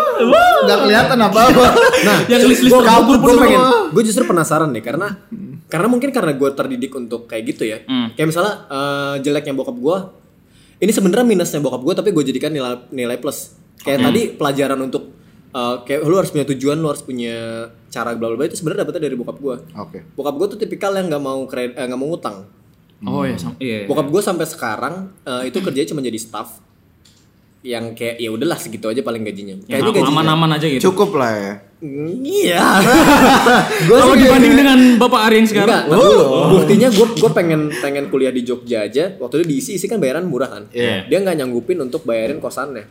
Speaker 5: nggak kelihatan apa-apa. Nah,
Speaker 3: yang list list
Speaker 4: gue
Speaker 3: terkabur
Speaker 4: kabur
Speaker 5: pun
Speaker 4: gue pengen
Speaker 5: semua.
Speaker 4: gue justru penasaran deh karena karena mungkin karena gue terdidik untuk kayak gitu ya kayak misalnya eh, jeleknya bokap gue ini sebenarnya minusnya bokap gue tapi gue jadikan nilai nilai plus kayak tadi pelajaran untuk eh, kayak lu harus punya tujuan lu harus punya cara bla bla bla itu sebenarnya dapetnya dari bokap gue
Speaker 5: Oke.
Speaker 4: bokap gue tuh tipikal yang nggak mau kredit nggak mau ngutang
Speaker 3: oh iya sam- iya iya.
Speaker 4: bokap gue sampai sekarang eh, itu kerjanya cuma jadi staff yang kayak ya udahlah segitu aja paling gajinya
Speaker 3: yang
Speaker 4: Kayaknya gajinya-
Speaker 3: aman-aman aja gitu
Speaker 5: Cukup lah ya.
Speaker 4: Mm, iya gue
Speaker 3: kalau dibanding dengan bapak Ari yang sekarang Oh.
Speaker 4: Enggak, tapi buktinya gue gue pengen pengen kuliah di Jogja aja. Waktu itu diisi isi kan bayaran murah kan.
Speaker 3: Iya.
Speaker 4: Dia nggak nyanggupin untuk bayarin kosannya.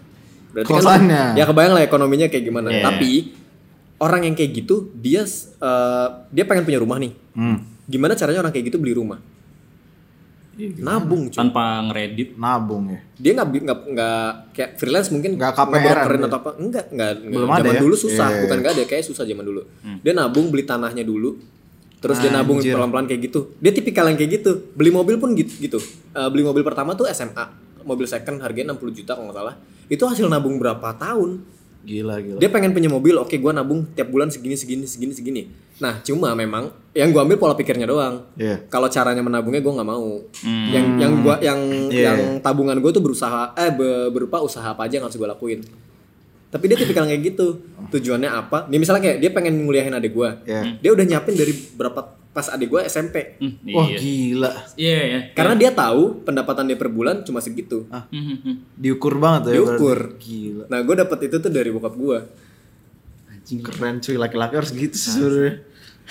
Speaker 4: Berarti
Speaker 5: Kosannya.
Speaker 4: Kan, ya kebayang lah ekonominya kayak gimana.
Speaker 3: Iya.
Speaker 4: Tapi orang yang kayak gitu dia eh, dia pengen punya rumah nih.
Speaker 5: Hmm.
Speaker 4: Gimana caranya orang kayak gitu beli rumah?
Speaker 3: Iya,
Speaker 4: Nabung cuy.
Speaker 3: tanpa ngeredit
Speaker 5: Nabung ya.
Speaker 4: Dia nggak bi- nggak nggak kayak freelance mungkin
Speaker 5: Nggak KPR-an
Speaker 4: ngebrokerin
Speaker 5: dia.
Speaker 4: atau apa? Enggak, enggak.
Speaker 5: Belum
Speaker 4: zaman
Speaker 5: ada ya?
Speaker 4: dulu susah,
Speaker 5: Iya.
Speaker 4: bukan nggak ada kayak susah zaman dulu. Dia nabung beli tanahnya dulu. Terus dia nabung
Speaker 5: Ah, Anjir.
Speaker 4: pelan-pelan kayak gitu. Dia tipikal yang kayak gitu. Beli mobil pun gitu gitu. Eh, beli mobil pertama tuh SMA. Mobil second harganya 60 juta kalau nggak salah. Itu hasil nabung berapa tahun?
Speaker 5: Gila gila.
Speaker 4: Dia pengen punya mobil, oke gua nabung tiap bulan segini segini segini segini. Nah, cuma memang yang gua ambil pola pikirnya doang.
Speaker 5: Iya.
Speaker 4: Kalau caranya menabungnya gua nggak mau. Yang yang gua yang
Speaker 5: Iya.
Speaker 4: yang tabungan gua tuh berusaha eh be- berupa usaha apa aja yang harus gua lakuin. Tapi dia tipikal kayak gitu. Tujuannya apa? Dia misalnya kayak dia pengen nguliahin adik gua.
Speaker 5: Iya.
Speaker 4: Dia udah nyiapin dari berapa pas adik gua SMP.
Speaker 3: Hmm,
Speaker 5: Wah
Speaker 3: iya
Speaker 5: gila.
Speaker 3: iya iya.
Speaker 4: Karena dia tahu pendapatan dia per bulan cuma segitu.
Speaker 5: Ah.
Speaker 3: Hmm, hmm, hmm.
Speaker 5: Diukur banget ya. berarti.
Speaker 4: Diukur.
Speaker 5: Gila.
Speaker 4: Nah, gua dapet itu tuh dari bokap gua.
Speaker 5: Keren cuy laki-laki harus gitu sih sebenarnya.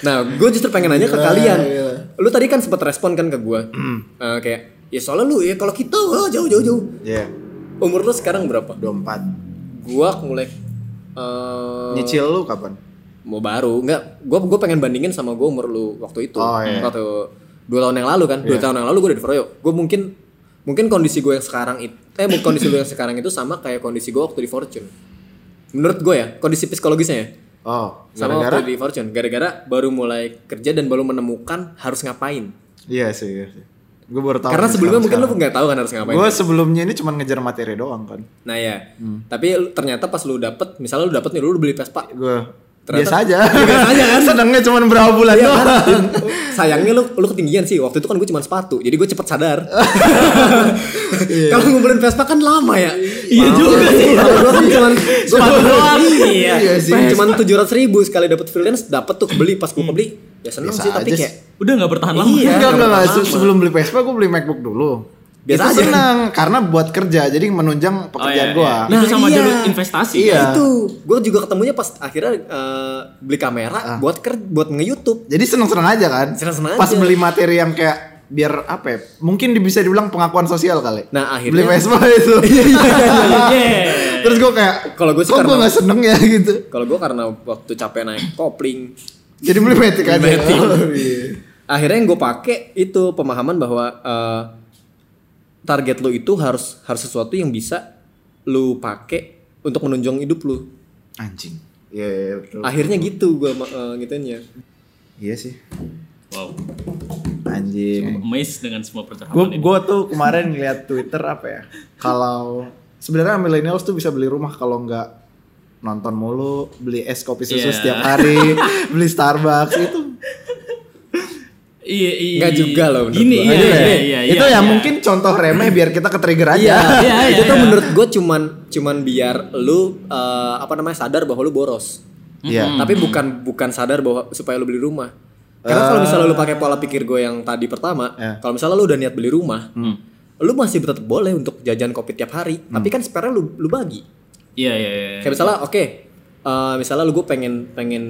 Speaker 4: Nah, gue justru pengen nanya ke
Speaker 5: Gila,
Speaker 4: kalian.
Speaker 5: gila.
Speaker 4: Lu tadi kan sempat respon kan ke gue, kayak ya soalnya lu ya kalau kita wah, jauh jauh jauh.
Speaker 5: Iya.
Speaker 4: Umur lu sekarang berapa?
Speaker 5: Udah empat.
Speaker 4: Gua mulai eh,
Speaker 5: Nyicil lu kapan?
Speaker 4: mau baru nggak? Gue gue pengen bandingin sama gue umur lu waktu itu,
Speaker 5: Oh, iya.
Speaker 4: waktu dua tahun yang lalu kan, dua tahun yang lalu gue udah di Froyo. Gue mungkin mungkin kondisi gue yang sekarang itu, eh bu- kondisi gue yang sekarang itu sama kayak kondisi gue waktu di Fortune. Menurut gue ya, kondisi psikologisnya ya.
Speaker 5: Oh,
Speaker 4: Sama
Speaker 5: gara-gara?
Speaker 4: waktu di Fortune, gara-gara baru mulai kerja dan baru menemukan harus ngapain.
Speaker 5: Iya sih, iya sih. Gue baru tahu.
Speaker 4: Karena
Speaker 5: sih
Speaker 4: sebelumnya mungkin
Speaker 5: sekarang-
Speaker 4: lu nggak tahu kan harus ngapain.
Speaker 5: Gue sebelumnya ini cuman ngejar materi doang kan.
Speaker 4: Nah ya, tapi lu- ternyata pas lu dapet, misalnya lu dapet nih, lu beli Vespa.
Speaker 5: Gue
Speaker 4: Ternyata-
Speaker 5: biasa aja.
Speaker 4: Biasa aja kan?
Speaker 5: Senangnya cuman berapa bulan
Speaker 4: Iya
Speaker 5: doang.
Speaker 4: kan? Sayangnya lu lu ketinggian sih. Waktu itu kan gue cuma sepatu, jadi gue cepet sadar. Kalau ngumpulin Vespa kan lama ya.
Speaker 3: Iya juga sih.
Speaker 4: Gua kan cuman sepatu doang.
Speaker 3: Iya.
Speaker 4: Iya
Speaker 5: sih.
Speaker 4: Cuman tujuh ratus ribu sekali dapet freelance, dapet tuh kebeli pas gue kebeli. Ya seneng
Speaker 5: Biasa
Speaker 4: sih, tapi
Speaker 5: aja
Speaker 4: kayak
Speaker 3: Udah nggak bertahan lama.
Speaker 4: Iya.
Speaker 5: Enggak, enggak, enggak. Se-
Speaker 4: lama.
Speaker 5: Sebelum beli Vespa gue beli MacBook dulu.
Speaker 4: Biasa
Speaker 5: Itu
Speaker 4: aja.
Speaker 5: senang karena buat kerja jadi menunjang
Speaker 3: Oh, iya,
Speaker 5: pekerjaan
Speaker 3: iya.
Speaker 5: gue.
Speaker 3: Itu
Speaker 4: Nah,
Speaker 3: sama
Speaker 4: iya.
Speaker 3: jalur investasi.
Speaker 5: Iya.
Speaker 4: itu gue juga ketemunya pas akhirnya eh, beli kamera buat ker buat nge YouTube
Speaker 5: Jadi seneng-seneng aja kan.
Speaker 4: Seneng-seneng
Speaker 5: Pas
Speaker 4: aja.
Speaker 5: beli materi yang kayak biar apa ya? Mungkin di- bisa dibilang pengakuan sosial kali.
Speaker 4: Nah, akhirnya-
Speaker 5: beli
Speaker 4: iya,
Speaker 5: Vespa itu.
Speaker 3: Iya.
Speaker 5: Terus gue kayak
Speaker 4: Kalau gua sih
Speaker 5: kok gue
Speaker 4: karena-
Speaker 5: nggak seneng ya gitu.
Speaker 4: Kalau gue karena waktu capek naik kopling,
Speaker 5: Jadi beli Matic aja.
Speaker 3: Matic.
Speaker 5: Iya.
Speaker 4: akhirnya yang gue pakai itu pemahaman bahwa eh, target lo itu harus harus sesuatu yang bisa lo pakai untuk menunjang hidup lu
Speaker 5: Anjing. Iya, iya, betul.
Speaker 4: akhirnya gitu gue ngituinnya
Speaker 5: Iya sih.
Speaker 3: Wow,
Speaker 5: Anjing.
Speaker 3: amazed dengan semua percakapan
Speaker 5: Gue
Speaker 3: ini.
Speaker 5: gua tuh kemarin ngeliat Twitter apa ya? Kalau sebenarnya millennials tuh bisa beli rumah kalau nggak nonton mulu, beli es kopi susu
Speaker 3: Iya.
Speaker 5: setiap hari, beli Starbucks itu.
Speaker 3: Iya, iya.
Speaker 4: Nggak juga loh menurut
Speaker 3: Gini,
Speaker 4: gua.
Speaker 3: iya,
Speaker 4: Gini,
Speaker 3: iya, iya,
Speaker 5: Iya,
Speaker 3: iya,
Speaker 5: itu ya
Speaker 3: iya.
Speaker 5: mungkin contoh remeh biar kita ke trigger aja.
Speaker 4: Iya,
Speaker 3: Iya, iya,
Speaker 4: itu tuh
Speaker 3: iya.
Speaker 4: menurut gue cuman cuman biar lu eh, apa namanya sadar bahwa lu boros. Hmm.
Speaker 5: Iya.
Speaker 4: Tapi bukan bukan sadar bahwa supaya lu beli rumah. Karena
Speaker 3: Eh.
Speaker 4: kalau misalnya lu pakai pola pikir gue yang tadi pertama,
Speaker 5: Iya.
Speaker 4: kalau misalnya lu udah niat beli rumah,
Speaker 3: Hmm.
Speaker 4: lu masih tetap boleh untuk jajan kopi tiap hari, tapi kan spare lu lu bagi.
Speaker 3: Iya, iya, iya.
Speaker 4: Kayak misalnya oke, eh, misalnya lu gue pengen pengen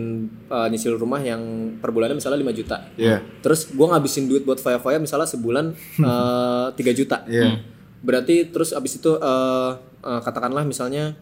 Speaker 4: eh, nyicil rumah yang per bulannya misalnya 5 juta.
Speaker 5: Iya.
Speaker 4: Terus gue ngabisin duit buat foya-foya misalnya sebulan eh, 3 juta.
Speaker 5: Iya.
Speaker 4: Berarti terus abis itu eh, eh, katakanlah misalnya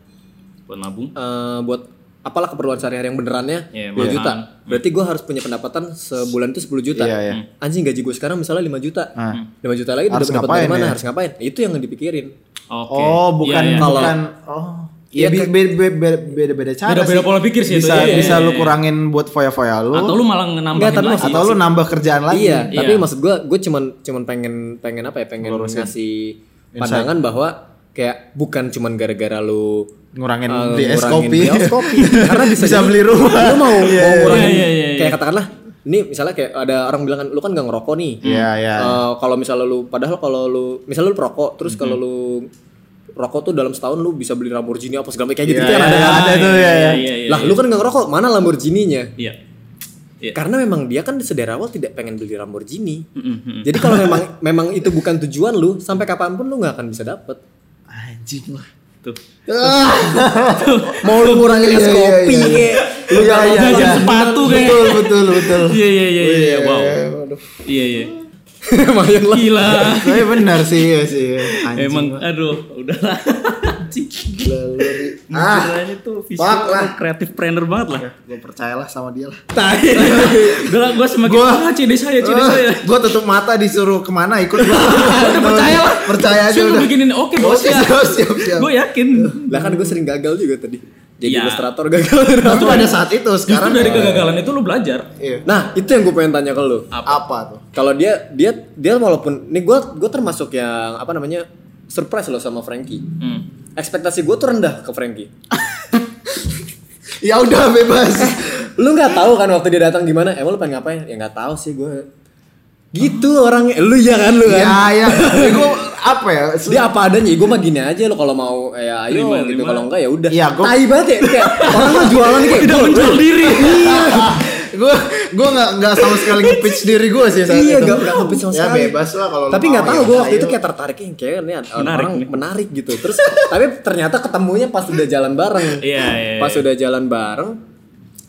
Speaker 3: Buat nabung.
Speaker 4: eh, buat apalah keperluan sehari-hari yang benerannya
Speaker 3: Iya,
Speaker 4: 10 juta.
Speaker 3: makanan.
Speaker 4: Berarti gue harus punya pendapatan sebulan itu 10 juta.
Speaker 5: Iya, iya.
Speaker 4: Anjing gaji gue sekarang misalnya 5 juta.
Speaker 5: Ah.
Speaker 4: 5 juta lagi
Speaker 5: Harus
Speaker 4: udah dapat dari
Speaker 5: ngapain
Speaker 4: mana?
Speaker 5: ya?
Speaker 4: Harus ngapain? Itu yang dipikirin.
Speaker 3: Oke.
Speaker 5: Oh, bukan
Speaker 3: Iya, iya.
Speaker 4: Kalau-
Speaker 5: bukan oh.
Speaker 4: Iya,
Speaker 5: Iya,
Speaker 4: ke-
Speaker 5: beda-beda cara
Speaker 3: Beda-beda
Speaker 5: sih.
Speaker 3: pola pikir sih itu,
Speaker 5: bisa,
Speaker 3: iya, iya,
Speaker 5: bisa
Speaker 3: iya,
Speaker 5: lu
Speaker 3: iya.
Speaker 5: kurangin buat foya-foya lu
Speaker 3: Atau
Speaker 5: atau,
Speaker 3: lu malah
Speaker 4: Nggak,
Speaker 3: nambahin
Speaker 4: tapi
Speaker 3: lagi.
Speaker 4: maksud-
Speaker 5: lu nambah kerjaan lagi.
Speaker 4: Iya, tapi
Speaker 3: Iya.
Speaker 4: maksud gue, gue cuman cuman pengen pengen apa ya? Pengen ngasih pandangan bahwa kayak bukan cuman gara-gara lu
Speaker 5: Ngurangin
Speaker 4: eh,
Speaker 5: beli es
Speaker 4: ngurangin
Speaker 5: kopi.
Speaker 4: beli es kopi. karena bisa,
Speaker 5: Bisa
Speaker 4: jadi
Speaker 5: beli rumah.
Speaker 4: Lu mau, mau ngurangin
Speaker 3: Iya, iya, iya.
Speaker 4: kayak katakanlah ini misalnya kayak ada orang bilang kan lu kan gak ngerokok nih.
Speaker 5: Iya, iya.
Speaker 4: Eh, kalau misalnya lu padahal kalau lu misalnya lu perokok terus kalau lu rokok tuh dalam setahun lu bisa beli Lamborghini apa segala macam kayak gitu kan ada kan?
Speaker 5: Ada tuh, iya, iya.
Speaker 3: iya, iya,
Speaker 4: lah lu kan gak ngerokok mana Lamborghininya
Speaker 3: Iya. Iya.
Speaker 4: karena memang dia kan sedari awal tidak pengen beli Lamborghini
Speaker 3: Mm, mm,
Speaker 4: jadi kalau memang memang itu bukan tujuan lu sampai kapanpun lu nggak akan bisa dapet
Speaker 5: Anjing lah.
Speaker 3: Tuh.
Speaker 4: mau lu ngurangin es kopi kayak,
Speaker 5: Iya,
Speaker 4: lu nggak
Speaker 5: iya,
Speaker 4: mau
Speaker 3: Jajan
Speaker 5: iya.
Speaker 3: sepatu kayak.
Speaker 5: Betul, Oh, betul, betul.
Speaker 3: Iya, iya, iya, iya, iya. Wow.
Speaker 5: aduh.
Speaker 3: Iya, iya.
Speaker 4: lumayan lah
Speaker 3: Gila.
Speaker 5: Tapi benar sih, iya sih. Anjing.
Speaker 3: Emang aduh, udahlah.
Speaker 5: Gila, lu, Ri. Ah,
Speaker 3: Pikirannya tuh
Speaker 5: fuck
Speaker 3: visual
Speaker 5: lah.
Speaker 3: kreatif planner banget lah.
Speaker 5: gue percayalah sama dia lah.
Speaker 4: Tai.
Speaker 3: Udahlah, gua semakin
Speaker 5: Gua-
Speaker 3: ah, cini saya, cini saya.
Speaker 5: gue Eh, tutup mata disuruh kemana ikut Udah percaya lah. Percaya aja
Speaker 3: Saya
Speaker 5: udah.
Speaker 3: bikinin oke, bos
Speaker 5: Oke,
Speaker 3: ya.
Speaker 5: siap, siap, siap.
Speaker 3: Gue yakin.
Speaker 4: lah kan gue sering gagal juga tadi jadi
Speaker 3: Iya.
Speaker 4: ilustrator gagal
Speaker 5: Itu pada saat itu
Speaker 3: Justru
Speaker 5: sekarang ya.
Speaker 3: dari kegagalan itu lu belajar.
Speaker 5: Iya.
Speaker 4: nah itu yang gue pengen tanya ke lu
Speaker 5: apa tuh?
Speaker 4: kalau dia dia dia walaupun nih gue gue termasuk yang apa namanya surprise loh sama Frankie
Speaker 3: Hmm.
Speaker 4: ekspektasi gue tuh rendah ke Frankie Eh.
Speaker 5: Ya udah bebas.
Speaker 4: lu nggak tahu kan waktu dia datang gimana emang lu pengen ngapain ya nggak tahu sih gue gitu orangnya lu ya kan lu kan
Speaker 5: ya ya. Gue apa ya?
Speaker 4: dia apa adanya gue mah gini aja lo kalau mau ya ayo
Speaker 3: Terima,
Speaker 4: gitu
Speaker 3: terima.
Speaker 4: kalau enggak ya udah
Speaker 5: Iya, gua-
Speaker 4: tai banget ya kayak orang mah jualan
Speaker 3: Tidak
Speaker 4: kayak
Speaker 3: Iya,
Speaker 4: "Bro,
Speaker 3: menjual diri.
Speaker 5: Gue gue nggak nggak sama sekali nge-pitch diri gue sih saat
Speaker 4: iya
Speaker 5: itu.
Speaker 4: gak nggak habis sama
Speaker 5: Ya,
Speaker 4: sekali
Speaker 5: bebas lah kalau lu
Speaker 4: tapi
Speaker 5: mau,
Speaker 4: nggak tahu
Speaker 5: ya.
Speaker 4: gue waktu itu
Speaker 5: Ayo.
Speaker 4: kayak tertarik "Ih, kayaknya ini ada-
Speaker 3: Menarik
Speaker 4: orang
Speaker 3: nih."
Speaker 4: menarik gitu terus tapi ternyata ketemunya pas udah jalan bareng
Speaker 3: Iya, iya,
Speaker 4: pas
Speaker 3: iya.
Speaker 4: udah jalan bareng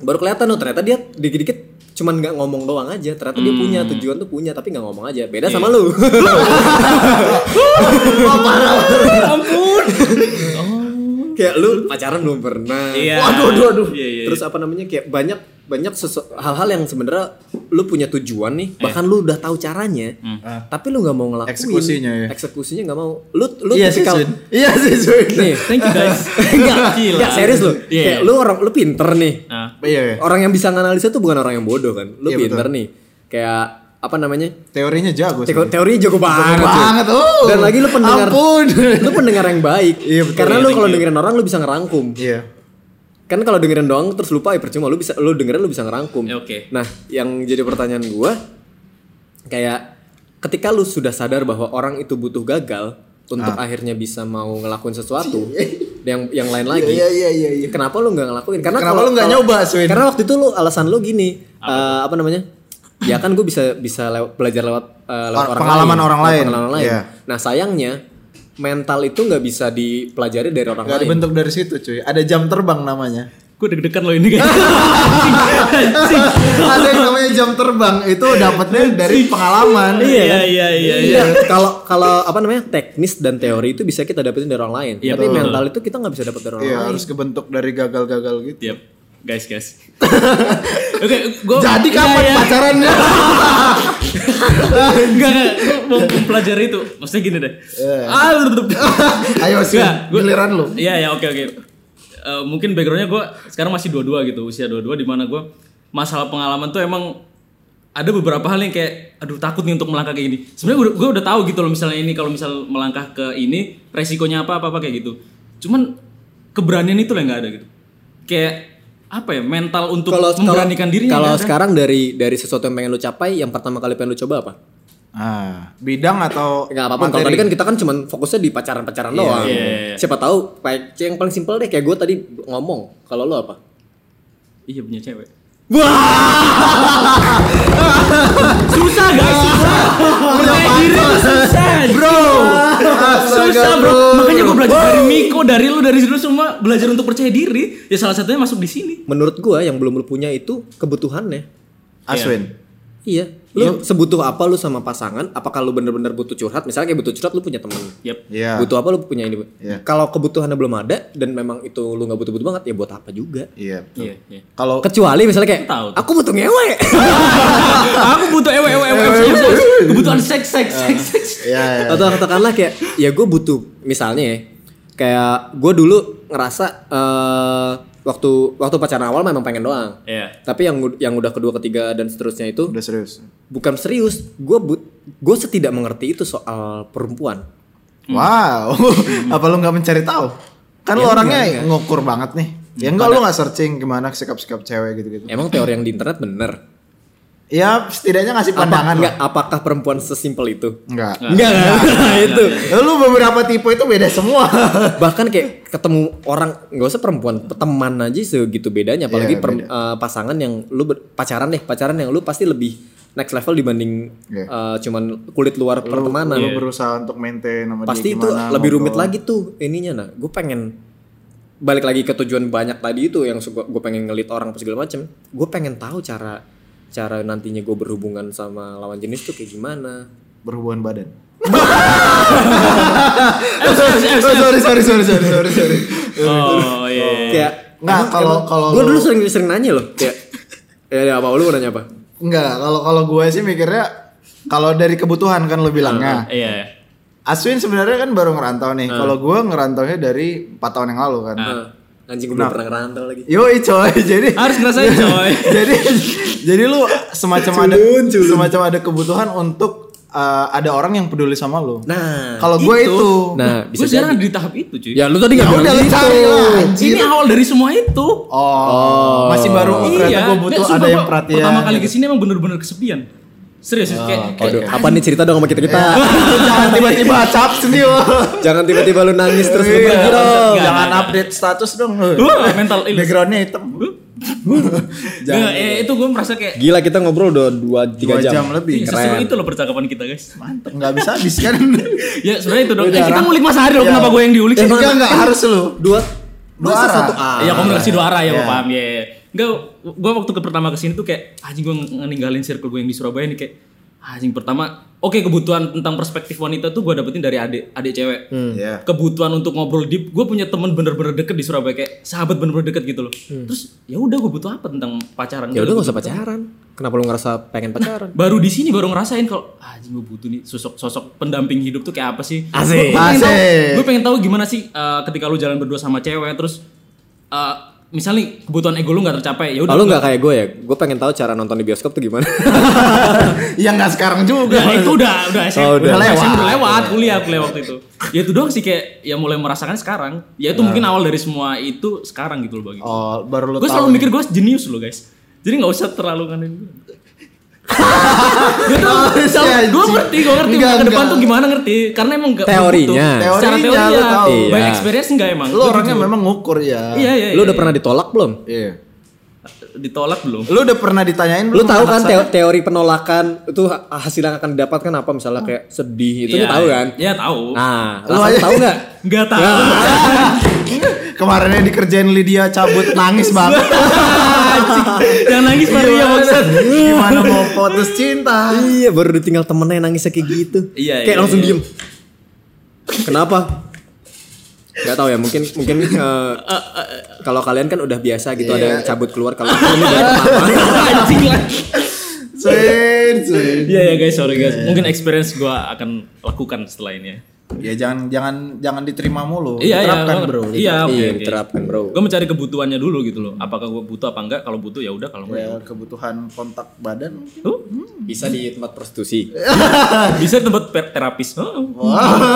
Speaker 4: baru kelihatan oh ternyata dia dikit-dikit cuman nggak ngomong doang aja ternyata dia punya
Speaker 3: Hmm.
Speaker 4: tujuan tuh punya tapi nggak ngomong
Speaker 3: Iya.
Speaker 4: aja beda sama lu Iya.
Speaker 3: Ampun.
Speaker 4: kayak lu pacaran belum pernah
Speaker 3: Iya.
Speaker 4: waduh waduh waduh
Speaker 3: Iya, iya, iya.
Speaker 4: terus apa namanya kayak banyak banyak sesu- hal-hal yang sebenarnya lu punya tujuan
Speaker 3: Iya.
Speaker 4: nih bahkan lu udah tahu caranya
Speaker 3: Hmm.
Speaker 4: tapi lu nggak mau ngelakuin
Speaker 5: Ah. Eksekusinya, iya.
Speaker 4: eksekusinya nggak mau lu lu
Speaker 5: Iya sih,
Speaker 4: tipikal-
Speaker 5: Sun. Iya sih, Sun.
Speaker 4: nih
Speaker 3: Thank you guys.
Speaker 4: enggak
Speaker 3: Gila.
Speaker 4: enggak serius lu
Speaker 3: Iya.
Speaker 4: kayak lu orang lu pinter nih
Speaker 3: Nah.
Speaker 5: Iya. iya.
Speaker 4: orang yang bisa nganalisa tuh bukan orang yang bodoh kan lu
Speaker 5: Iya,
Speaker 4: pinter
Speaker 5: betul.
Speaker 4: nih kayak apa namanya
Speaker 5: Teorinya jago sih.
Speaker 4: Teko- teori jago banget, cuy.
Speaker 5: banget, oh.
Speaker 4: dan lagi lu pendengar
Speaker 5: Ampun.
Speaker 4: lu pendengar yang baik
Speaker 5: Iya, betul. Iya,
Speaker 4: karena lu
Speaker 5: thank
Speaker 4: kalau dengerin orang lu bisa ngerangkum
Speaker 5: Iya.
Speaker 4: kan kalau dengerin doang terus lupa ya percuma lu bisa lu dengerin lu bisa ngerangkum
Speaker 3: Ya, oke.
Speaker 4: nah yang jadi pertanyaan gua kayak ketika lu sudah sadar bahwa orang itu butuh gagal untuk
Speaker 5: Ah.
Speaker 4: akhirnya bisa mau ngelakuin sesuatu yang yang lain lagi
Speaker 5: Iya iya iya iya.
Speaker 4: kenapa lu nggak ngelakuin karena
Speaker 5: Kenapa
Speaker 4: kalau-
Speaker 5: lu nggak
Speaker 4: kalau-
Speaker 5: nyoba, Swin?
Speaker 4: karena waktu itu lu alasan lu gini eh, apa, namanya ya kan gue bisa bisa lew- belajar lewat, eh, lewat
Speaker 5: Or- pengalaman orang
Speaker 4: lewat
Speaker 5: lain.
Speaker 4: pengalaman lain.
Speaker 5: Iya.
Speaker 4: nah sayangnya mental itu nggak bisa dipelajari dari orang
Speaker 5: Gak
Speaker 4: lain
Speaker 5: dibentuk dari situ cuy. Ada jam terbang namanya.
Speaker 3: Gue deg-degan loh ini kayaknya. Anjing.
Speaker 5: Ada yang namanya jam terbang itu dapatnya dari pengalaman.
Speaker 4: kan?
Speaker 3: Iya, iya, iya.
Speaker 4: Iya, kalau kalau apa namanya teknis dan teori itu bisa kita dapetin dari orang lain.
Speaker 3: Iya,
Speaker 4: Tapi
Speaker 3: betul.
Speaker 4: mental itu kita nggak bisa dapet dari orang
Speaker 5: Iya
Speaker 4: lain.
Speaker 5: harus kebentuk dari gagal-gagal gitu.
Speaker 3: Yap. Guys, guys. Oke, gua
Speaker 5: Jadi kapan ya?
Speaker 3: Iya, iya.
Speaker 5: pacarannya?
Speaker 3: Enggak, enggak. Gua mau mempelajari itu. Maksudnya gini deh. Ah, lu-
Speaker 5: Ayo sih,
Speaker 3: Enggak, gua-
Speaker 5: giliran lu.
Speaker 3: Iya, iya, oke, oke. eh, mungkin backgroundnya gue sekarang masih dua-dua gitu usia dua-dua di mana gue masalah pengalaman tuh emang ada beberapa hal yang kayak aduh takut nih untuk melangkah kayak gini sebenarnya gue udah tahu gitu loh misalnya ini kalau misal melangkah ke ini resikonya apa apa apa kayak gitu cuman keberanian itu lah nggak ada gitu kayak apa ya mental untuk
Speaker 4: Kalau
Speaker 3: memberanikan
Speaker 4: kalau-
Speaker 3: dirinya
Speaker 4: Kalau
Speaker 3: nggak ada.
Speaker 4: sekarang dari dari sesuatu yang pengen lu capai, yang pertama kali pengen lu coba apa?
Speaker 5: Ah, bidang atau
Speaker 4: Enggak apa-apa. Kalau tadi kan kita kan cuman fokusnya di pacaran-pacaran doang.
Speaker 3: iya, iya.
Speaker 4: Siapa tahu kayak yang paling simpel deh kayak gue tadi ngomong. Kalau lu apa?
Speaker 3: iya punya cewek
Speaker 4: Susah guys, susah. Percaya diri tuh susah.
Speaker 5: bro.
Speaker 3: susah bro makanya gue belajar dari Miko dari lu dari situ semua belajar untuk percaya diri ya salah satunya masuk di sini
Speaker 4: Menurut gua yang belum lu punya itu kebutuhannya.
Speaker 5: Aswin.
Speaker 4: Iya. Lu sebutuh apa lu sama pasangan? Apakah lu bener-bener butuh curhat? Misalnya kayak butuh curhat lu punya temen.
Speaker 3: Yap.
Speaker 5: Iya.
Speaker 4: Butuh apa lu punya ini?
Speaker 5: Iya.
Speaker 4: Kalau kebutuhannya belum ada dan memang itu lu nggak butuh-butuh banget, ya buat apa juga?
Speaker 5: Iya. betul.
Speaker 3: Iya, iya.
Speaker 5: Kalau
Speaker 4: Kecuali misalnya kayak
Speaker 3: Tahu tuh.
Speaker 4: aku butuh ngewe.
Speaker 5: Ya,
Speaker 3: aku butuh ewe ewe ewe ewe, ewe, ewe. kebutuhan seks seks seks seks
Speaker 5: ya, ya.
Speaker 4: Atau katakanlah kayak ya gue butuh misalnya ya, kayak gue dulu ngerasa eh waktu waktu pacaran awal memang pengen doang.
Speaker 3: Iya.
Speaker 4: Tapi yang ud- yang udah kedua ketiga dan seterusnya itu
Speaker 5: udah serius.
Speaker 4: bukan serius. Gue gue setidak mengerti itu soal perempuan.
Speaker 3: Hmm.
Speaker 5: Wow. apa lu nggak mencari tahu?
Speaker 3: Iya,
Speaker 5: Kan lu orangnya ngukur banget nih. Ya enggak lu nggak searching gimana sikap-sikap cewek gitu-gitu.
Speaker 4: Emang teori yang di internet bener?
Speaker 5: Ya setidaknya ngasih
Speaker 4: Apa-
Speaker 5: pandangan
Speaker 4: enggak,
Speaker 5: lah.
Speaker 4: apakah perempuan sesimpel itu?
Speaker 5: Enggak.
Speaker 4: Enggak, enggak, itu.
Speaker 5: Lu beberapa tipe itu beda semua.
Speaker 4: Bahkan kayak ketemu orang nggak usah perempuan, teman aja segitu bedanya. Apalagi
Speaker 5: Iya,
Speaker 4: per- eh, pasangan yang lu ber- pacaran deh, pacaran yang lu pasti lebih next level dibanding
Speaker 5: Iya.
Speaker 4: eh, cuman kulit luar pertemanan.
Speaker 5: Nah, Lu iya. berusaha untuk maintain sama dia
Speaker 4: Iya. Pasti itu
Speaker 5: gimana,
Speaker 4: lebih rumit
Speaker 5: ngobrol.
Speaker 4: lagi tuh ininya nah. Gue pengen balik lagi ke tujuan banyak tadi itu yang gue pengen ngelit orang apa segala macem. Gue pengen tahu cara cara nantinya gue berhubungan sama lawan jenis tuh kayak gimana.
Speaker 5: berhubungan badan.
Speaker 3: Eh, sorry, sorry, sorry.
Speaker 5: sorry sorry sorry sorry sorry. sorry.
Speaker 3: oh iya
Speaker 4: kayak
Speaker 5: Nggak, kalau- kalau
Speaker 4: gue
Speaker 5: lu-
Speaker 4: dulu sering sering nanya loh kayak ya ya, apa lu mau nanya apa
Speaker 5: Enggak, kalau kalau gue sih mikirnya kalau dari kebutuhan kan lo bilangnya.
Speaker 3: iya iya.
Speaker 5: Aswin sebenarnya kan baru ngerantau nih. Kalau gue ngerantaunya dari 4 tahun yang lalu kan.
Speaker 4: Eh, anjing gue belum pernah ngerantau lagi
Speaker 5: Yoi coy, jadi
Speaker 3: harus ngerasain coy
Speaker 5: jadi jadi lu semacam ada semacam ada kebutuhan untuk eh, ada orang yang peduli sama lu.
Speaker 4: nah
Speaker 5: kalau gue itu,
Speaker 4: nah
Speaker 3: gue
Speaker 4: bisa
Speaker 3: sekarang ada di tahap itu cuy
Speaker 4: ya lu tadi nggak bilang
Speaker 5: udah lu
Speaker 4: gitu
Speaker 5: cari lah.
Speaker 3: ini awal dari semua itu
Speaker 5: Oh, masih baru oh, ternyata gue
Speaker 3: Nggak,
Speaker 5: butuh ada
Speaker 3: sumpah,
Speaker 5: yang
Speaker 3: gua
Speaker 5: perhatian.
Speaker 3: pertama kali kesini emang bener-bener kesepian serius kayak, kayak
Speaker 4: Aduh, apa nih cerita dong sama kita kita
Speaker 5: Iya. Jangan tiba-tiba cap sendiri.
Speaker 4: jangan tiba-tiba lu nangis terus lu
Speaker 5: Iya.
Speaker 4: pergi dong
Speaker 3: Nggak,
Speaker 5: Jangan
Speaker 3: nggak.
Speaker 5: update status dong.
Speaker 3: Wah, uh, mental illness.
Speaker 5: Backgroundnya hitam.
Speaker 3: Nggak, eh, itu gue merasa kayak
Speaker 4: gila kita ngobrol udah dua
Speaker 5: Dua
Speaker 4: tiga jam,
Speaker 5: jam
Speaker 3: Ih,
Speaker 5: lebih.
Speaker 3: seseru itu loh percakapan kita guys
Speaker 5: Mantep, nggak bisa habis kan?
Speaker 3: ya sebenarnya itu dong
Speaker 5: Udah,
Speaker 3: eh, kita
Speaker 5: Ra.
Speaker 3: ngulik mas Ari loh
Speaker 5: Iya.
Speaker 3: kenapa gue yang diulik sih
Speaker 5: Enggak, enggak, harus lu.
Speaker 4: dua
Speaker 5: Dua
Speaker 4: masa
Speaker 5: arah.
Speaker 4: satu arah.
Speaker 3: Ya komunikasi dua arah ya,
Speaker 5: Iya.
Speaker 3: gua paham ya. Enggak, gue waktu ke pertama kesini tuh kayak anjing gue ninggalin circle gue yang di Surabaya nih kayak anjing pertama. Oke kebutuhan tentang perspektif wanita tuh gue dapetin dari adik adik cewek.
Speaker 5: Iya.
Speaker 3: Kebutuhan untuk ngobrol deep, gue punya temen bener-bener deket di Surabaya kayak sahabat bener-bener deket gitu loh.
Speaker 5: Hmm.
Speaker 3: Terus ya udah gue butuh apa tentang pacaran?
Speaker 4: ya
Speaker 3: Gua
Speaker 4: udah
Speaker 3: butuh
Speaker 4: gak usah pacaran kenapa lu ngerasa pengen pacaran
Speaker 3: baru di sini baru ngerasain kalau ah anjing gue butuh nih sosok sosok pendamping hidup tuh kayak apa sih
Speaker 4: Asik.
Speaker 5: Asik.
Speaker 3: gue pengen tahu gimana sih eh, ketika lu jalan berdua sama cewek terus eh, misalnya kebutuhan ego lu nggak tercapai ya udah
Speaker 4: kalau nggak kayak gue ya gue pengen tahu cara nonton di bioskop tuh gimana
Speaker 5: Ya nggak sekarang juga.
Speaker 3: udah itu udah udah SM,
Speaker 4: Oh, udah.
Speaker 3: udah,
Speaker 5: Udah
Speaker 3: SM,
Speaker 5: lewat.
Speaker 3: udah lewat kuliah kuliah waktu itu ya itu doang sih kayak ya mulai merasakan sekarang ya itu mungkin awal dari semua itu sekarang gitu loh bagi
Speaker 5: Oh, baru lu
Speaker 3: gue
Speaker 5: tahu.
Speaker 3: selalu mikir gue jenius loh guys jadi nggak usah terlalu kan nganin gue gue ngerti gue ngerti
Speaker 5: Enggak,
Speaker 3: ke depan
Speaker 5: enggak.
Speaker 3: tuh gimana ngerti karena emang nggak
Speaker 4: Teorinya.
Speaker 3: butuh. secara
Speaker 5: Teorinya
Speaker 3: teorinya
Speaker 5: lu tahu.
Speaker 3: by
Speaker 4: Iya.
Speaker 3: experience nggak emang
Speaker 5: Lu
Speaker 3: Gua
Speaker 5: orangnya
Speaker 3: jujur.
Speaker 5: memang ngukur ya.
Speaker 3: iya iya
Speaker 4: lu udah
Speaker 3: iya.
Speaker 4: pernah ditolak belum
Speaker 5: Iya.
Speaker 3: ditolak belum
Speaker 5: Lu udah pernah ditanyain
Speaker 4: lu
Speaker 5: belum
Speaker 4: tahu
Speaker 5: anak
Speaker 4: kan
Speaker 5: saya?
Speaker 4: teo- teori penolakan itu ha- hasil yang akan didapatkan apa misalnya kayak sedih itu lu
Speaker 3: Iya,
Speaker 4: tahu kan
Speaker 3: iya tahu
Speaker 4: nah
Speaker 5: Lu
Speaker 4: rasa lu
Speaker 5: aja-
Speaker 4: tahu nggak
Speaker 3: nggak tahu
Speaker 5: Kemarin yang dikerjain Lydia cabut nangis banget.
Speaker 3: jangan nangis ya, Maria maksud
Speaker 5: Gimana mau putus cinta?
Speaker 4: iya baru ditinggal temennya yang nangisnya kayak gitu
Speaker 3: Iya, iya,
Speaker 4: kayak langsung
Speaker 3: iya.
Speaker 4: diem kenapa Gak tahu ya mungkin mungkin eh, kalau kalian kan udah biasa gitu
Speaker 3: Iya.
Speaker 4: ada yang cabut keluar kalau aku ini dari pertama
Speaker 3: anjing lah
Speaker 5: Swin, swin.
Speaker 3: Iya ya guys, sorry guys. Mungkin experience gua akan lakukan setelah ini. ya.
Speaker 5: ya jangan jangan jangan diterima mulu
Speaker 3: Iya, iya,
Speaker 5: terapkan
Speaker 3: gua-
Speaker 5: bro
Speaker 3: Iya, oke,
Speaker 4: iya
Speaker 3: oke.
Speaker 4: diterapkan bro
Speaker 3: Gue mencari kebutuhannya dulu gitu loh. Apakah gue butuh apa enggak? Kalau butuh ya udah, kalau
Speaker 4: Iya.
Speaker 3: enggak ya
Speaker 5: Ya, kebutuhan kontak badan mungkin.
Speaker 3: Huh?
Speaker 4: bisa di tempat prostitusi
Speaker 3: Iya. Bisa di tempat per- terapis. Huh?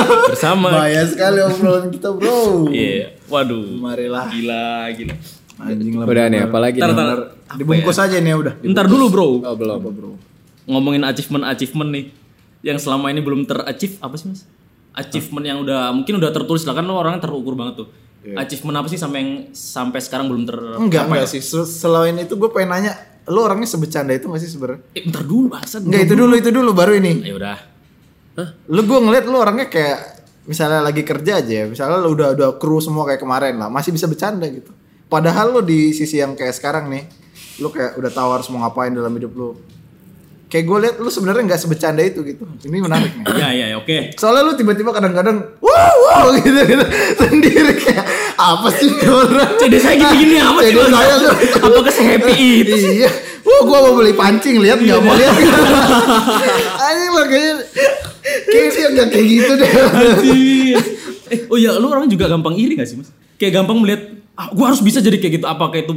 Speaker 3: Bersama.
Speaker 5: bahaya sekali obrolan kita bro
Speaker 3: Iya. Waduh.
Speaker 5: Marilah.
Speaker 3: Gila, gila.
Speaker 5: anjing lah
Speaker 4: udah nih apalagi
Speaker 3: Ntar,
Speaker 4: nih?
Speaker 3: ntar,
Speaker 5: dibungkus
Speaker 3: ya?
Speaker 5: aja nih udah
Speaker 3: ntar dulu bro.
Speaker 4: oh, belum
Speaker 3: Ngomongin achievement-achievement nih. Yang selama ini belum terachieve apa sih mas? Achievement yang udah mungkin udah tertulis lah kan lo orangnya terukur banget tuh.
Speaker 4: Iya.
Speaker 3: Achievement apa sih sampai yang sampai sekarang belum ter
Speaker 5: enggak
Speaker 3: ya?
Speaker 5: enggak sih Se- selain itu gue pengen nanya lu orangnya sebecanda itu gak sih sebenarnya
Speaker 3: Eh, ntar dulu bahasan.
Speaker 5: enggak itu dulu itu dulu baru ini
Speaker 3: Ya udah.
Speaker 5: lu gue ngeliat lu orangnya kayak misalnya lagi kerja aja ya, misalnya lu udah udah kru semua kayak kemarin lah masih bisa bercanda gitu padahal lu di sisi yang kayak sekarang nih lu kayak udah tawar semua ngapain dalam hidup lu kayak gue liat lu sebenarnya nggak sebecanda itu gitu ini menarik nih
Speaker 3: Ya ya ya, oke.
Speaker 5: soalnya lu tiba-tiba kadang-kadang wow wow gitu gitu sendiri kayak apa sih ini orang
Speaker 3: Jadi saya gini-gini amat sih,
Speaker 5: Jadi
Speaker 3: Mas?
Speaker 5: saya tuh
Speaker 3: Apakah se-happy itu sih? Iya.
Speaker 5: iya Wah, gua mau beli pancing lihat nggak mau lihat. Anjing lah kayaknya kayak dia nggak kayak gitu deh.
Speaker 3: Anjir. eh, oh ya, lu orang juga gampang iri gak sih, Mas? Kayak gampang melihat ah, gua harus bisa jadi kayak gitu. Apakah itu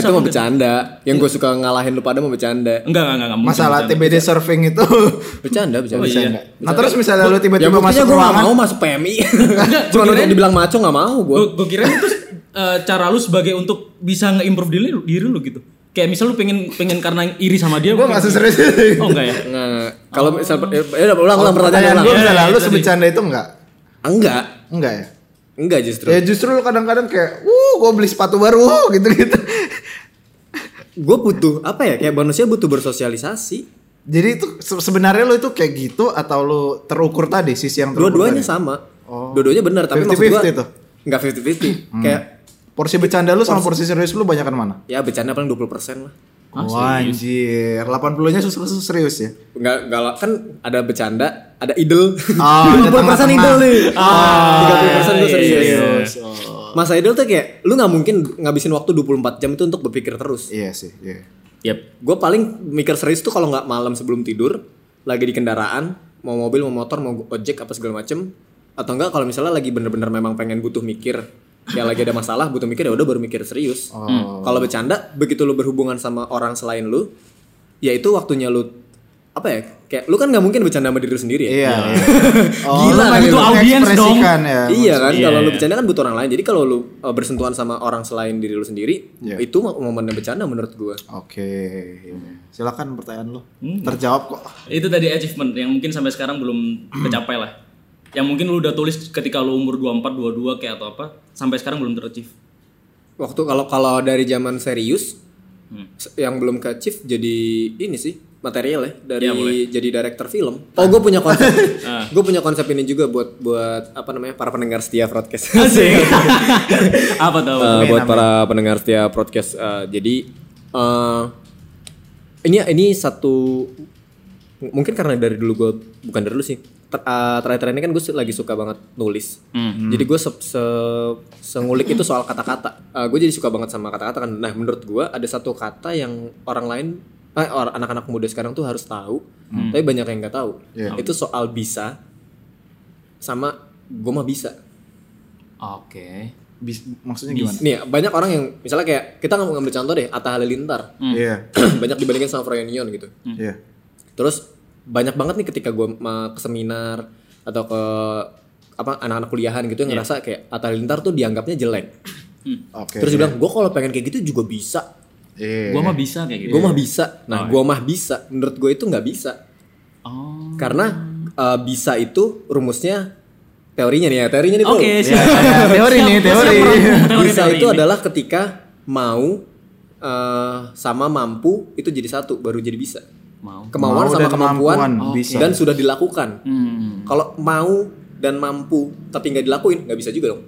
Speaker 3: bangsa
Speaker 4: itu mau
Speaker 3: apa enggak?
Speaker 4: bercanda. Yang gue suka ngalahin lu pada mau bercanda.
Speaker 3: Enggak, enggak, enggak, enggak. mungkin
Speaker 5: Masalah
Speaker 3: bercanda.
Speaker 5: TBD surfing itu.
Speaker 4: Bercanda, bercanda.
Speaker 3: Oh, iya.
Speaker 4: Bercanda.
Speaker 5: Nah terus misalnya lu
Speaker 4: Ya
Speaker 5: tiba-tiba
Speaker 4: buktinya
Speaker 5: masuk
Speaker 4: gue gak
Speaker 5: ruangan.
Speaker 4: mau masuk PMI. Cuma
Speaker 3: gua
Speaker 4: untuk
Speaker 3: kirain-
Speaker 4: dibilang maco gak mau gue.
Speaker 3: Gue gue kira itu eh, cara lu sebagai untuk bisa nge-improve diri, lu- diri lu gitu. Kayak misal lu pengen pengen karena iri sama dia.
Speaker 5: Gue
Speaker 3: mungkin-
Speaker 5: nggak serius itu.
Speaker 3: Oh enggak ya.
Speaker 4: Nah, kalau misal ya udah ulang
Speaker 3: Oh,
Speaker 4: ulang pertanyaan
Speaker 5: Pertanyaan gue
Speaker 4: ulang.
Speaker 5: misalnya
Speaker 3: Iya,
Speaker 5: lu
Speaker 3: iya,
Speaker 5: sebecanda itu enggak?
Speaker 4: Enggak,
Speaker 5: Enggak ya?
Speaker 4: enggak justru.
Speaker 5: Ya justru lu kadang-kadang kayak, uh, gue beli sepatu baru, gitu-gitu.
Speaker 4: Gue butuh apa ya? Kayak manusia butuh bersosialisasi.
Speaker 5: Jadi itu se- sebenarnya lu itu kayak gitu atau lu terukur tadi sisi yang terukur?
Speaker 4: Dua-duanya
Speaker 5: tadi?
Speaker 4: sama.
Speaker 5: Oh.
Speaker 4: Dua-duanya benar, tapi maksud
Speaker 5: 50-50 tuh?
Speaker 4: gue enggak 50-50. Kayak
Speaker 5: Porsi bercanda lu sama porsi serius lu banyakan mana?
Speaker 4: ya bercanda paling 20% lah.
Speaker 5: Wah anjir, 80-nya susah susah serius ya.
Speaker 4: Enggak enggak lah. kan ada bercanda, ada idol.
Speaker 5: Oh, ada
Speaker 4: 50% idol
Speaker 5: tengah-tengah.
Speaker 4: nih.
Speaker 3: iya,
Speaker 4: Ah, 30% gue
Speaker 3: iya,
Speaker 4: serius.
Speaker 3: iya.
Speaker 4: Masa idol tuh kayak lu nggak mungkin ngabisin waktu 24 jam itu untuk berpikir terus.
Speaker 5: Iya sih, iya.
Speaker 3: Yep.
Speaker 4: Gue paling mikir serius tuh kalau nggak malam sebelum tidur, lagi di kendaraan, mau mobil, mau motor, mau ojek apa segala macem, atau enggak kalau misalnya lagi bener-bener memang pengen butuh mikir, kayak lagi ada masalah butuh mikir ya udah baru mikir serius.
Speaker 5: Oh.
Speaker 4: Kalau bercanda, begitu lu berhubungan sama orang selain lu, ya itu waktunya lu apa ya? Kayak lu kan nggak mungkin bercanda sama diri lu sendiri ya.
Speaker 5: Iya.
Speaker 4: Gila,
Speaker 5: lu
Speaker 4: itu
Speaker 3: audiens
Speaker 5: pengen
Speaker 3: dong.
Speaker 5: mengekspresikan Ya.
Speaker 4: iya kan
Speaker 3: Iya,
Speaker 4: kalau lu
Speaker 3: iya.
Speaker 4: bercanda kan butuh orang lain jadi kalau lu uh, bersentuhan sama orang selain diri lu sendiri
Speaker 5: Iya.
Speaker 4: itu mo- momennya bercanda menurut gua
Speaker 5: Oke. iya. Silakan pertanyaan lu.
Speaker 4: Hmm.
Speaker 5: Terjawab kok.
Speaker 3: Itu tadi achievement yang mungkin sampai sekarang belum tercapai lah. Yang mungkin lu udah tulis ketika lu umur 24, 22 kayak atau apa, sampai sekarang belum terachieve.
Speaker 4: waktu kalau kalau dari zaman serius
Speaker 3: Hmm.
Speaker 4: s- yang belum ke chief jadi ini sih material ya dari
Speaker 3: Iya, boleh. Ah.
Speaker 4: jadi director film oh gue punya konsep gue punya konsep ini juga buat buat apa namanya para pendengar setia broadcast
Speaker 3: Ah, apa tuh? apa tuh?
Speaker 4: Eh, buat para pendengar setia podcast. eh, jadi eh, ini ini satu m- mungkin karena dari dulu gue bukan dari dulu sih. Ter- eh, Terakhir-terakhir ini kan gue lagi suka banget nulis. Jadi gue se, se- sengulik itu soal kata-kata. gue jadi suka banget sama kata-kata kan. Nah menurut gue ada satu kata yang orang lain, eh, orang anak-anak muda sekarang tuh harus tahu. Tapi banyak yang nggak tahu.
Speaker 5: Iya.
Speaker 4: Itu soal bisa sama gue mah bisa.
Speaker 3: Oke.
Speaker 5: Bis- maksudnya gimana?
Speaker 4: Nih banyak orang yang misalnya kayak kita nggak mau ngambil contoh deh Atta Halilintar
Speaker 5: Iya.
Speaker 4: banyak dibandingin sama Froyonion gitu.
Speaker 5: Iya.
Speaker 4: Terus banyak banget nih ketika gue ke seminar atau ke apa anak-anak kuliahan gitu yang ngerasa kayak Atta Halilintar tuh dianggapnya jelek.
Speaker 5: Oke.
Speaker 4: Terus dia bilang gue kalau pengen kayak gitu juga bisa.
Speaker 5: Iya.
Speaker 3: Gua mah bisa kayak gitu.
Speaker 4: Gue mah bisa. Nah gue mah bisa. Menurut gue itu nggak bisa.
Speaker 3: Oh.
Speaker 4: Karena eh, bisa itu rumusnya teorinya nih ya teorinya nih bro.
Speaker 3: Oke, siap.
Speaker 5: Ya, teori nih,
Speaker 3: Siap, gua siap
Speaker 5: teori.
Speaker 3: merangkum teori-teori
Speaker 4: bisa itu
Speaker 3: ini.
Speaker 4: adalah ketika mau eh, sama mampu itu jadi satu baru jadi bisa
Speaker 3: mau.
Speaker 5: Mau
Speaker 4: kemauan sama
Speaker 5: dan
Speaker 4: kemampuan
Speaker 5: mampuan, bisa.
Speaker 4: dan sudah dilakukan
Speaker 3: Hmm.
Speaker 4: kalau mau dan mampu tapi nggak dilakuin nggak bisa juga dong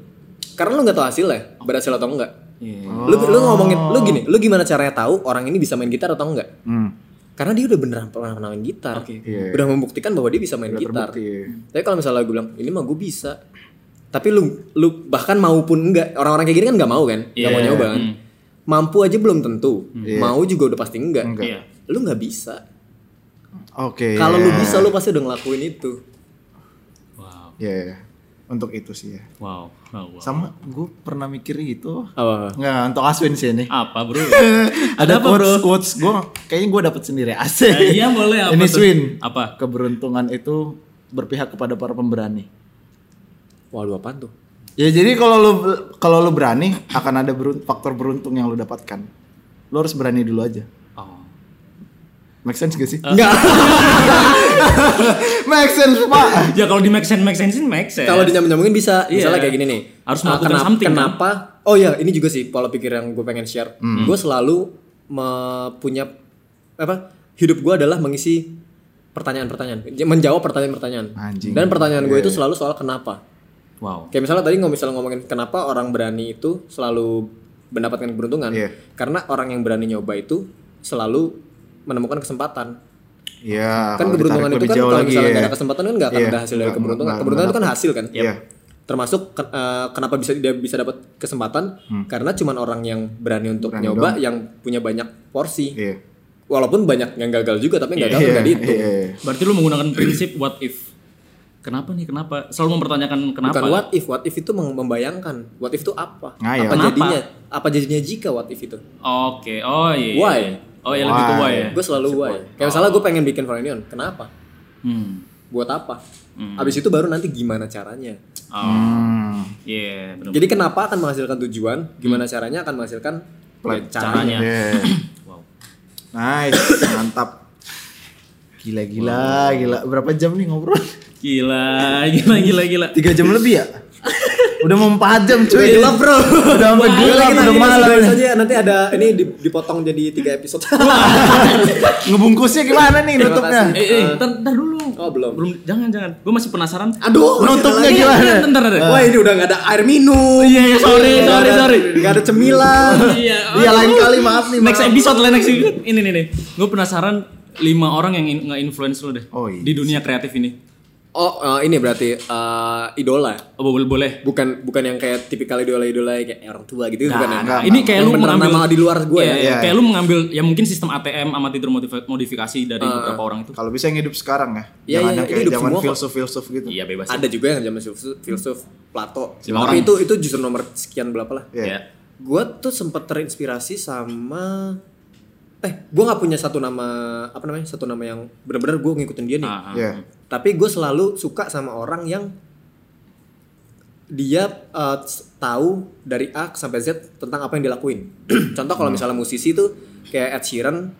Speaker 4: karena lu nggak tahu hasilnya berhasil atau enggak
Speaker 3: Iya.
Speaker 4: lu lu ngomongin lu gini lu gimana caranya tahu orang ini bisa main gitar atau enggak
Speaker 5: Hmm.
Speaker 4: karena dia udah beneran pernah main gitar
Speaker 3: Oke.
Speaker 5: Iya.
Speaker 4: udah membuktikan bahwa dia bisa main
Speaker 5: Udah
Speaker 4: gitar
Speaker 5: terbukti.
Speaker 4: tapi kalau misalnya gue bilang ini mah gue bisa tapi lu lu bahkan maupun enggak orang-orang kayak gini kan nggak mau kan nggak mau
Speaker 3: Iya.
Speaker 4: nyoba kan
Speaker 3: Hmm.
Speaker 4: mampu aja belum tentu mau juga udah pasti enggak,
Speaker 5: Iya. Enggak.
Speaker 3: Iya.
Speaker 4: lu nggak bisa
Speaker 5: Oke.
Speaker 4: kalau lu
Speaker 5: iya.
Speaker 4: bisa lu pasti udah ngelakuin itu
Speaker 3: Wow.
Speaker 5: ya ya, ya. untuk itu sih ya
Speaker 3: Wow. wow, wow.
Speaker 5: sama gue pernah mikir itu
Speaker 4: Apa? Ah.
Speaker 5: nggak untuk Aswin sih ini
Speaker 3: Apa bro? Eh,
Speaker 5: ada
Speaker 3: apa,
Speaker 5: quotes quotes gue kayaknya gue dapet sendiri asik
Speaker 4: Nah,
Speaker 3: Eh, iya, boleh, apa
Speaker 5: ini
Speaker 3: tuh?
Speaker 5: Swin
Speaker 3: Apa?
Speaker 5: keberuntungan itu berpihak kepada para pemberani
Speaker 4: Waduh apaan tuh?
Speaker 5: ya jadi kalau lu kalau lu berani akan ada berun- faktor beruntung yang lu dapatkan lu harus berani dulu aja
Speaker 3: Oh.
Speaker 5: make sense gak
Speaker 4: Eh.
Speaker 5: sih Enggak make sense pak
Speaker 3: Ya kalau di make sense make sense make sense.
Speaker 4: Kalau dinyambung-nyambungin bisa,
Speaker 3: Iya.
Speaker 4: misalnya kayak gini nih.
Speaker 3: Harus
Speaker 4: Ah,
Speaker 3: melakukan
Speaker 4: kenapa,
Speaker 3: something, kan?
Speaker 4: Kenapa? Oh ya, ini juga sih pola pikir yang gue pengen share.
Speaker 5: Hmm.
Speaker 4: Gue selalu me- punya apa? Hidup gue adalah mengisi pertanyaan-pertanyaan, menjawab pertanyaan-pertanyaan.
Speaker 5: Anjing.
Speaker 4: Dan pertanyaan gue itu selalu soal kenapa.
Speaker 3: Iya, Wow.
Speaker 4: Kayak misalnya tadi ngomong misalnya ngomongin kenapa orang berani itu selalu mendapatkan keberuntungan.
Speaker 5: Iya.
Speaker 4: Karena orang yang berani nyoba itu selalu menemukan kesempatan.
Speaker 5: ya
Speaker 4: kan
Speaker 5: kalau
Speaker 4: keberuntungan
Speaker 5: ditarik
Speaker 4: itu
Speaker 5: lebih
Speaker 4: kan
Speaker 5: jauh
Speaker 4: kalau
Speaker 5: lagi,
Speaker 4: misalnya
Speaker 5: ya.
Speaker 4: nggak ada kesempatan kan nggak akan
Speaker 5: Iya,
Speaker 4: ada hasil dari
Speaker 5: nggak-
Speaker 4: keberuntungan.
Speaker 5: nggak-
Speaker 4: Keberuntungan itu kan
Speaker 5: nggak
Speaker 4: hasil kan.
Speaker 5: Iya.
Speaker 4: Termasuk ke- eh, kenapa bisa dia bisa dapat kesempatan karena cuman orang yang berani untuk
Speaker 5: Hmm. Berani
Speaker 4: nyoba yang punya banyak porsi.
Speaker 5: Iya.
Speaker 4: Walaupun banyak yang gagal juga tapi yang gagal
Speaker 5: Iya,
Speaker 4: nggak dihitung.
Speaker 5: iya, iya.
Speaker 3: Berarti lu menggunakan prinsip what if. Kenapa nih? Kenapa? Selalu mempertanyakan kenapa.
Speaker 4: Bukan what if, what if itu meng- membayangkan. What if itu apa?
Speaker 5: Ngayal.
Speaker 4: Apa
Speaker 3: Kenapa?
Speaker 4: jadinya? Apa jadinya jika what if itu?
Speaker 3: Oke. Oh iya.
Speaker 4: Why?
Speaker 3: Oh iya lebih ke
Speaker 5: Why.
Speaker 3: why ya.
Speaker 4: Gue selalu why. Kayak misalnya gue pengen bikin Valenion, kenapa?
Speaker 3: Hmm.
Speaker 4: Buat apa? Abis itu baru nanti gimana caranya.
Speaker 3: Oh,
Speaker 5: Hmm.
Speaker 3: iya benar.
Speaker 4: Jadi kenapa akan menghasilkan tujuan, gimana caranya akan menghasilkan ya,
Speaker 3: Hmm.
Speaker 4: caranya.
Speaker 3: Caranya.
Speaker 5: Yeah.
Speaker 3: Wow.
Speaker 5: Iya. Nice, mantap. Gila gila gila. Berapa jam nih ngobrol?
Speaker 3: Gila, gila, gila, gila.
Speaker 5: Tiga jam lebih ya? Iya. Udah mau empat jam cuy.
Speaker 4: Gelap, bro.
Speaker 5: Udah sampai
Speaker 4: Wah,
Speaker 5: gelap,
Speaker 4: kita
Speaker 5: udah
Speaker 4: ini
Speaker 5: malam.
Speaker 4: sebentar saja nanti ada ini di- dipotong jadi tiga episode.
Speaker 5: Ngebungkusnya gimana nih
Speaker 4: Terima
Speaker 5: nutupnya?
Speaker 4: kasih.
Speaker 3: Eh, eh, ntar, ntar dulu.
Speaker 4: Oh, belum.
Speaker 3: Belum, jangan, jangan. Gue masih penasaran.
Speaker 4: Aduh, masih
Speaker 5: Nutupnya
Speaker 4: ada lagi.
Speaker 5: gimana?
Speaker 3: Ntar, ntar, ntar.
Speaker 4: Wah, ini udah nggak ada air minum.
Speaker 3: Iya, iya, sorry, sorry,
Speaker 4: Nggak ada-
Speaker 3: sorry.
Speaker 4: Nggak ada cemilan.
Speaker 3: Iya,
Speaker 5: Iya lain kali maaf nih.
Speaker 3: Next
Speaker 5: maaf.
Speaker 3: episode lah next episode. Ini nih nih. Gue penasaran lima orang yang in- nge-influence lu deh
Speaker 5: Oh, iya.
Speaker 3: di dunia kreatif ini.
Speaker 4: Oh, eh, ini berarti eh, idola.
Speaker 3: Oh, boleh boleh.
Speaker 4: Bukan bukan yang kayak tipikal idola-idola kayak orang tua gitu bukan ya?
Speaker 5: nggak.
Speaker 3: ini kayak
Speaker 4: Yang
Speaker 3: lu
Speaker 4: beneran
Speaker 3: mengambil
Speaker 4: nama di luar gua
Speaker 3: Iya,
Speaker 4: ya?
Speaker 3: iya,
Speaker 5: Iya,
Speaker 3: Kayak
Speaker 5: iya.
Speaker 3: lu mengambil ya mungkin sistem ATM sama tidur modifi- modifikasi dari
Speaker 4: Ah.
Speaker 3: beberapa orang itu.
Speaker 5: Kalau bisa yang hidup sekarang ya.
Speaker 4: Iya,
Speaker 5: Jangan
Speaker 4: iya,
Speaker 5: yang
Speaker 4: iya,
Speaker 5: kayak
Speaker 4: hidup
Speaker 5: zaman
Speaker 4: semua kok.
Speaker 5: filsuf-filsuf gitu.
Speaker 3: Iya, bebas.
Speaker 4: Ada juga yang zaman filsuf, filsuf Plato.
Speaker 3: Lima
Speaker 4: Tapi
Speaker 3: orang.
Speaker 4: itu itu justru nomor sekian berapa lah.
Speaker 5: Iya.
Speaker 3: Iya.
Speaker 4: Gue tuh sempat terinspirasi sama eh gue nggak punya satu nama apa namanya satu nama yang benar-benar gue ngikutin dia nih.
Speaker 3: Ah, ah.
Speaker 5: Iya.
Speaker 4: Tapi gue selalu suka sama orang yang dia eh, tahu dari A sampai Z tentang apa yang dilakuin. Contoh
Speaker 5: Hmm.
Speaker 4: kalau misalnya musisi itu kayak Ed Sheeran,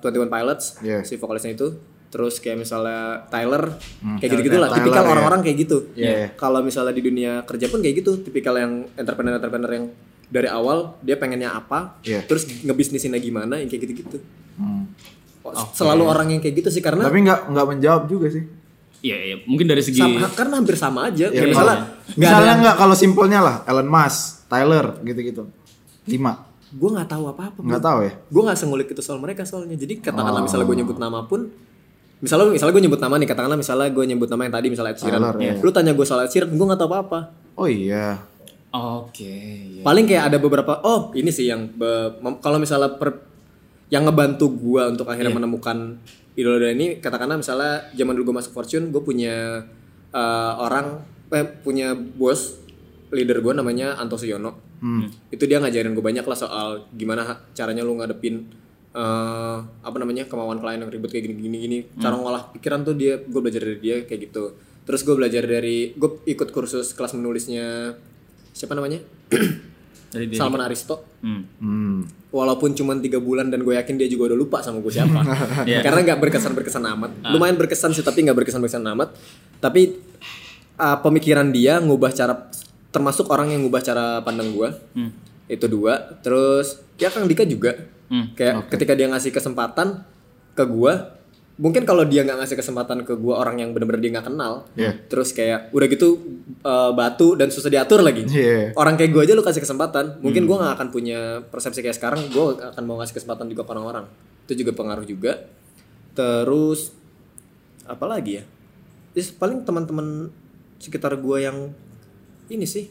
Speaker 4: Twenty One Pilots,
Speaker 5: Iya.
Speaker 4: si vokalisnya itu. Terus kayak misalnya Tyler, kayak
Speaker 5: Tyler,
Speaker 4: gitu-gitu lah.
Speaker 5: Tyler,
Speaker 4: Tipikal
Speaker 5: ya.
Speaker 4: orang-orang kayak gitu.
Speaker 5: Iya, iya.
Speaker 4: Kalau misalnya di dunia kerja pun kayak gitu. Tipikal yang entrepreneur-entrepreneur yang dari awal dia pengennya apa,
Speaker 5: Iya.
Speaker 4: terus ngebisnisinnya gimana, yang kayak gitu-gitu.
Speaker 5: Hmm.
Speaker 4: Selalu orang yang kayak gitu sih karena
Speaker 5: Tapi nggak nggak menjawab juga sih.
Speaker 3: Iya, iya. Mungkin dari segi
Speaker 4: sama, karena hampir sama
Speaker 5: Ya,
Speaker 4: aja. Kayak misalnya, nggak
Speaker 5: misalnya
Speaker 4: ada-
Speaker 5: nggak kalau simpelnya lah Elon Musk, Tyler gitu-gitu. Lima.
Speaker 4: gue nggak tahu apa-apa.
Speaker 5: Nggak tahu Oh. ya?
Speaker 4: Gue nggak sengulik itu soal mereka soalnya. Jadi katakanlah misalnya gue nyebut nama pun, misalnya misalnya gue nyebut nama nih, katakanlah misalnya gue nyebut nama yang tadi misalnya Ed Sheeran.
Speaker 5: Tyler, ya.
Speaker 4: Lu tanya gue soal Ed Sheeran, gue nggak tahu apa-apa.
Speaker 5: Oh iya.
Speaker 3: Oke, iya.
Speaker 4: Paling kayak ada beberapa, oh ini sih yang be- mem- kalau misalnya per- yang ngebantu gue untuk akhirnya
Speaker 3: Iya.
Speaker 4: menemukan idola idola ini, katakanlah misalnya zaman dulu gue masuk Fortune, gue punya eh, orang, eh, punya bos leader gue namanya Anto Suyono.
Speaker 5: Hmm.
Speaker 4: itu dia ngajarin gue banyak lah soal gimana ha- caranya lu ngadepin eh apa namanya kemauan klien yang ribet kayak gini gini gini
Speaker 3: Hmm.
Speaker 4: cara ngolah pikiran tuh dia gue belajar dari dia kayak gitu terus gue belajar dari gue ikut kursus kelas menulisnya siapa namanya
Speaker 3: Dari dia.
Speaker 4: Salman Aristo
Speaker 3: Hmm.
Speaker 5: Hmm.
Speaker 4: walaupun cuma tiga bulan dan gue yakin dia juga udah lupa sama gue siapa
Speaker 3: Iya. Ah.
Speaker 4: karena nggak berkesan berkesan amat lumayan berkesan sih tapi nggak berkesan berkesan amat tapi uh, pemikiran dia ngubah cara termasuk orang yang ngubah cara pandang gue
Speaker 3: Hmm.
Speaker 4: itu dua terus ya Kang Dika juga
Speaker 3: Hmm,
Speaker 4: kayak ketika dia ngasih kesempatan ke gue mungkin kalau dia nggak ngasih kesempatan ke gue orang yang bener-bener dia nggak kenal
Speaker 5: Iya.
Speaker 4: terus kayak udah gitu uh, batu dan susah diatur lagi
Speaker 5: Iya.
Speaker 4: orang kayak gue aja lu kasih kesempatan
Speaker 5: Hmm.
Speaker 4: mungkin gua gue nggak akan punya persepsi kayak sekarang gue akan mau ngasih kesempatan juga ke orang-orang itu juga pengaruh juga terus apa lagi ya Is paling teman-teman sekitar gue yang ini sih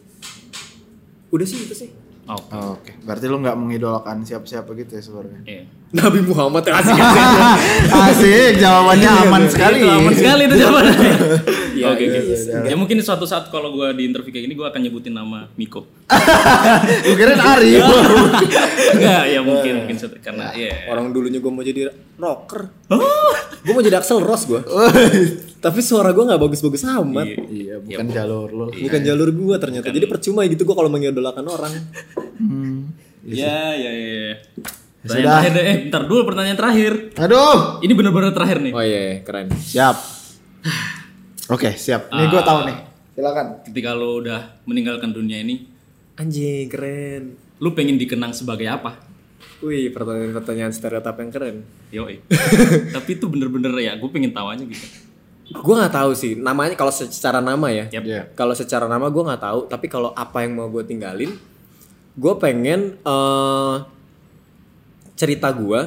Speaker 4: udah sih itu sih
Speaker 3: Oke.
Speaker 5: Oh, Oke, berarti lu nggak mengidolakan siapa-siapa gitu ya sebenarnya?
Speaker 3: Iya.
Speaker 4: Nabi Muhammad ya, asik asik.
Speaker 5: Asik, jawabannya aman
Speaker 3: Itu
Speaker 5: sekali.
Speaker 3: Iya, aman sekali itu jawabannya.
Speaker 4: Iya,
Speaker 3: Oke,
Speaker 4: iya,
Speaker 3: oke.
Speaker 4: iya,
Speaker 3: Ya mungkin suatu saat kalau gua di interview kayak gini gua akan nyebutin nama Miko.
Speaker 5: Gue kira Ari.
Speaker 3: Enggak, ya mungkin mungkin suatu- karena ya.
Speaker 4: Orang dulunya gue mau jadi rocker. gue mau jadi Axel Rose gue. Tapi suara gue nggak bagus-bagus amat.
Speaker 5: Iya, bukan jalur lu.
Speaker 4: Bukan jalur gue ternyata. Jadi percuma gitu gue kalau mengidolakan orang.
Speaker 3: Ya, ya, ya. ya. Pertanyaan
Speaker 5: Sudah.
Speaker 3: terakhir deh. Eh, bentar dulu pertanyaan terakhir.
Speaker 5: Aduh,
Speaker 3: Ini benar-benar terakhir nih.
Speaker 4: Oh iya, iya, keren.
Speaker 5: siap. Oke, siap. Nih gue tahu nih. Silakan.
Speaker 3: Ketika lo udah meninggalkan dunia ini,
Speaker 4: Anjing, keren.
Speaker 3: lu pengen dikenang sebagai apa?
Speaker 4: Wih, pertanyaan-pertanyaan stereotip yang keren.
Speaker 3: Yo, tapi itu bener-bener ya, gue pengen tahu aja gitu.
Speaker 4: Gue nggak tahu sih namanya kalau secara nama ya.
Speaker 3: Yap.
Speaker 5: Iya.
Speaker 4: Kalau secara nama gue nggak tahu, tapi kalau apa yang mau gue tinggalin, gue pengen eh, cerita gue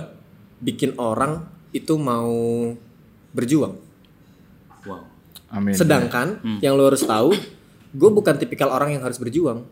Speaker 4: bikin orang itu mau berjuang.
Speaker 3: Wow.
Speaker 5: Amin.
Speaker 4: Sedangkan yang lo harus tahu, gue bukan tipikal orang yang harus berjuang.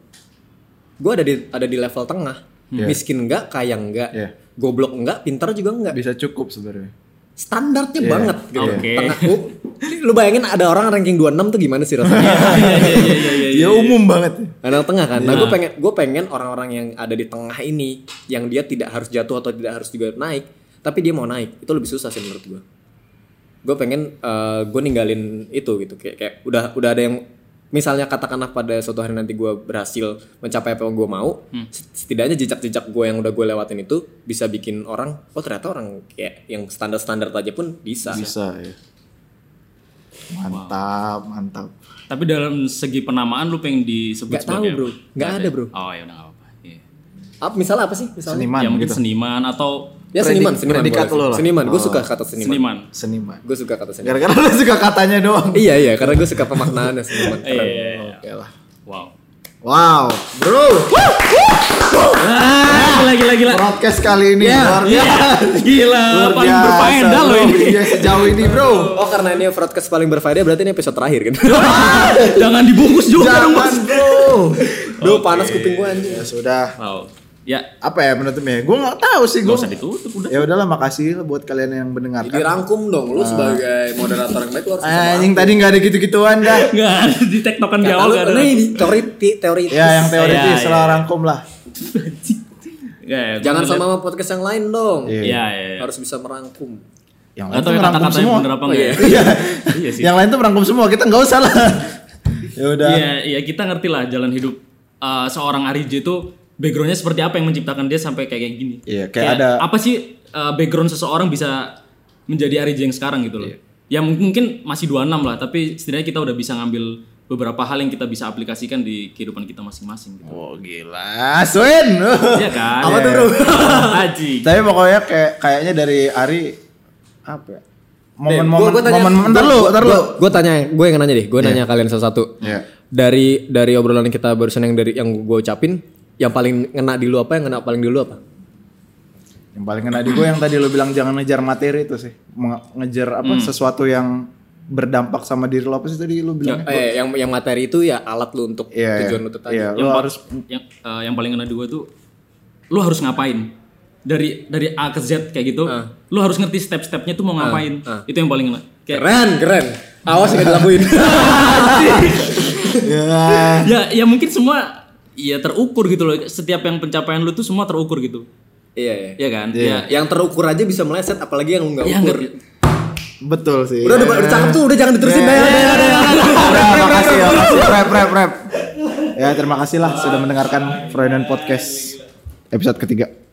Speaker 4: Gue ada di ada di level tengah.
Speaker 5: Iya.
Speaker 4: Miskin enggak, kaya enggak,
Speaker 5: Iya.
Speaker 4: goblok enggak, pintar juga enggak.
Speaker 5: Bisa cukup sebenarnya.
Speaker 4: Standarnya banget gitu.
Speaker 3: Iya. Oke.
Speaker 4: Tengah. Lu- Lu bayangin ada orang ranking 26 tuh gimana sih rasanya?
Speaker 3: Iya, iya, iya, iya, iya.
Speaker 5: Ya umum banget.
Speaker 4: Anak tengah kan. Nah, gue pengen gue pengen orang-orang yang ada di tengah ini yang dia tidak harus jatuh atau tidak harus juga naik, tapi dia mau naik. Itu lebih susah sih menurut gue. Gue pengen gue ninggalin itu gitu kayak kayak udah udah ada yang misalnya katakanlah pada suatu hari nanti gue berhasil mencapai apa yang gue mau,
Speaker 3: Hmm.
Speaker 4: setidaknya jejak-jejak gue yang udah gue lewatin itu bisa bikin orang oh ternyata orang kayak yang standar-standar aja pun bisa.
Speaker 5: Bisa ya. Mantap, mantap.
Speaker 3: Tapi dalam segi penamaan lu pengen disebut
Speaker 4: Nggak
Speaker 3: sebagai
Speaker 4: tahu, bro.
Speaker 3: apa?
Speaker 4: Nggak ada, bro.
Speaker 3: Oh, ya udah nggak apa-apa. Iya.
Speaker 4: Apa misalnya apa sih? Misalnya
Speaker 5: Seniman
Speaker 3: ya mungkin
Speaker 5: gitu.
Speaker 3: seniman atau
Speaker 4: ya seniman,
Speaker 5: Predik-
Speaker 4: seniman.
Speaker 5: predikat
Speaker 4: boleh.
Speaker 5: lo lah. Oh.
Speaker 4: Seniman, gue suka kata seniman.
Speaker 3: seniman.
Speaker 5: Seniman.
Speaker 4: Gue suka kata seniman.
Speaker 5: Gara-gara lu suka katanya doang.
Speaker 4: iya iya karena gue suka pemaknaannya seniman
Speaker 3: Iya.
Speaker 4: keren
Speaker 3: iya, iya.
Speaker 5: Oke lah.
Speaker 3: Wow.
Speaker 5: Wow, bro.
Speaker 3: Ah, gila gila gila.
Speaker 5: Podcast kali ini luar
Speaker 3: Iya,
Speaker 5: biasa.
Speaker 3: Gila,
Speaker 5: Luar
Speaker 3: paling
Speaker 5: biasa,
Speaker 3: berfaedah lo
Speaker 5: bro.
Speaker 3: ini.
Speaker 5: Iya, sejauh ini, bro.
Speaker 4: oh karena ini broadcast paling berfaedah berarti ini episode terakhir kan
Speaker 3: Jangan dibungkus juga dong,
Speaker 5: Jangan,
Speaker 3: Bos.
Speaker 5: bro.
Speaker 4: duh panas kuping gue anjing
Speaker 5: Ya sudah.
Speaker 3: Wow. Ya,
Speaker 5: Apa ya penutupnya? Gue nggak tahu sih
Speaker 3: nggak
Speaker 5: gue.
Speaker 3: usah ditutup udah.
Speaker 5: Ya udahlah, makasih buat kalian yang mendengarkan.
Speaker 4: dirangkum dong lu sebagai moderator yang baik lu harus bisa
Speaker 5: Ah. Anjing tadi nggak ada gitu-gituan dah.
Speaker 3: Enggak ada di tektokan
Speaker 4: Kata
Speaker 3: jauh
Speaker 4: lu, Nah,
Speaker 3: enggak ada.
Speaker 4: ini di- teori ti- teori
Speaker 5: Ya yang
Speaker 3: Iya,
Speaker 5: teoritis
Speaker 3: iya.
Speaker 5: salah rangkum lah.
Speaker 3: Ya, ya,
Speaker 4: jangan
Speaker 3: gua
Speaker 4: sama sama podcast yang lain dong
Speaker 5: Iya.
Speaker 3: ngeliat- Ya, ya. ya.
Speaker 4: harus bisa merangkum
Speaker 5: Yang lain
Speaker 3: Atau
Speaker 5: tuh ngerangkum
Speaker 3: kata-katanya
Speaker 5: semua.
Speaker 3: bener apa enggak? ya?
Speaker 5: Iya.
Speaker 3: Iya sih.
Speaker 5: Yang lain tuh merangkum semua, kita nggak usah lah. ya udah.
Speaker 3: Iya, iya kita ngerti lah jalan hidup eh, seorang Arije itu backgroundnya seperti apa yang menciptakan dia sampai kayak kayak gini.
Speaker 5: Iya, kayak ada-
Speaker 3: apa sih eh, background seseorang bisa menjadi Arije yang sekarang gitu loh.
Speaker 5: Iya.
Speaker 3: Ya mung- mungkin masih 26 lah, tapi setidaknya kita udah bisa ngambil beberapa hal yang kita bisa aplikasikan di kehidupan kita masing-masing gitu.
Speaker 5: Oh gila, Swin.
Speaker 3: Iya kan?
Speaker 5: Apa tuh, Bro?
Speaker 3: Haji.
Speaker 5: Tapi pokoknya kayak kayaknya dari Ari apa ya? Momen-momen
Speaker 4: Gua- gua tanya-
Speaker 5: momen ntar
Speaker 4: gua-
Speaker 5: lu,
Speaker 4: gua-
Speaker 5: ntar lu.
Speaker 4: gua- Gua tanya, gue yang nanya deh, gue nanya kalian satu-satu.
Speaker 5: Iya.
Speaker 4: Dari dari obrolan kita barusan yang dari yang gue ucapin, yang paling ngena di lu apa, yang ngena paling di lu apa?
Speaker 5: Yang paling kena di gue yang tadi lu bilang jangan ngejar materi itu sih. Menge- Ngejar apa
Speaker 4: Hmm.
Speaker 5: sesuatu yang berdampak sama diri lo apa sih tadi lu bilang?
Speaker 4: Eh, yang yang materi itu ya alat lu untuk
Speaker 5: Iya.
Speaker 4: tujuan
Speaker 5: iya.
Speaker 4: lu tadi.
Speaker 5: Iya, lu
Speaker 3: yang
Speaker 5: harus
Speaker 3: yang eh, yang paling kena dua tuh lu harus ngapain dari dari A ke Z kayak gitu
Speaker 5: Ah.
Speaker 3: lu harus ngerti step-stepnya tuh mau ngapain itu yang paling kena kayak
Speaker 4: Keren, keren. Awas nggak dilakuin.
Speaker 5: Ya.
Speaker 3: ya ya mungkin semua ya terukur gitu loh setiap yang pencapaian lu tuh semua terukur gitu
Speaker 4: iya, iya.
Speaker 3: ya kan
Speaker 5: Iya.
Speaker 4: Yang terukur aja bisa meleset, apalagi yang nggak
Speaker 3: ya ya
Speaker 4: ukur.
Speaker 3: nggak-
Speaker 5: Betul sih.
Speaker 4: Udah, udah, udah cakep tuh, udah jangan diterusin. Dah, dah, dah, dah, dah.
Speaker 5: Udah, makasih ya, makasih. Rep, rep, rep. Ya, terima kasih lah sudah mendengarkan Freudian Podcast episode ketiga.